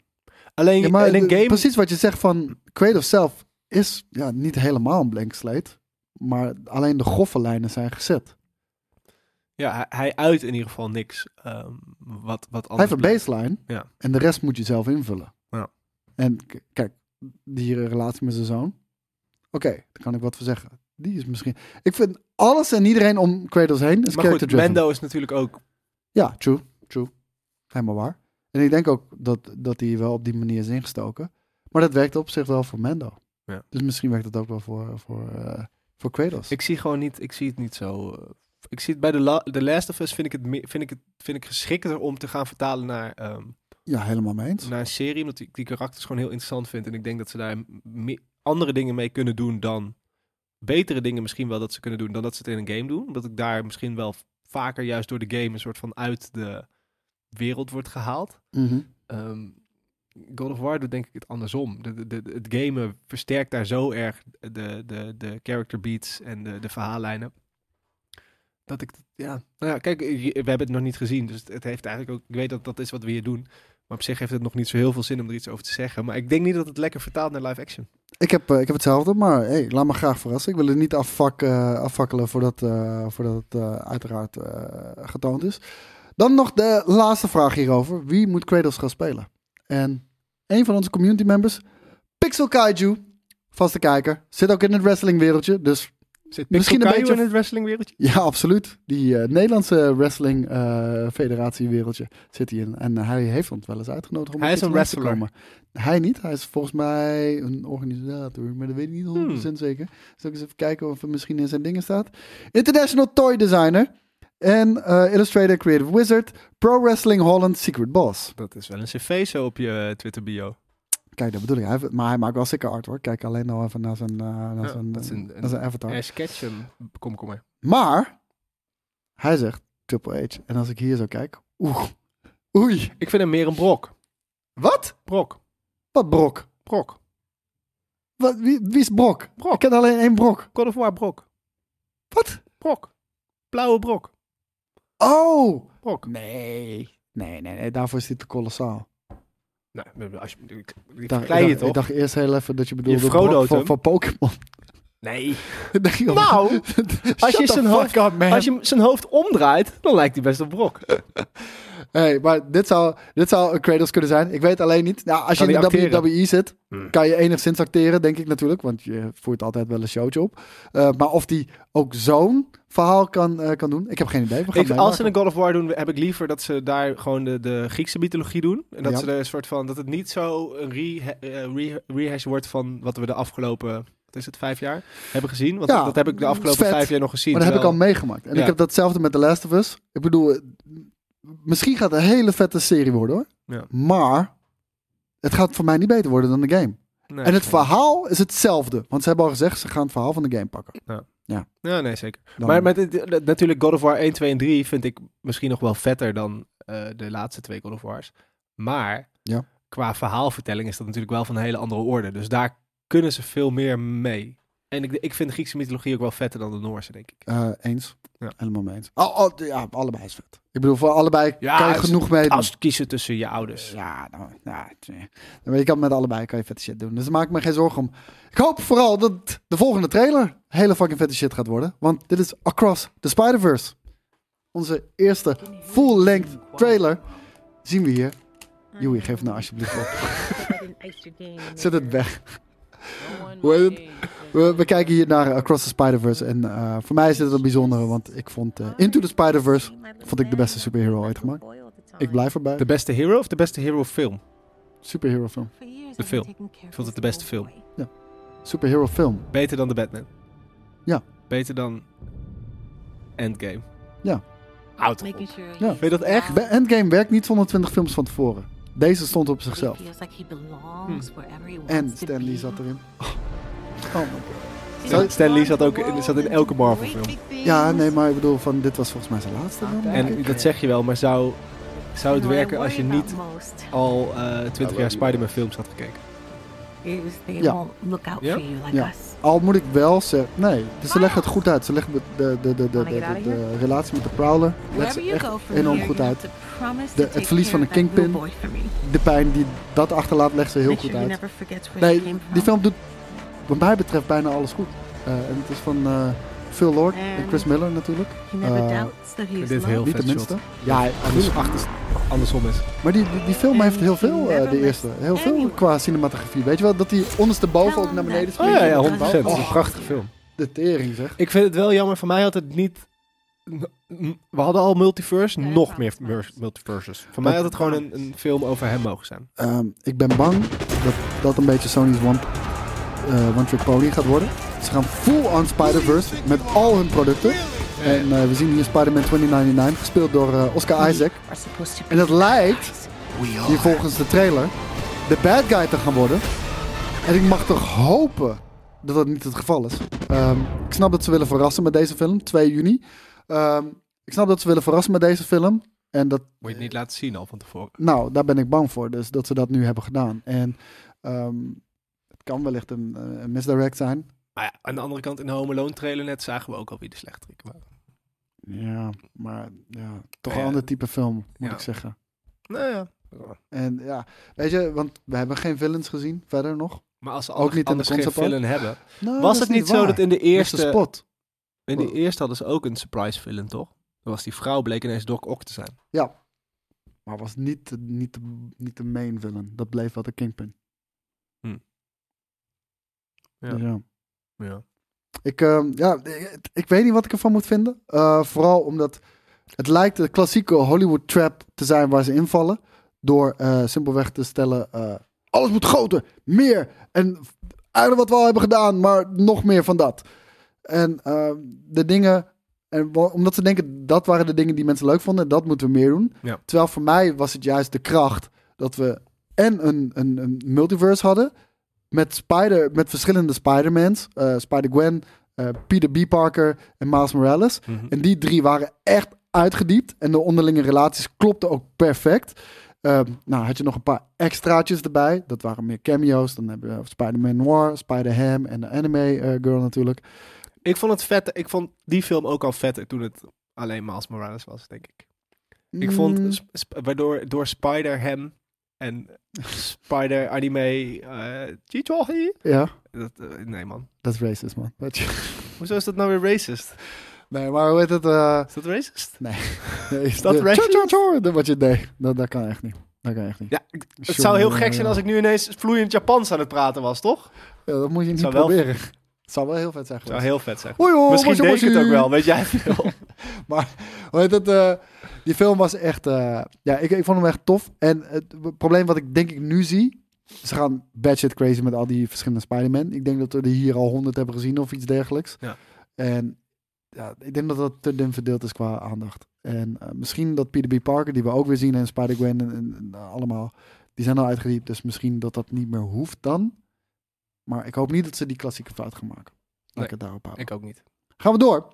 [SPEAKER 2] Alleen
[SPEAKER 3] Ja, maar
[SPEAKER 2] in een
[SPEAKER 3] de-
[SPEAKER 2] game...
[SPEAKER 3] precies wat je zegt van Kratos zelf is ja, niet helemaal een blank slate. Maar alleen de goffe lijnen zijn gezet.
[SPEAKER 2] Ja, hij, hij uit in ieder geval niks ehm, wat, wat
[SPEAKER 3] Hij
[SPEAKER 2] anders...
[SPEAKER 3] heeft een
[SPEAKER 2] blijft.
[SPEAKER 3] baseline
[SPEAKER 2] Ja.
[SPEAKER 3] en de rest moet je zelf invullen.
[SPEAKER 2] Ja.
[SPEAKER 3] En k- kijk, die relatie met zijn zoon. Oké, daar kan ik wat voor zeggen. Die is misschien... Ik vind alles en iedereen om Kratos heen is
[SPEAKER 2] Maar goed,
[SPEAKER 3] character-driven.
[SPEAKER 2] Mendo is natuurlijk ook...
[SPEAKER 3] Ja, true, true. Helemaal waar. En ik denk ook dat, dat die wel op die manier is ingestoken. Maar dat werkt op zich wel voor Mendo.
[SPEAKER 2] Ja.
[SPEAKER 3] Dus misschien werkt dat ook wel voor, voor, eh, voor Kratos.
[SPEAKER 2] Ik zie gewoon niet... Ik zie het niet zo... eh, ik zie het bij The, La- The Last of Us vind ik het, me- vind ik het vind ik geschikter om te gaan vertalen naar, ehm,
[SPEAKER 3] ja, helemaal mee eens.
[SPEAKER 2] naar een serie. Omdat ik die karakters gewoon heel interessant vind. En ik denk dat ze daar me- andere dingen mee kunnen doen dan... Betere dingen misschien wel dat ze kunnen doen dan dat ze het in een game doen. Omdat ik daar misschien wel vaker juist door de game een soort van uit de wereld wordt gehaald.
[SPEAKER 3] Mhm.
[SPEAKER 2] Ehm, God of War doet denk ik het andersom. De, de, de- het gamen versterkt daar zo erg de, de, de character beats en de, de verhaallijnen. Dat ik, ja. Nou ja, kijk, je- we hebben het nog niet gezien. Dus het- het heeft eigenlijk ook, ik weet dat dat is wat we hier doen. Maar op zich heeft het nog niet zo heel veel zin om er iets over te zeggen. Maar ik denk niet dat het lekker vertaalt naar live action.
[SPEAKER 3] Ik, heb, eh, ik heb hetzelfde, maar hey, laat me graag verrassen. Ik wil het niet afvak, eh, afvakkelen voordat, eh, voordat het eh, uiteraard eh, getoond is. Dan nog de laatste vraag hierover. Wie moet Kratos gaan spelen? En een van onze community members, Pixel Kaiju, vaste kijker, zit ook in het wrestlingwereldje. Dus
[SPEAKER 2] Zit
[SPEAKER 3] Misschien een
[SPEAKER 2] Pixel Kaiju
[SPEAKER 3] beetje-
[SPEAKER 2] in het wrestlingwereldje?
[SPEAKER 3] ja, absoluut. Die eh, Nederlandse wrestling eh, federatie wereldje zit hij in. En eh, hij heeft ons wel eens uitgenodigd om
[SPEAKER 2] Hij
[SPEAKER 3] een
[SPEAKER 2] is
[SPEAKER 3] keer
[SPEAKER 2] een
[SPEAKER 3] te langs te
[SPEAKER 2] wrestler.
[SPEAKER 3] komen. Hij niet. Hij is volgens mij een organisator, maar dat weet ik
[SPEAKER 2] Hmm.
[SPEAKER 3] niet 100% zeker. Dus Zal ik eens even kijken of er misschien in zijn dingen staat. International Toy Designer en eh, Illustrator Creative Wizard, Pro Wrestling Holland Secret Boss.
[SPEAKER 2] Dat is wel een cv zo op je eh, Twitter bio.
[SPEAKER 3] Kijk, dat bedoel ik. Hij, heeft- maar hij maakt wel sicker artwork. Kijk alleen al even naar zijn, eh, naar
[SPEAKER 2] Ja,
[SPEAKER 3] zijn,
[SPEAKER 2] dat is een-
[SPEAKER 3] naar zijn avatar.
[SPEAKER 2] Ash Ketchum, kom, kom maar.
[SPEAKER 3] Maar hij zegt Triple H. En als ik hier zo kijk, oeh, oei.
[SPEAKER 2] Ik vind hem meer een brok.
[SPEAKER 3] Wat?
[SPEAKER 2] Brok,
[SPEAKER 3] Wat Brok?
[SPEAKER 2] brok.
[SPEAKER 3] Wat, wie, wie is Brok?
[SPEAKER 2] Brok.
[SPEAKER 3] Ik ken alleen één Brok.
[SPEAKER 2] God of War brok.
[SPEAKER 3] Wat?
[SPEAKER 2] Brok. Blauwe brok.
[SPEAKER 3] Oh!
[SPEAKER 2] Brok.
[SPEAKER 3] Nee. Nee, nee, nee. Daarvoor is dit te kolossaal.
[SPEAKER 2] Nou, als je, ik,
[SPEAKER 3] Ik
[SPEAKER 2] ik
[SPEAKER 3] dacht, ik,
[SPEAKER 2] verklei je
[SPEAKER 3] dacht,
[SPEAKER 2] toch?
[SPEAKER 3] ik dacht eerst heel even dat je bedoelde
[SPEAKER 2] Frodo'd
[SPEAKER 3] Brok van,
[SPEAKER 2] hem.
[SPEAKER 3] van Pokémon.
[SPEAKER 2] nee.
[SPEAKER 3] Ik dacht, joh,
[SPEAKER 2] Nou,
[SPEAKER 3] shut
[SPEAKER 2] als je
[SPEAKER 3] the
[SPEAKER 2] zijn
[SPEAKER 3] fuck
[SPEAKER 2] hoofd-
[SPEAKER 3] up, man.
[SPEAKER 2] Als je hem zijn hoofd omdraait, dan lijkt hij best op brok.
[SPEAKER 3] Hey, maar dit zou, dit zou een Kratos kunnen zijn. Ik weet alleen niet. Nou, als
[SPEAKER 2] Kan
[SPEAKER 3] je in
[SPEAKER 2] hij
[SPEAKER 3] de
[SPEAKER 2] acteren? Hmm.
[SPEAKER 3] WWE zit, kan je enigszins acteren, denk ik natuurlijk. Want je voert altijd wel een showtje op. Eh, maar of die ook zo'n verhaal kan, eh, kan doen, ik heb geen idee. We gaan
[SPEAKER 2] Ik, als ze
[SPEAKER 3] meemaken.
[SPEAKER 2] een God of War doen, heb ik liever dat ze daar gewoon de, de Griekse mythologie doen. En dat
[SPEAKER 3] Ja.
[SPEAKER 2] ze er een soort van, dat het niet zo een reha- eh, re- rehash wordt van wat we de afgelopen, wat is het, vijf jaar hebben gezien. Want
[SPEAKER 3] Ja,
[SPEAKER 2] dat heb ik de afgelopen
[SPEAKER 3] vet.
[SPEAKER 2] vijf jaar nog gezien.
[SPEAKER 3] Maar dat heb ik al
[SPEAKER 2] terwijl-
[SPEAKER 3] meegemaakt. En
[SPEAKER 2] Ja.
[SPEAKER 3] ik heb datzelfde met The Last of Us. Ik bedoel, eh, misschien gaat het een hele vette serie worden hoor.
[SPEAKER 2] Ja.
[SPEAKER 3] Maar het gaat voor mij niet beter worden dan de game.
[SPEAKER 2] Nee,
[SPEAKER 3] en
[SPEAKER 2] nee.
[SPEAKER 3] het verhaal is hetzelfde. Want ze hebben al gezegd, ze gaan het verhaal van de game pakken.
[SPEAKER 2] Ja, nee, zeker.
[SPEAKER 3] Dan-
[SPEAKER 2] Maar met, dit- eh, natuurlijk God of War 1, 2 en 3 vind ik misschien nog wel vetter dan eh, de laatste twee God of Wars. Maar
[SPEAKER 3] Ja.
[SPEAKER 2] qua verhaalvertelling is dat natuurlijk wel van een hele andere orde. Dus daar kunnen ze veel meer mee. En ik, ik vind de Griekse mythologie ook wel vetter dan de Noorse, denk ik.
[SPEAKER 3] Eh, eens.
[SPEAKER 2] Ja.
[SPEAKER 3] Helemaal mee eens. Al, al- ja, allebei is vet. Ik bedoel, voor allebei
[SPEAKER 2] Ja,
[SPEAKER 3] kan je
[SPEAKER 2] als-
[SPEAKER 3] genoeg mee doen.
[SPEAKER 2] Als kiezen tussen je ouders.
[SPEAKER 3] Ja, nou, ja, tje. Maar je kan met allebei kan je vette shit doen. Dus daar maak ik me geen zorgen om. Ik hoop vooral dat de volgende trailer hele fucking vette shit gaat worden. Want dit is Across the Spider-Verse. Onze eerste full-length trailer zien we hier. Joey, geef nou alsjeblieft op. Zet het weg. Hoe heet het? We, we kijken hier naar Across the Spider-Verse. En eh, voor mij is dit een bijzondere, want ik vond eh, Into the Spider-Verse vond ik de beste superhero ooit gemaakt. Ik blijf erbij.
[SPEAKER 2] De beste hero of de beste hero film?
[SPEAKER 3] superhero film.
[SPEAKER 2] De film. Ik vond het de beste film.
[SPEAKER 3] Superhero film.
[SPEAKER 2] Beter dan de Batman.
[SPEAKER 3] Ja.
[SPEAKER 2] Beter dan Endgame.
[SPEAKER 3] Ja.
[SPEAKER 2] Houd toch op.
[SPEAKER 3] Ja.
[SPEAKER 2] Vind je dat echt?
[SPEAKER 3] Be- Endgame werkt niet zonder 20 films van tevoren. Deze stond op zichzelf. En Stan Lee zat erin. Oh. Oh my god. Zou-
[SPEAKER 2] Stan Lee zat ook in, zat in elke Marvel film.
[SPEAKER 3] Ja, nee, maar ik bedoel, van, dit was volgens mij zijn laatste. film, denk
[SPEAKER 2] En
[SPEAKER 3] ik.
[SPEAKER 2] dat zeg je wel, maar zou, zou het werken als je niet al eh 20 jaar Spider-Man films had gekeken?
[SPEAKER 3] Ja.
[SPEAKER 2] Ja?
[SPEAKER 3] Ja. Al moet ik wel zeggen, nee, dus ze leggen het goed uit. Ze leggen de, de, de, de, de, de, de- de relatie met de Prowler leggen ze echt enorm goed uit. De- het verlies van de Kingpin, de pijn die dat achterlaat, leggen ze heel goed uit. Nee, die film doet wat mij betreft bijna alles goed. Eh, en het is van eh, Phil Lord en Chris Miller natuurlijk. Eh,
[SPEAKER 2] Dit is heel
[SPEAKER 3] niet
[SPEAKER 2] vet
[SPEAKER 3] tenminste.
[SPEAKER 2] shot.
[SPEAKER 3] Ja,
[SPEAKER 2] Anders,
[SPEAKER 3] absoluut.
[SPEAKER 2] achter, andersom is.
[SPEAKER 3] Maar die, die, die film heeft heel veel, eh, de eerste. Heel veel
[SPEAKER 9] anyone.
[SPEAKER 3] qua cinematografie. Weet je wel, dat die ondersteboven ook naar beneden
[SPEAKER 2] Oh
[SPEAKER 3] springt.
[SPEAKER 2] ja, ja 100%.
[SPEAKER 3] Oh,
[SPEAKER 2] Het is een prachtige film.
[SPEAKER 3] de tering zeg.
[SPEAKER 2] Ik vind het wel jammer, van mij had het niet... n- We hadden al multiverse, nog meer mur- multiverses. Voor mij had het gewoon een, een film over hem mogen zijn.
[SPEAKER 3] Ehm, ik ben bang dat dat een beetje Sony's One, eh, one Trick Pony gaat worden. Ze gaan full on Spider-Verse met al hun producten. En eh, we zien hier Spider-Man 2099, gespeeld door eh, Oscar Isaac. En dat lijkt, hier volgens de trailer, de bad guy te gaan worden. En ik mag toch hopen dat dat niet het geval is. Ehm, ik snap dat ze willen verrassen met deze film, 2 juni. Ehm, ik snap dat ze willen verrassen met deze film. En dat
[SPEAKER 2] Moet je het niet laten zien al van tevoren.
[SPEAKER 3] nou, daar ben ik bang voor. Dus dat ze dat nu hebben gedaan. En ehm, het kan wellicht een, eh, een misdirect zijn.
[SPEAKER 2] Maar ja, aan de andere kant, in de Home Alone trailer net zagen we ook al wie de slechterik waren.
[SPEAKER 3] Ja, maar ja, toch
[SPEAKER 2] Ja. Eh,
[SPEAKER 3] een ander type film, moet
[SPEAKER 2] Ja.
[SPEAKER 3] ik zeggen.
[SPEAKER 2] Nou ja.
[SPEAKER 3] En ja, weet je, want we hebben geen villains gezien verder nog.
[SPEAKER 2] Maar als ze
[SPEAKER 3] Ook niet in de
[SPEAKER 2] anders geen
[SPEAKER 3] concept art?
[SPEAKER 2] villain hebben.
[SPEAKER 3] Nou, dat
[SPEAKER 2] Was
[SPEAKER 3] is
[SPEAKER 2] het niet zo
[SPEAKER 3] waar.
[SPEAKER 2] Oh, dat in de
[SPEAKER 3] Mr.
[SPEAKER 2] eerste...
[SPEAKER 3] spot?
[SPEAKER 2] In de eerste hadden ze ook een surprise villain, toch? Dan was die vrouw, bleek ineens Doc Ock te zijn.
[SPEAKER 3] Ja. Maar was niet, de- niet, de- niet de main villain. Dat bleef wel de kingpin.
[SPEAKER 2] Hm. Ja.
[SPEAKER 3] Dus
[SPEAKER 2] Ja.
[SPEAKER 3] Ik, ehm, ja, ik, ik weet niet wat ik ervan moet vinden. Eh, vooral omdat het lijkt de klassieke Hollywood trap te zijn waar ze invallen. Door eh, simpelweg te stellen, eh, alles moet groter, meer. En eigenlijk wat we al hebben gedaan, maar nog meer van dat. En ehm, de dingen, en wa- omdat ze denken dat waren de dingen die mensen leuk vonden. En dat moeten we meer doen.
[SPEAKER 2] Ja.
[SPEAKER 3] Terwijl voor mij was het juist de kracht dat we en een, een, een multiverse hadden. Met, Spider, met verschillende Spider-Mans. eh, Spider-Gwen, eh, Peter B. Parker en Miles Morales.
[SPEAKER 2] Mhm.
[SPEAKER 3] En die drie waren echt uitgediept. En de onderlinge relaties klopten ook perfect. Ehm, nou, had je nog een paar extraatjes erbij. Dat waren meer cameo's. Dan hebben we Spider-Man Noir, Spider-Ham en de anime eh, girl natuurlijk.
[SPEAKER 2] Ik vond het vet. Ik vond die film ook al vetter toen het alleen Miles Morales was, denk ik. Ik
[SPEAKER 3] Mm,
[SPEAKER 2] vond, sp- sp- waardoor door Spider hem en Spider anime, eh Chichohi.
[SPEAKER 3] Ja,
[SPEAKER 2] Dat, eh, nee man,
[SPEAKER 3] dat is racist, man. Weet je.
[SPEAKER 2] hoezo is dat nou weer racist?
[SPEAKER 3] Nee, maar hoe heet het? eh,
[SPEAKER 2] Is dat racist?
[SPEAKER 3] nee, is
[SPEAKER 2] dat
[SPEAKER 3] de-
[SPEAKER 2] racist?
[SPEAKER 3] Tjo, tjo, tjo, dat Wat je deed. Dat, dat kan echt niet. Dat kan echt niet.
[SPEAKER 2] Ja, ik- het zou heel gek zijn als ik nu ineens vloeiend Japans aan het praten was, toch?
[SPEAKER 3] Ja, dat moet je niet
[SPEAKER 2] Zou wel-
[SPEAKER 3] proberen. Het zou wel heel vet zijn
[SPEAKER 2] Zou
[SPEAKER 3] geweest.
[SPEAKER 2] heel vet zijn.
[SPEAKER 3] Hoi, hoi,
[SPEAKER 2] Misschien
[SPEAKER 3] moshi,
[SPEAKER 2] deed ik het
[SPEAKER 3] moshi.
[SPEAKER 2] ook wel, weet jij veel.
[SPEAKER 3] Maar hoe heet het? eh, die film was echt... eh, ja, ik, ik vond hem echt tof. En het probleem wat ik denk ik nu zie... Ze gaan batshit crazy met al die verschillende Spider-Man. Ik denk dat we er hier al honderd hebben gezien of iets dergelijks.
[SPEAKER 2] Ja.
[SPEAKER 3] En ja, ik denk dat dat te dun verdeeld is qua aandacht. En eh, misschien dat Peter B. Parker, die we ook weer zien... en Spider-Gwen en, en- en allemaal... die zijn al uitgediept. Dus misschien dat dat niet meer hoeft dan. Maar ik hoop niet dat ze die klassieke fout gaan maken. Laat
[SPEAKER 2] Nee.
[SPEAKER 3] ik het daarop houden.
[SPEAKER 2] ik ook niet.
[SPEAKER 3] Gaan we door.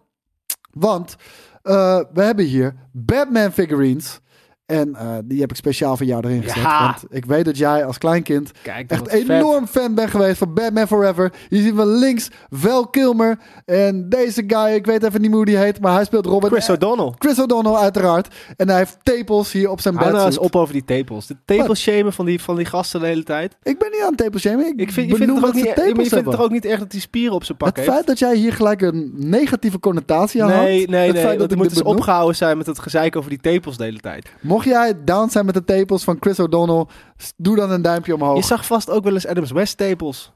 [SPEAKER 3] Want eh, we hebben hier Batman figurines. En eh, die heb ik speciaal voor jou erin gezet.
[SPEAKER 2] Ja.
[SPEAKER 3] Want ik weet dat jij als kleinkind
[SPEAKER 2] Kijk, dat
[SPEAKER 3] echt
[SPEAKER 2] was vet.
[SPEAKER 3] enorm fan bent geweest van Batman Forever. Je ziet van links Val Kilmer en deze guy, ik weet even niet hoe die heet, maar hij speelt Robin.
[SPEAKER 2] Chris O'Donnell.
[SPEAKER 3] Chris O'Donnell uiteraard. En hij heeft tepels hier op zijn
[SPEAKER 2] Hou nou eens
[SPEAKER 3] bed.
[SPEAKER 2] op over die tepels. De tepelshamen van die, van die gasten de hele tijd.
[SPEAKER 3] Ik ben niet aan tepels, Jamie. Ik,
[SPEAKER 2] Ik vind, je
[SPEAKER 3] benoem
[SPEAKER 2] vindt, het,
[SPEAKER 3] dat
[SPEAKER 2] ook niet, ja,
[SPEAKER 3] ze
[SPEAKER 2] maar je
[SPEAKER 3] tepels
[SPEAKER 2] vindt
[SPEAKER 3] hebben.
[SPEAKER 2] het er ook niet echt dat die spieren op zijn pak
[SPEAKER 3] het
[SPEAKER 2] heeft.
[SPEAKER 3] feit dat jij hier gelijk een negatieve connotatie aan had.
[SPEAKER 2] nee, nee,
[SPEAKER 3] het
[SPEAKER 2] nee.
[SPEAKER 3] feit dat
[SPEAKER 2] want
[SPEAKER 3] ik
[SPEAKER 2] er
[SPEAKER 3] dit
[SPEAKER 2] moet eens
[SPEAKER 3] benoem.
[SPEAKER 2] opgehouden zijn met het gezeik over die tepels de hele tijd.
[SPEAKER 3] Mocht jij down zijn met de tepels van Chris O'Donnell, s- doe dan een duimpje omhoog.
[SPEAKER 2] Je zag vast ook wel eens Adams West tepels.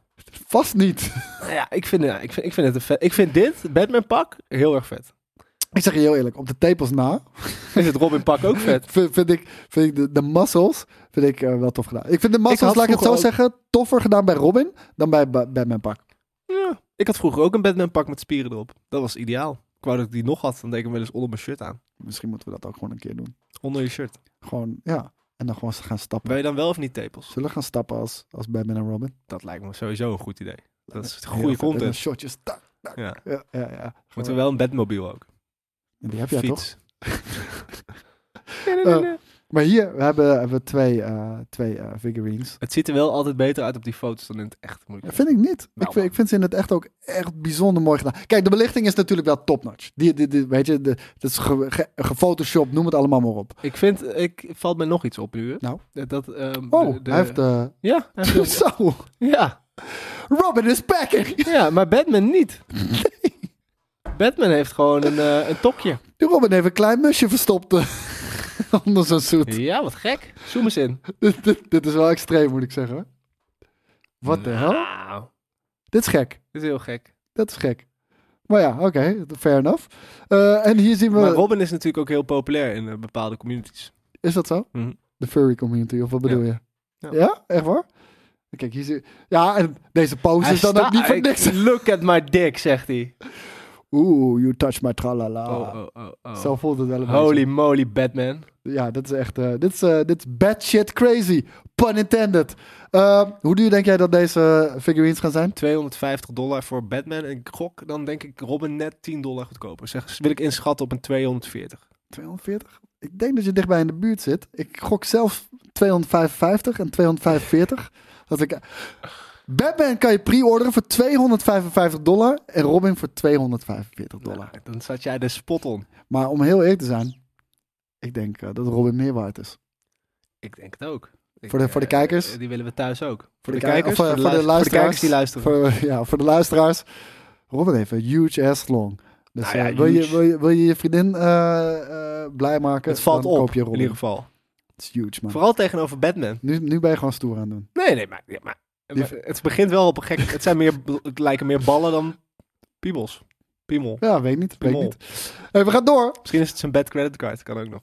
[SPEAKER 3] Vast niet.
[SPEAKER 2] Nou ja, ik vind, ja, ik vind, ik vind, het een vet, ik vind dit, het Batman pak, heel erg vet.
[SPEAKER 3] Ik zeg je heel eerlijk, op de tepels na
[SPEAKER 2] Is het Robin pak ook vet?
[SPEAKER 3] vind, vind ik, vind ik de, de muscles vind ik, eh, wel tof gedaan. Ik vind de muscles,
[SPEAKER 2] had
[SPEAKER 3] laat ik het zo
[SPEAKER 2] vroeger
[SPEAKER 3] zeggen, toffer gedaan bij Robin dan bij Ba- Batman Pak.
[SPEAKER 2] Ja. Ik had vroeger ook een Batman pak met spieren erop. Dat was ideaal. Ik wou dat ik die nog had, dan deed ik hem wel eens onder mijn shirt aan.
[SPEAKER 3] Misschien moeten we dat ook gewoon een keer doen.
[SPEAKER 2] Onder je shirt.
[SPEAKER 3] Gewoon, ja. En dan gewoon gaan stappen.
[SPEAKER 2] Ben je dan wel of niet tepels?
[SPEAKER 3] Zullen we gaan stappen als, als Batman en Robin?
[SPEAKER 2] Dat lijkt me sowieso een goed idee. Dat is
[SPEAKER 3] Heel
[SPEAKER 2] goede
[SPEAKER 3] vet. En dan
[SPEAKER 2] content.
[SPEAKER 3] shotjes. Tak, tak.
[SPEAKER 2] Ja.
[SPEAKER 3] Ja, ja, ja.
[SPEAKER 2] Moeten we wel een Batmobile ook.
[SPEAKER 3] Die heb jij toch?
[SPEAKER 2] Fiets.
[SPEAKER 3] Eh, maar hier we hebben hebben we twee, eh, twee eh, figurines.
[SPEAKER 2] Het ziet er wel altijd beter uit op die foto's dan in het echt. Moet ik
[SPEAKER 3] Dat vind ik niet.
[SPEAKER 2] Nou,
[SPEAKER 3] ik, vind, ik vind ze in het echt ook echt bijzonder mooi gedaan. Kijk, de belichting is natuurlijk wel topnotch. Die, die, die, weet je, de, dat is ge, ge- gefotoshopt, noem het allemaal maar op.
[SPEAKER 2] Ik vind, ik, valt mij nog iets op nu. hè.
[SPEAKER 3] Nou?
[SPEAKER 2] Dat- Dat, ehm,
[SPEAKER 3] Oh,
[SPEAKER 2] de- de-
[SPEAKER 3] hij heeft... eh,
[SPEAKER 2] Ja, hij heeft-
[SPEAKER 3] zo,
[SPEAKER 2] ja,
[SPEAKER 3] Robin is packing!
[SPEAKER 2] ja, maar Batman niet. Batman heeft gewoon een, eh, een tokje.
[SPEAKER 3] Robin heeft een klein musje verstopt eh, onder zijn suit.
[SPEAKER 2] Ja, wat gek. Zoom eens in.
[SPEAKER 3] Dit, dit, dit is wel extreem, moet ik zeggen. hoor. Wat de hel?
[SPEAKER 2] Wauw.
[SPEAKER 3] Dit is gek.
[SPEAKER 2] Dit is heel gek.
[SPEAKER 3] Dat is gek. Maar ja, oké, fair enough. Eh, en hier zien we...
[SPEAKER 2] Maar Robin is natuurlijk ook heel populair in eh, bepaalde communities.
[SPEAKER 3] Is dat zo?
[SPEAKER 2] Mhm.
[SPEAKER 3] De furry community, of wat bedoel je?
[SPEAKER 2] Ja.
[SPEAKER 3] Ja. echt waar? Kijk, hier zie Ja, en deze pose
[SPEAKER 2] Hij
[SPEAKER 3] is dan
[SPEAKER 2] sta-
[SPEAKER 3] ook niet voor
[SPEAKER 2] ik-
[SPEAKER 3] niks.
[SPEAKER 2] Look at my dick, zegt hij.
[SPEAKER 3] Oeh, you touch my tralala.
[SPEAKER 2] Oh, oh, oh, oh.
[SPEAKER 3] Ah. Zo voelt het wel een
[SPEAKER 2] Holy moly, Batman.
[SPEAKER 3] beetje. Ja, dat is echt... eh, dit, is, eh, dit is bad shit crazy. Pun intended. Eh, hoe duur denk jij dat deze figurines gaan zijn?
[SPEAKER 2] 250 dollar voor Batman. En ik gok, dan denk ik Robin net 10 dollar goedkoper. Zeg, wil ik inschatten op een 240.
[SPEAKER 3] 240? Ik denk dat je dichtbij in de buurt zit. Ik gok zelf 255 en 245. Dat ik... Batman kan je pre-orderen voor 255 dollar en Robin voor 245 dollar.
[SPEAKER 2] Nou, dan zat jij de spot on.
[SPEAKER 3] Maar om heel eerlijk te zijn, ik denk eh, dat Robin meer waard is.
[SPEAKER 2] Ik denk het ook. Ik,
[SPEAKER 3] Voor de- voor de
[SPEAKER 2] eh,
[SPEAKER 3] kijkers?
[SPEAKER 2] eh, Die willen we thuis ook. Voor, de,
[SPEAKER 3] ki-
[SPEAKER 2] kijkers,
[SPEAKER 3] of, eh,
[SPEAKER 2] voor, de luister- voor de kijkers die luisteren.
[SPEAKER 3] Voor, eh, ja, voor de luisteraars. Robin heeft een huge ass long. Dus
[SPEAKER 2] Nou ja,
[SPEAKER 3] eh, wil, je,
[SPEAKER 2] huge.
[SPEAKER 3] wil, je, wil je je vriendin eh, eh, blij maken,
[SPEAKER 2] het valt
[SPEAKER 3] dan
[SPEAKER 2] op,
[SPEAKER 3] koop je
[SPEAKER 2] in
[SPEAKER 3] Robin.
[SPEAKER 2] ieder geval.
[SPEAKER 3] Het is huge, man.
[SPEAKER 2] Vooral tegenover Batman.
[SPEAKER 3] Nu, nu ben je gewoon stoer aan het doen.
[SPEAKER 2] Nee, nee, maar, ja, maar, maar het begint wel op een gek... Het, zijn meer, het lijken meer ballen dan piemels. Piemel.
[SPEAKER 3] Ja, weet ik niet. Weet ik
[SPEAKER 2] Piemel.
[SPEAKER 3] niet. Hey, we gaan door.
[SPEAKER 2] Misschien is het zijn bad creditcard. Kan ook nog.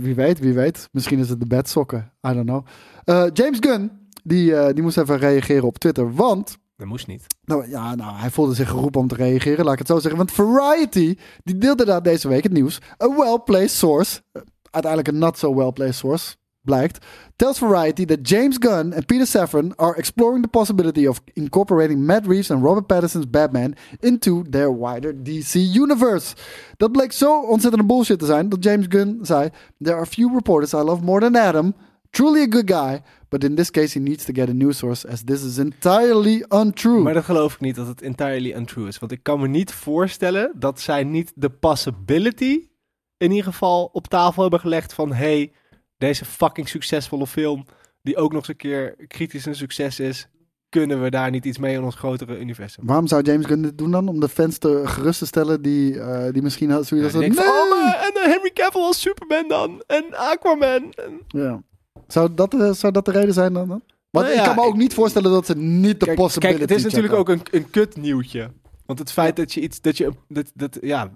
[SPEAKER 3] Wie weet, wie weet. Misschien is het de bedsokken. I don't know. Eh, James Gunn, die, eh, die moest even reageren op Twitter. Want
[SPEAKER 2] Dat moest niet.
[SPEAKER 3] Nou ja, nou, hij voelde zich geroepen om te reageren, laat ik het zo zeggen. Want Variety, die deelde daar deze week het nieuws. Een well-placed source, eh, uiteindelijk een not so well-placed source, blijkt, tells Variety that James Gunn and Peter Safran are exploring the possibility of incorporating Matt Reeves and Robert Pattinson's Batman into their wider DC universe. Dat bleek zo ontzettende bullshit te zijn dat James Gunn zei: There are few reporters I love more than Adam. Truly a good guy, but in this case he needs to get a news source as this is entirely untrue.
[SPEAKER 2] Maar dat geloof ik niet dat het entirely untrue is. Want ik kan me niet voorstellen dat zij niet de possibility in ieder geval op tafel hebben gelegd van... hey, deze fucking succesvolle film die ook nog eens een keer kritisch een succes is... kunnen we daar niet iets mee in ons grotere universum?
[SPEAKER 3] Waarom zou James Gunn dit doen dan? Om de fans te gerust te stellen die, eh, die misschien had- zoiets
[SPEAKER 2] Ja,
[SPEAKER 3] hadden.
[SPEAKER 2] ik denk
[SPEAKER 3] Nee!
[SPEAKER 2] van, oh, maar- en eh, Henry Cavill als Superman dan. En Aquaman. En-
[SPEAKER 3] Ja. Zou, dat, eh, zou dat de reden zijn dan? dan? Want
[SPEAKER 2] Nou
[SPEAKER 3] ik
[SPEAKER 2] ja,
[SPEAKER 3] kan me ook
[SPEAKER 2] ik-
[SPEAKER 3] niet voorstellen dat ze niet de
[SPEAKER 2] Kijk,
[SPEAKER 3] possibility
[SPEAKER 2] kijk, het is natuurlijk
[SPEAKER 3] checken.
[SPEAKER 2] ook een, een kut nieuwtje. Want het feit dat je iets... Dat je, dat, dat, ja,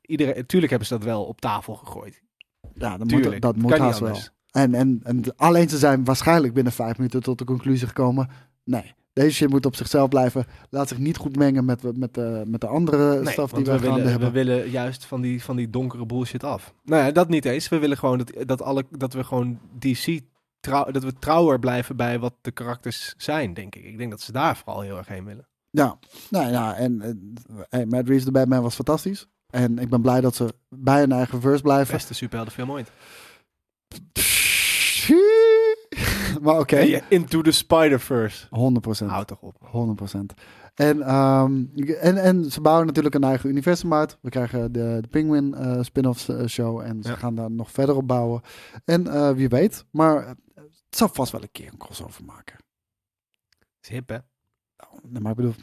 [SPEAKER 2] iedereen, natuurlijk hebben ze dat wel op tafel gegooid.
[SPEAKER 3] Ja, dat moet,
[SPEAKER 2] Tuurlijk,
[SPEAKER 3] dat
[SPEAKER 2] dat
[SPEAKER 3] moet
[SPEAKER 2] kan niet
[SPEAKER 3] haast wel.
[SPEAKER 2] anders.
[SPEAKER 3] En, en, en alleen ze zijn waarschijnlijk binnen vijf minuten tot de conclusie gekomen... Nee, deze shit moet op zichzelf blijven. Laat zich niet goed mengen met, met, eh, met de andere
[SPEAKER 2] Nee,
[SPEAKER 3] staf die
[SPEAKER 2] want
[SPEAKER 3] we,
[SPEAKER 2] we
[SPEAKER 3] gaan
[SPEAKER 2] willen,
[SPEAKER 3] hebben.
[SPEAKER 2] we willen juist van die, van die donkere bullshit af. Nou ja, dat niet eens. We willen gewoon dat, dat, alle, dat we gewoon DC... Trouw, dat we trouwer blijven bij wat de karakters zijn, denk ik. Ik denk dat ze daar vooral heel erg heen willen.
[SPEAKER 3] Ja, nou ja, en eh, hey, Matt Reeves de Batman was fantastisch. En ik ben blij dat ze bij hun eigen verse blijven.
[SPEAKER 2] Beste superheldenfilm ooit.
[SPEAKER 3] Maar oké,
[SPEAKER 2] Into the Spider-Verse.
[SPEAKER 3] 100%.
[SPEAKER 2] Houd toch op.
[SPEAKER 3] 100%. En, ehm, en, en ze bouwen natuurlijk een eigen universum uit. We krijgen de, de Penguin eh, spin-off eh, show en ze
[SPEAKER 2] Ja.
[SPEAKER 3] gaan daar nog verder op bouwen. En eh, wie weet, maar eh, het zou vast wel een keer een crossover maken.
[SPEAKER 2] is hip, hè?
[SPEAKER 3] Nee, maar ik bedoel,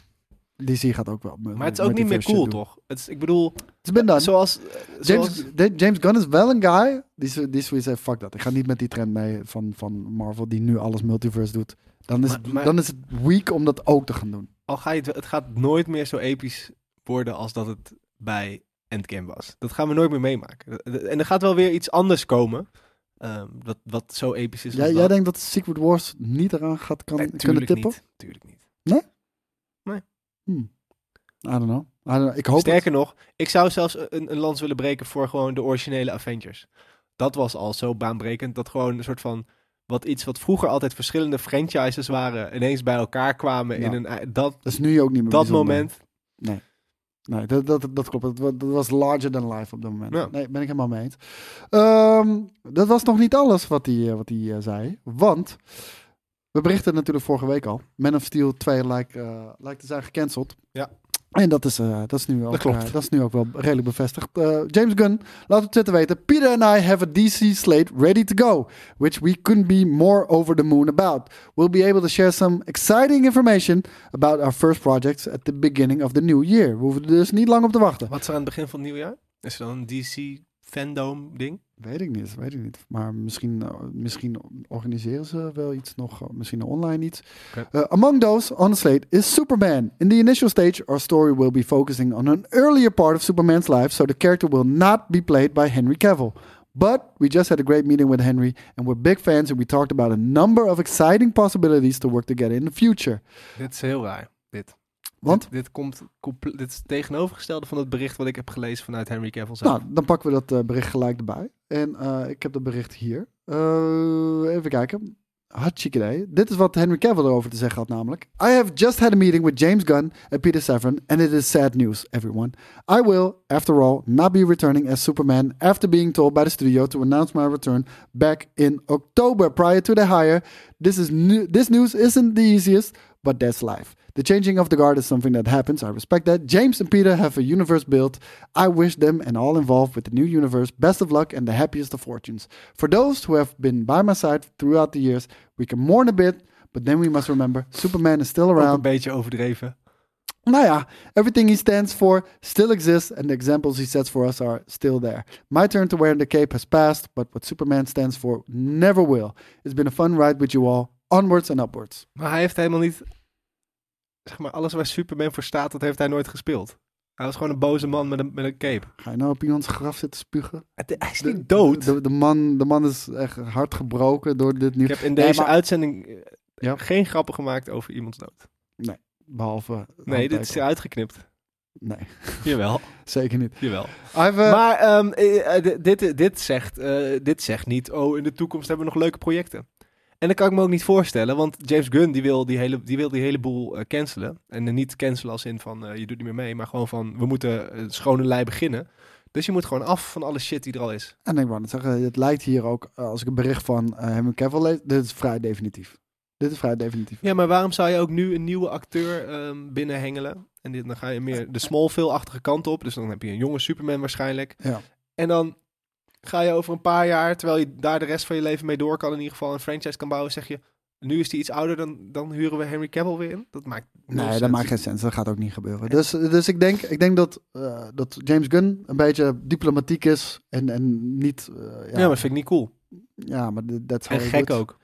[SPEAKER 3] DC gaat ook wel. met-
[SPEAKER 2] Maar het is ook niet meer
[SPEAKER 3] multiverse
[SPEAKER 2] cool,
[SPEAKER 3] shit doen.
[SPEAKER 2] toch? Het is, ik bedoel,
[SPEAKER 3] Het is ben dan.
[SPEAKER 2] zoals... eh,
[SPEAKER 3] James,
[SPEAKER 2] zoals-
[SPEAKER 3] de- James Gunn is wel een guy die, zo- die zoiets heeft, fuck dat. Ik ga niet met die trend mee van, van Marvel die nu alles multiverse doet. Dan is,
[SPEAKER 2] Maar-
[SPEAKER 3] het-
[SPEAKER 2] maar-
[SPEAKER 3] dan is het weak om dat ook te gaan doen.
[SPEAKER 2] al ga je het, het gaat nooit meer zo episch worden als dat het bij Endgame was. Dat gaan we nooit meer meemaken. En er gaat wel weer iets anders komen, ehm, dat, wat zo episch is als
[SPEAKER 3] Jij, jij
[SPEAKER 2] dat.
[SPEAKER 3] denkt dat Secret Wars niet eraan gaat kan,
[SPEAKER 2] Nee,
[SPEAKER 3] kunnen
[SPEAKER 2] tuurlijk
[SPEAKER 3] tippen?
[SPEAKER 2] Niet, tuurlijk niet.
[SPEAKER 3] I don't know. I don't know. Ik hoop
[SPEAKER 2] Sterker nog, ik zou zelfs een, een lans willen breken voor gewoon de originele Avengers. Dat was al zo baanbrekend dat gewoon een soort van wat iets wat vroeger altijd verschillende franchises waren ineens bij elkaar kwamen
[SPEAKER 3] Ja.
[SPEAKER 2] in een ei- dat
[SPEAKER 3] het. Dat is nu ook niet meer
[SPEAKER 2] dat
[SPEAKER 3] bijzonder.
[SPEAKER 2] moment.
[SPEAKER 3] Nee, dat, dat, dat klopt. Dat, wa- dat was larger than life op dat moment.
[SPEAKER 2] Ja.
[SPEAKER 3] Nee, ben ik helemaal mee eens. Ehm, dat was nog niet alles wat hij, eh, wat hij eh, zei. Want, we berichten natuurlijk vorige week al. Man of Steel 2 lijkt, eh, lijkt te zijn gecanceld.
[SPEAKER 2] Ja.
[SPEAKER 3] En dat is, eh, dat, is nu ook,
[SPEAKER 2] Dat klopt.
[SPEAKER 3] eh, dat is nu ook wel redelijk bevestigd. Eh, James Gunn, laat op Twitter weten. Peter and I have a DC slate ready to go. Which we couldn't be more over the moon about. We'll be able to share some exciting information about our first projects at the beginning of the new year. We hoeven er dus niet lang op te wachten.
[SPEAKER 2] Wat is er aan het begin van het nieuwjaar? Is er dan een DC fandom ding?
[SPEAKER 3] Weet ik niet, weet ik niet. Maar misschien, eh, misschien organiseren ze wel iets nog, eh, misschien online iets.
[SPEAKER 2] Oké.
[SPEAKER 3] Eh, among those on the slate is Superman. In the initial stage, our story will be focusing on an earlier part of Superman's life, so the character will not be played by Henry Cavill. But we just had a great meeting with Henry, and we're big fans, and we talked about a number of exciting possibilities to work together in the future.
[SPEAKER 2] Dit is heel raar. Dit.
[SPEAKER 3] Want?
[SPEAKER 2] Dit, dit komt comple- dit is het tegenovergestelde van het bericht wat ik heb gelezen vanuit Henry Cavill zelf.
[SPEAKER 3] Nou, dan pakken we dat eh, bericht gelijk erbij. En eh, ik heb dat bericht hier. Eh, even kijken. Hartstikke idee. Dit is wat Henry Cavill erover te zeggen had namelijk. I have just had a meeting with James Gunn and Peter Safran and it is sad news, everyone. I will, after all, not be returning as Superman after being told by the studio to announce my return back in October prior to the hire. This, is new- this news isn't the easiest, but that's life. The changing of the guard is something that happens. I respect that. James and Peter have a universe built. I wish them and all involved with the new universe best of luck and the happiest of fortunes. For those who have been by my side throughout the years, we can mourn a bit, but then we must remember Superman is still
[SPEAKER 2] Ook een
[SPEAKER 3] around.
[SPEAKER 2] beetje overdreven.
[SPEAKER 3] Nou ja, everything he stands for still exists, and the examples he sets for us are still there. My turn to wear the cape has passed, but what Superman stands for never will. It's been a fun ride with you all. Onwards and upwards.
[SPEAKER 2] Maar hij heeft helemaal niet... Zeg maar, alles waar Superman voor staat, dat heeft hij nooit gespeeld. Hij was gewoon een boze man met een, met een cape.
[SPEAKER 3] Ga je nou op iemands graf zitten spugen?
[SPEAKER 2] Het- hij is
[SPEAKER 3] De-
[SPEAKER 2] niet dood.
[SPEAKER 3] De, de, man, de man is echt hard gebroken door dit nieuws.
[SPEAKER 2] ik heb in
[SPEAKER 3] Nee,
[SPEAKER 2] deze
[SPEAKER 3] maar-
[SPEAKER 2] uitzending eh,
[SPEAKER 3] Ja.
[SPEAKER 2] geen grappen gemaakt over iemands dood.
[SPEAKER 3] Behalve.
[SPEAKER 2] Nee, dit is
[SPEAKER 3] handtekening.
[SPEAKER 2] uitgeknipt.
[SPEAKER 3] Nee,
[SPEAKER 2] Jawel,
[SPEAKER 3] zeker niet.
[SPEAKER 2] jawel.
[SPEAKER 3] I've, uh,
[SPEAKER 2] maar ehm, eh, eh, dit- dit, dit, zegt, eh, dit zegt niet, oh, in de toekomst hebben we nog leuke projecten. En dat kan ik me ook niet voorstellen, want James Gunn die wil die hele, die wil die hele boel eh, cancelen. En eh, niet cancelen als in van, eh, je doet niet meer mee, maar gewoon van, we moeten een schone lei beginnen. Dus je moet gewoon af van alle shit die er al is.
[SPEAKER 3] En ik wou net zeggen, het lijkt hier ook, eh, als ik een bericht van eh Henry Cavill lees, dit is vrij definitief. Dit is vrij definitief.
[SPEAKER 2] Ja, maar waarom zou je ook nu een nieuwe acteur ehm, binnenhengelen? En dit, dan ga je meer de Smallville-achtige kant op. Dus dan heb je een jonge Superman waarschijnlijk.
[SPEAKER 3] Ja.
[SPEAKER 2] En dan ga je over een paar jaar, terwijl je daar de rest van je leven mee door kan, in ieder geval een franchise kan bouwen, zeg je, nu is hij iets ouder, dan, dan huren we Henry Cavill weer in. Dat maakt nul
[SPEAKER 3] Nee, dat
[SPEAKER 2] sens.
[SPEAKER 3] maakt geen sens. Dat gaat ook niet gebeuren. Dus, dus ik denk, ik denk dat, eh, dat James Gunn een beetje diplomatiek is en, en niet... eh, ja,
[SPEAKER 2] Ja, maar dat vind ik niet cool.
[SPEAKER 3] ja, maar dat- dat is
[SPEAKER 2] En gek ook.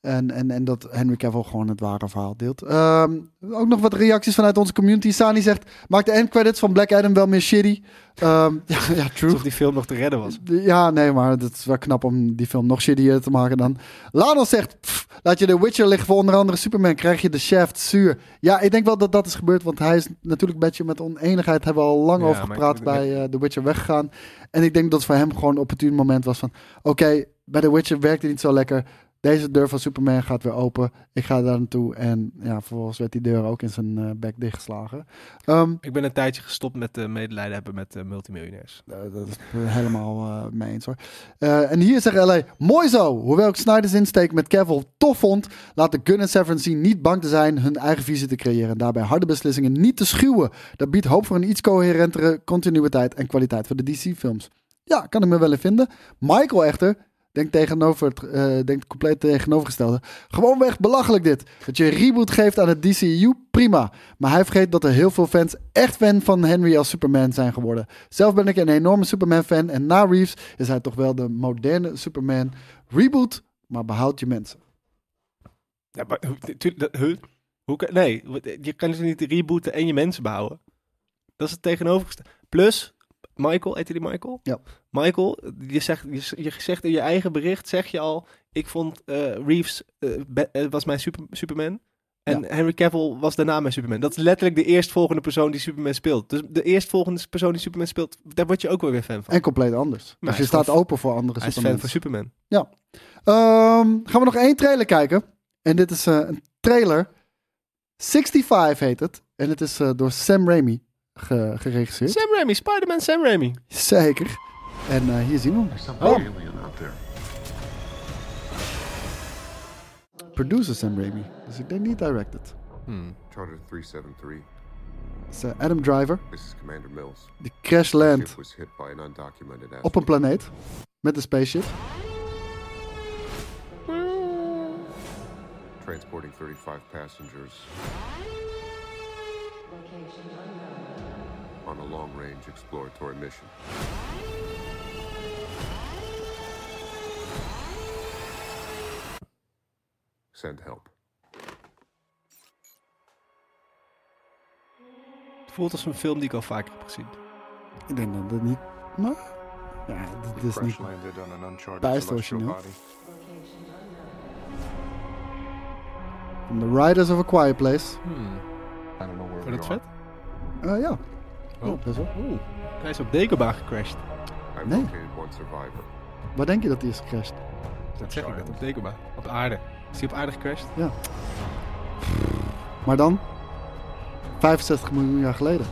[SPEAKER 3] En, en, en dat Henry Cavill gewoon het ware verhaal deelt. Ehm, ook nog wat reacties vanuit onze community. Sani zegt, maakt de end credits van Black Adam wel meer shitty? Ehm, ja, ja, true.
[SPEAKER 2] Alsof die film nog te redden was.
[SPEAKER 3] Ja, nee, maar het is wel knap om die film nog shittier te maken dan. Lano zegt, "Pff, laat je de Witcher liggen voor onder andere Superman, krijg je de Shaft zuur. Ja, ik denk wel dat dat is gebeurd, want hij is natuurlijk een beetje met oneenigheid, hebben we al lang
[SPEAKER 2] Ja,
[SPEAKER 3] over
[SPEAKER 2] maar
[SPEAKER 3] gepraat,
[SPEAKER 2] ik-
[SPEAKER 3] bij eh The Witcher weggegaan. En ik denk dat het voor hem gewoon een opportun moment was van, oké, bij The Witcher werkte het niet zo lekker. Deze deur van Superman gaat weer open. Ik ga daar naartoe. En ja, vervolgens werd die deur ook in zijn eh, bek dichtgeslagen. Ehm,
[SPEAKER 2] Ik ben een tijdje gestopt met eh, medelijden hebben met eh, multimiljonairs.
[SPEAKER 3] eh, dat is helemaal eh mee eens hoor. Eh, en hier zegt LA, mooi zo. Hoewel ik Snyder's insteek met Cavill tof vond, laat de Gun en Severance zien niet bang te zijn hun eigen visie te creëren. En daarbij harde beslissingen niet te schuwen. Dat biedt hoop voor een iets coherentere continuïteit en kwaliteit voor de DC-films. Ja, kan ik me wel in vinden. Michael echter denkt, tegenover het, eh, denkt compleet tegenovergestelde. Gewoonweg belachelijk dit. Dat je een reboot geeft aan het DCU, prima. Maar hij vergeet dat er heel veel fans echt fan van Henry als Superman zijn geworden. Zelf ben ik een enorme Superman-fan en na Reeves is hij toch wel de moderne Superman. Reboot, maar behoud je mensen.
[SPEAKER 2] Ja, maar hoe- tu- dat- huh? Hoe kan- nee, wat- je kan dus niet rebooten en je mensen bouwen. Dat is het tegenovergestelde. Plus, Michael, heet hij die Michael?
[SPEAKER 3] Ja.
[SPEAKER 2] Michael, je zegt, je, z- je zegt in je eigen bericht, zeg je al, ik vond eh, Reeves eh, be- eh, was mijn super, Superman. En Henry Cavill was daarna mijn Superman. Dat is letterlijk de eerstvolgende persoon die Superman speelt. Dus de eerstvolgende persoon die Superman speelt, daar word je ook wel weer fan van.
[SPEAKER 3] En compleet anders.
[SPEAKER 2] Maar
[SPEAKER 3] dus
[SPEAKER 2] hij
[SPEAKER 3] je
[SPEAKER 2] is gewoon
[SPEAKER 3] staat open voor andere
[SPEAKER 2] Hij is
[SPEAKER 3] Supermans.
[SPEAKER 2] fan van Superman.
[SPEAKER 3] Ja. Ehm, gaan we nog één trailer kijken. En dit is eh, een trailer. 65 heet het. En het is eh, door Sam Raimi ge- geregisseerd.
[SPEAKER 2] Sam Raimi, Spider-Man Sam Raimi.
[SPEAKER 3] Zeker. En eh, hier zien we hem. Oh. Producer Sam Raimi. Dus ik denk niet directed.
[SPEAKER 8] Charter 373.
[SPEAKER 3] Het is eh, Adam Driver.
[SPEAKER 8] This is Commander Mills.
[SPEAKER 3] Die crash landt
[SPEAKER 8] Ship was hit by an undocumented
[SPEAKER 3] op een planeet. Met een spaceship.
[SPEAKER 8] astronaut transporting 35 passengers on a long-range exploratory mission. Send help.
[SPEAKER 2] Het voelt als een film die ik al vaker heb gezien.
[SPEAKER 3] Ik denk dat dat niet... Maar... Ja, dit- dit is niet...
[SPEAKER 8] landed on an uncharted
[SPEAKER 3] Bij is het celestial origineel. body. From the Riders of a Quiet Place.
[SPEAKER 8] I don't know where
[SPEAKER 2] Wordt dat vet?
[SPEAKER 3] Eh, ja. Oh, best wel.
[SPEAKER 2] Oeh, hij is op Dagobah gecrashed.
[SPEAKER 8] I've
[SPEAKER 3] Nee.
[SPEAKER 8] located one survivor.
[SPEAKER 3] Waar denk je dat die is gecrashed?
[SPEAKER 2] Dat zeg ik net, op Dagobah. Op aarde. Is hij op aarde gecrashed?
[SPEAKER 3] Ja. Maar dan? 65 miljoen jaar geleden.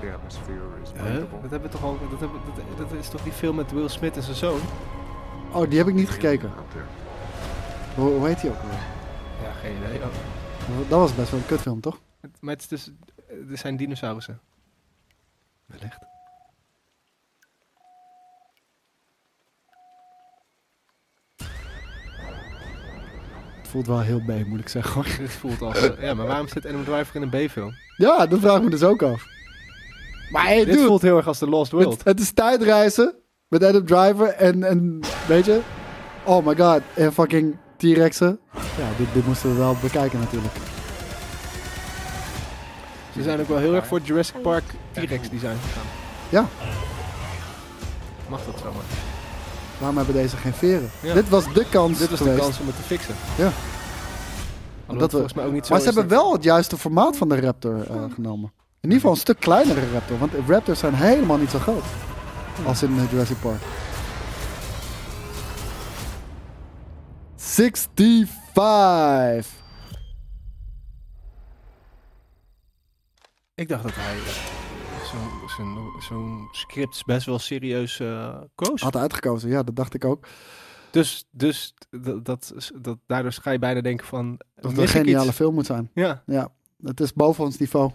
[SPEAKER 8] The atmosphere is
[SPEAKER 2] Dat hebben we toch al... Dat, hebben, dat, dat is toch die film met Will Smith en zijn zoon?
[SPEAKER 3] Oh, die heb ik niet gekeken.
[SPEAKER 8] out there.
[SPEAKER 3] Hoe, hoe heet die ook weer?
[SPEAKER 2] Ja, geen idee.
[SPEAKER 3] Dat was best wel een kutfilm, toch?
[SPEAKER 2] Maar het is dus... Er zijn dinosaurussen.
[SPEAKER 3] Wellicht. Het voelt wel heel B, moet ik zeggen. hoor.
[SPEAKER 2] Dit voelt als... eh, ja, maar waarom zit Adam Driver in een B-film?
[SPEAKER 3] Ja, dat vraag ik me dus ook af. Maar hey,
[SPEAKER 2] Dit
[SPEAKER 3] dude,
[SPEAKER 2] voelt heel erg als The Lost World.
[SPEAKER 3] het, het is tijdreizen met Adam Driver en, en weet je? Oh my god, en fucking T-Rexen. Ja, dit, dit moesten we wel bekijken natuurlijk.
[SPEAKER 2] Ze zijn ook wel heel erg voor Jurassic Park T-Rex design gegaan.
[SPEAKER 3] Ja,
[SPEAKER 2] Mag dat zomaar?
[SPEAKER 3] waarom hebben deze geen veren?
[SPEAKER 2] Ja.
[SPEAKER 3] Dit was de kans
[SPEAKER 2] Dit was de
[SPEAKER 3] geweest.
[SPEAKER 2] kans om het te fixen.
[SPEAKER 3] Ja.
[SPEAKER 2] Alhoewel het
[SPEAKER 3] Dat we-
[SPEAKER 2] volgens mij ook niet zo
[SPEAKER 3] maar ze
[SPEAKER 2] is
[SPEAKER 3] hebben
[SPEAKER 2] dat-
[SPEAKER 3] wel het juiste formaat van de Raptor eh, genomen. In ieder geval een stuk kleinere Raptor, want Raptors zijn helemaal niet zo groot als in eh, Jurassic Park. 65.
[SPEAKER 2] Ik dacht dat hij eh, zo'n zo'n zo'n script best wel serieus eh koos.
[SPEAKER 3] Had uitgekozen, ja, dat dacht ik ook.
[SPEAKER 2] Dus, dus dat, dat, is- dat, daardoor ga je bijna denken van...
[SPEAKER 3] Dat het
[SPEAKER 2] mis
[SPEAKER 3] een
[SPEAKER 2] ik
[SPEAKER 3] geniale
[SPEAKER 2] iets?
[SPEAKER 3] film moet zijn.
[SPEAKER 2] Ja,
[SPEAKER 3] Ja, het is boven ons niveau.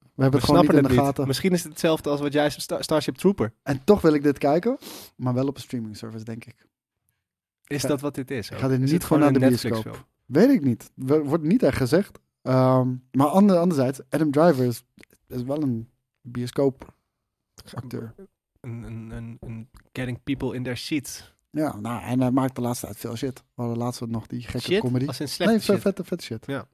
[SPEAKER 3] We hebben
[SPEAKER 2] we
[SPEAKER 3] het gewoon niet
[SPEAKER 2] snappen
[SPEAKER 3] in
[SPEAKER 2] het
[SPEAKER 3] de
[SPEAKER 2] niet.
[SPEAKER 3] gaten.
[SPEAKER 2] Misschien is het hetzelfde als wat jij Star- Starship Trooper.
[SPEAKER 3] En toch wil ik dit kijken, maar wel op een streaming service, denk ik.
[SPEAKER 2] Is
[SPEAKER 3] Ja.
[SPEAKER 2] dat wat dit is? ook?
[SPEAKER 3] Ik ga dit
[SPEAKER 2] Is
[SPEAKER 3] niet
[SPEAKER 2] het
[SPEAKER 3] gewoon naar de
[SPEAKER 2] een
[SPEAKER 3] bioscoop.
[SPEAKER 2] Netflix-film?
[SPEAKER 3] Weet ik niet. W- Wordt niet echt gezegd. Ehm, maar ander, anderzijds, Adam Driver is, is wel een bioscoopacteur.
[SPEAKER 2] Een, een, een, een getting people in their seats.
[SPEAKER 3] Ja, nou, en hij maakt de laatste tijd veel shit. We hadden laatst nog die gekke
[SPEAKER 2] Shit,
[SPEAKER 3] comedy.
[SPEAKER 2] als in
[SPEAKER 3] nee,
[SPEAKER 2] slechte
[SPEAKER 3] veel
[SPEAKER 2] shit.
[SPEAKER 3] vette, vette shit.
[SPEAKER 2] Ja.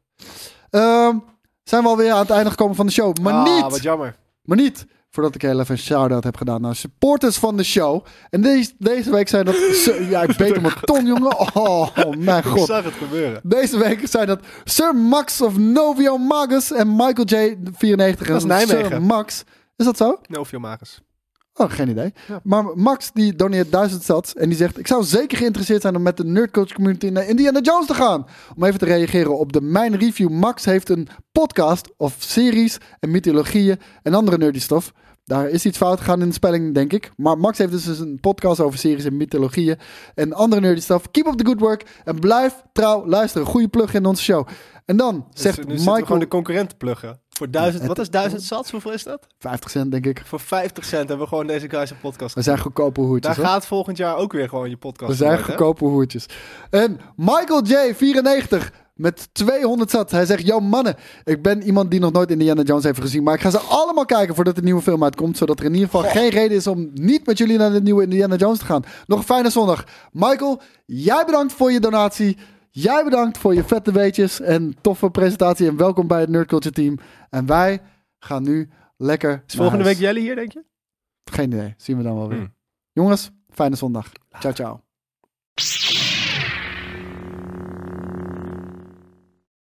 [SPEAKER 3] Ehm, zijn we alweer aan het einde gekomen van de show. Maar
[SPEAKER 2] Ah,
[SPEAKER 3] niet!
[SPEAKER 2] wat jammer.
[SPEAKER 3] Maar niet voordat ik heel even een shout-out heb gedaan naar supporters van de show. En deze, deze week zijn dat... Zo- Ja, ik beet op mijn tong, jongen. Oh, mijn
[SPEAKER 2] Ik
[SPEAKER 3] god.
[SPEAKER 2] zag het gebeuren.
[SPEAKER 3] Deze week zijn dat Sir Max of Novio Magus en Michael J. 94.
[SPEAKER 2] Dat is
[SPEAKER 3] en
[SPEAKER 2] Nijmegen.
[SPEAKER 3] Sir Max. Is dat zo?
[SPEAKER 2] Novio Magus.
[SPEAKER 3] Oh, geen idee. Maar Max die doneert 1000 sats en die zegt: Ik zou zeker geïnteresseerd zijn om met de nerdcoach community naar Indiana Jones te gaan. Om even te reageren op de mijn review. Max heeft een podcast of series en mythologieën en andere nerdy stof. Daar is iets fout gegaan in de spelling, denk ik. Maar Max heeft dus een podcast over series en mythologieën en andere nerdy stuff. Keep up the good work en blijf trouw luisteren. Goede plug in onze show. En dan zegt
[SPEAKER 2] Dus nu zitten we
[SPEAKER 3] Michael...
[SPEAKER 2] gewoon de concurrent te pluggen. Voor duizend, wat is duizend sats? Hoeveel is dat?
[SPEAKER 3] 50 cent, denk ik.
[SPEAKER 2] Voor 50 cent hebben we gewoon deze guys een podcast.
[SPEAKER 3] We zijn goedkope hoertjes.
[SPEAKER 2] Daar
[SPEAKER 3] hoor.
[SPEAKER 2] gaat volgend jaar ook weer gewoon je podcast.
[SPEAKER 3] We zijn
[SPEAKER 2] worden, hè?
[SPEAKER 3] goedkope hoertjes. En Michael J94 met 200 zat. Hij zegt: Yo mannen, ik ben iemand die nog nooit Indiana Jones heeft gezien. Maar ik ga ze allemaal kijken voordat de nieuwe film uitkomt. Zodat er in ieder geval geen reden is om niet met jullie naar de nieuwe Indiana Jones te gaan. Nog een fijne zondag. Michael, jij bedankt voor je donatie. Jij bedankt voor je vette weetjes en toffe presentatie. En welkom bij het Nerd Culture Team. En wij gaan nu lekker.
[SPEAKER 2] Is volgende
[SPEAKER 3] naar
[SPEAKER 2] week
[SPEAKER 3] huis.
[SPEAKER 2] Jelly hier, denk je?
[SPEAKER 3] Geen idee. Zien we dan wel weer.
[SPEAKER 2] Hmm.
[SPEAKER 3] Jongens, fijne zondag. Ciao, ciao.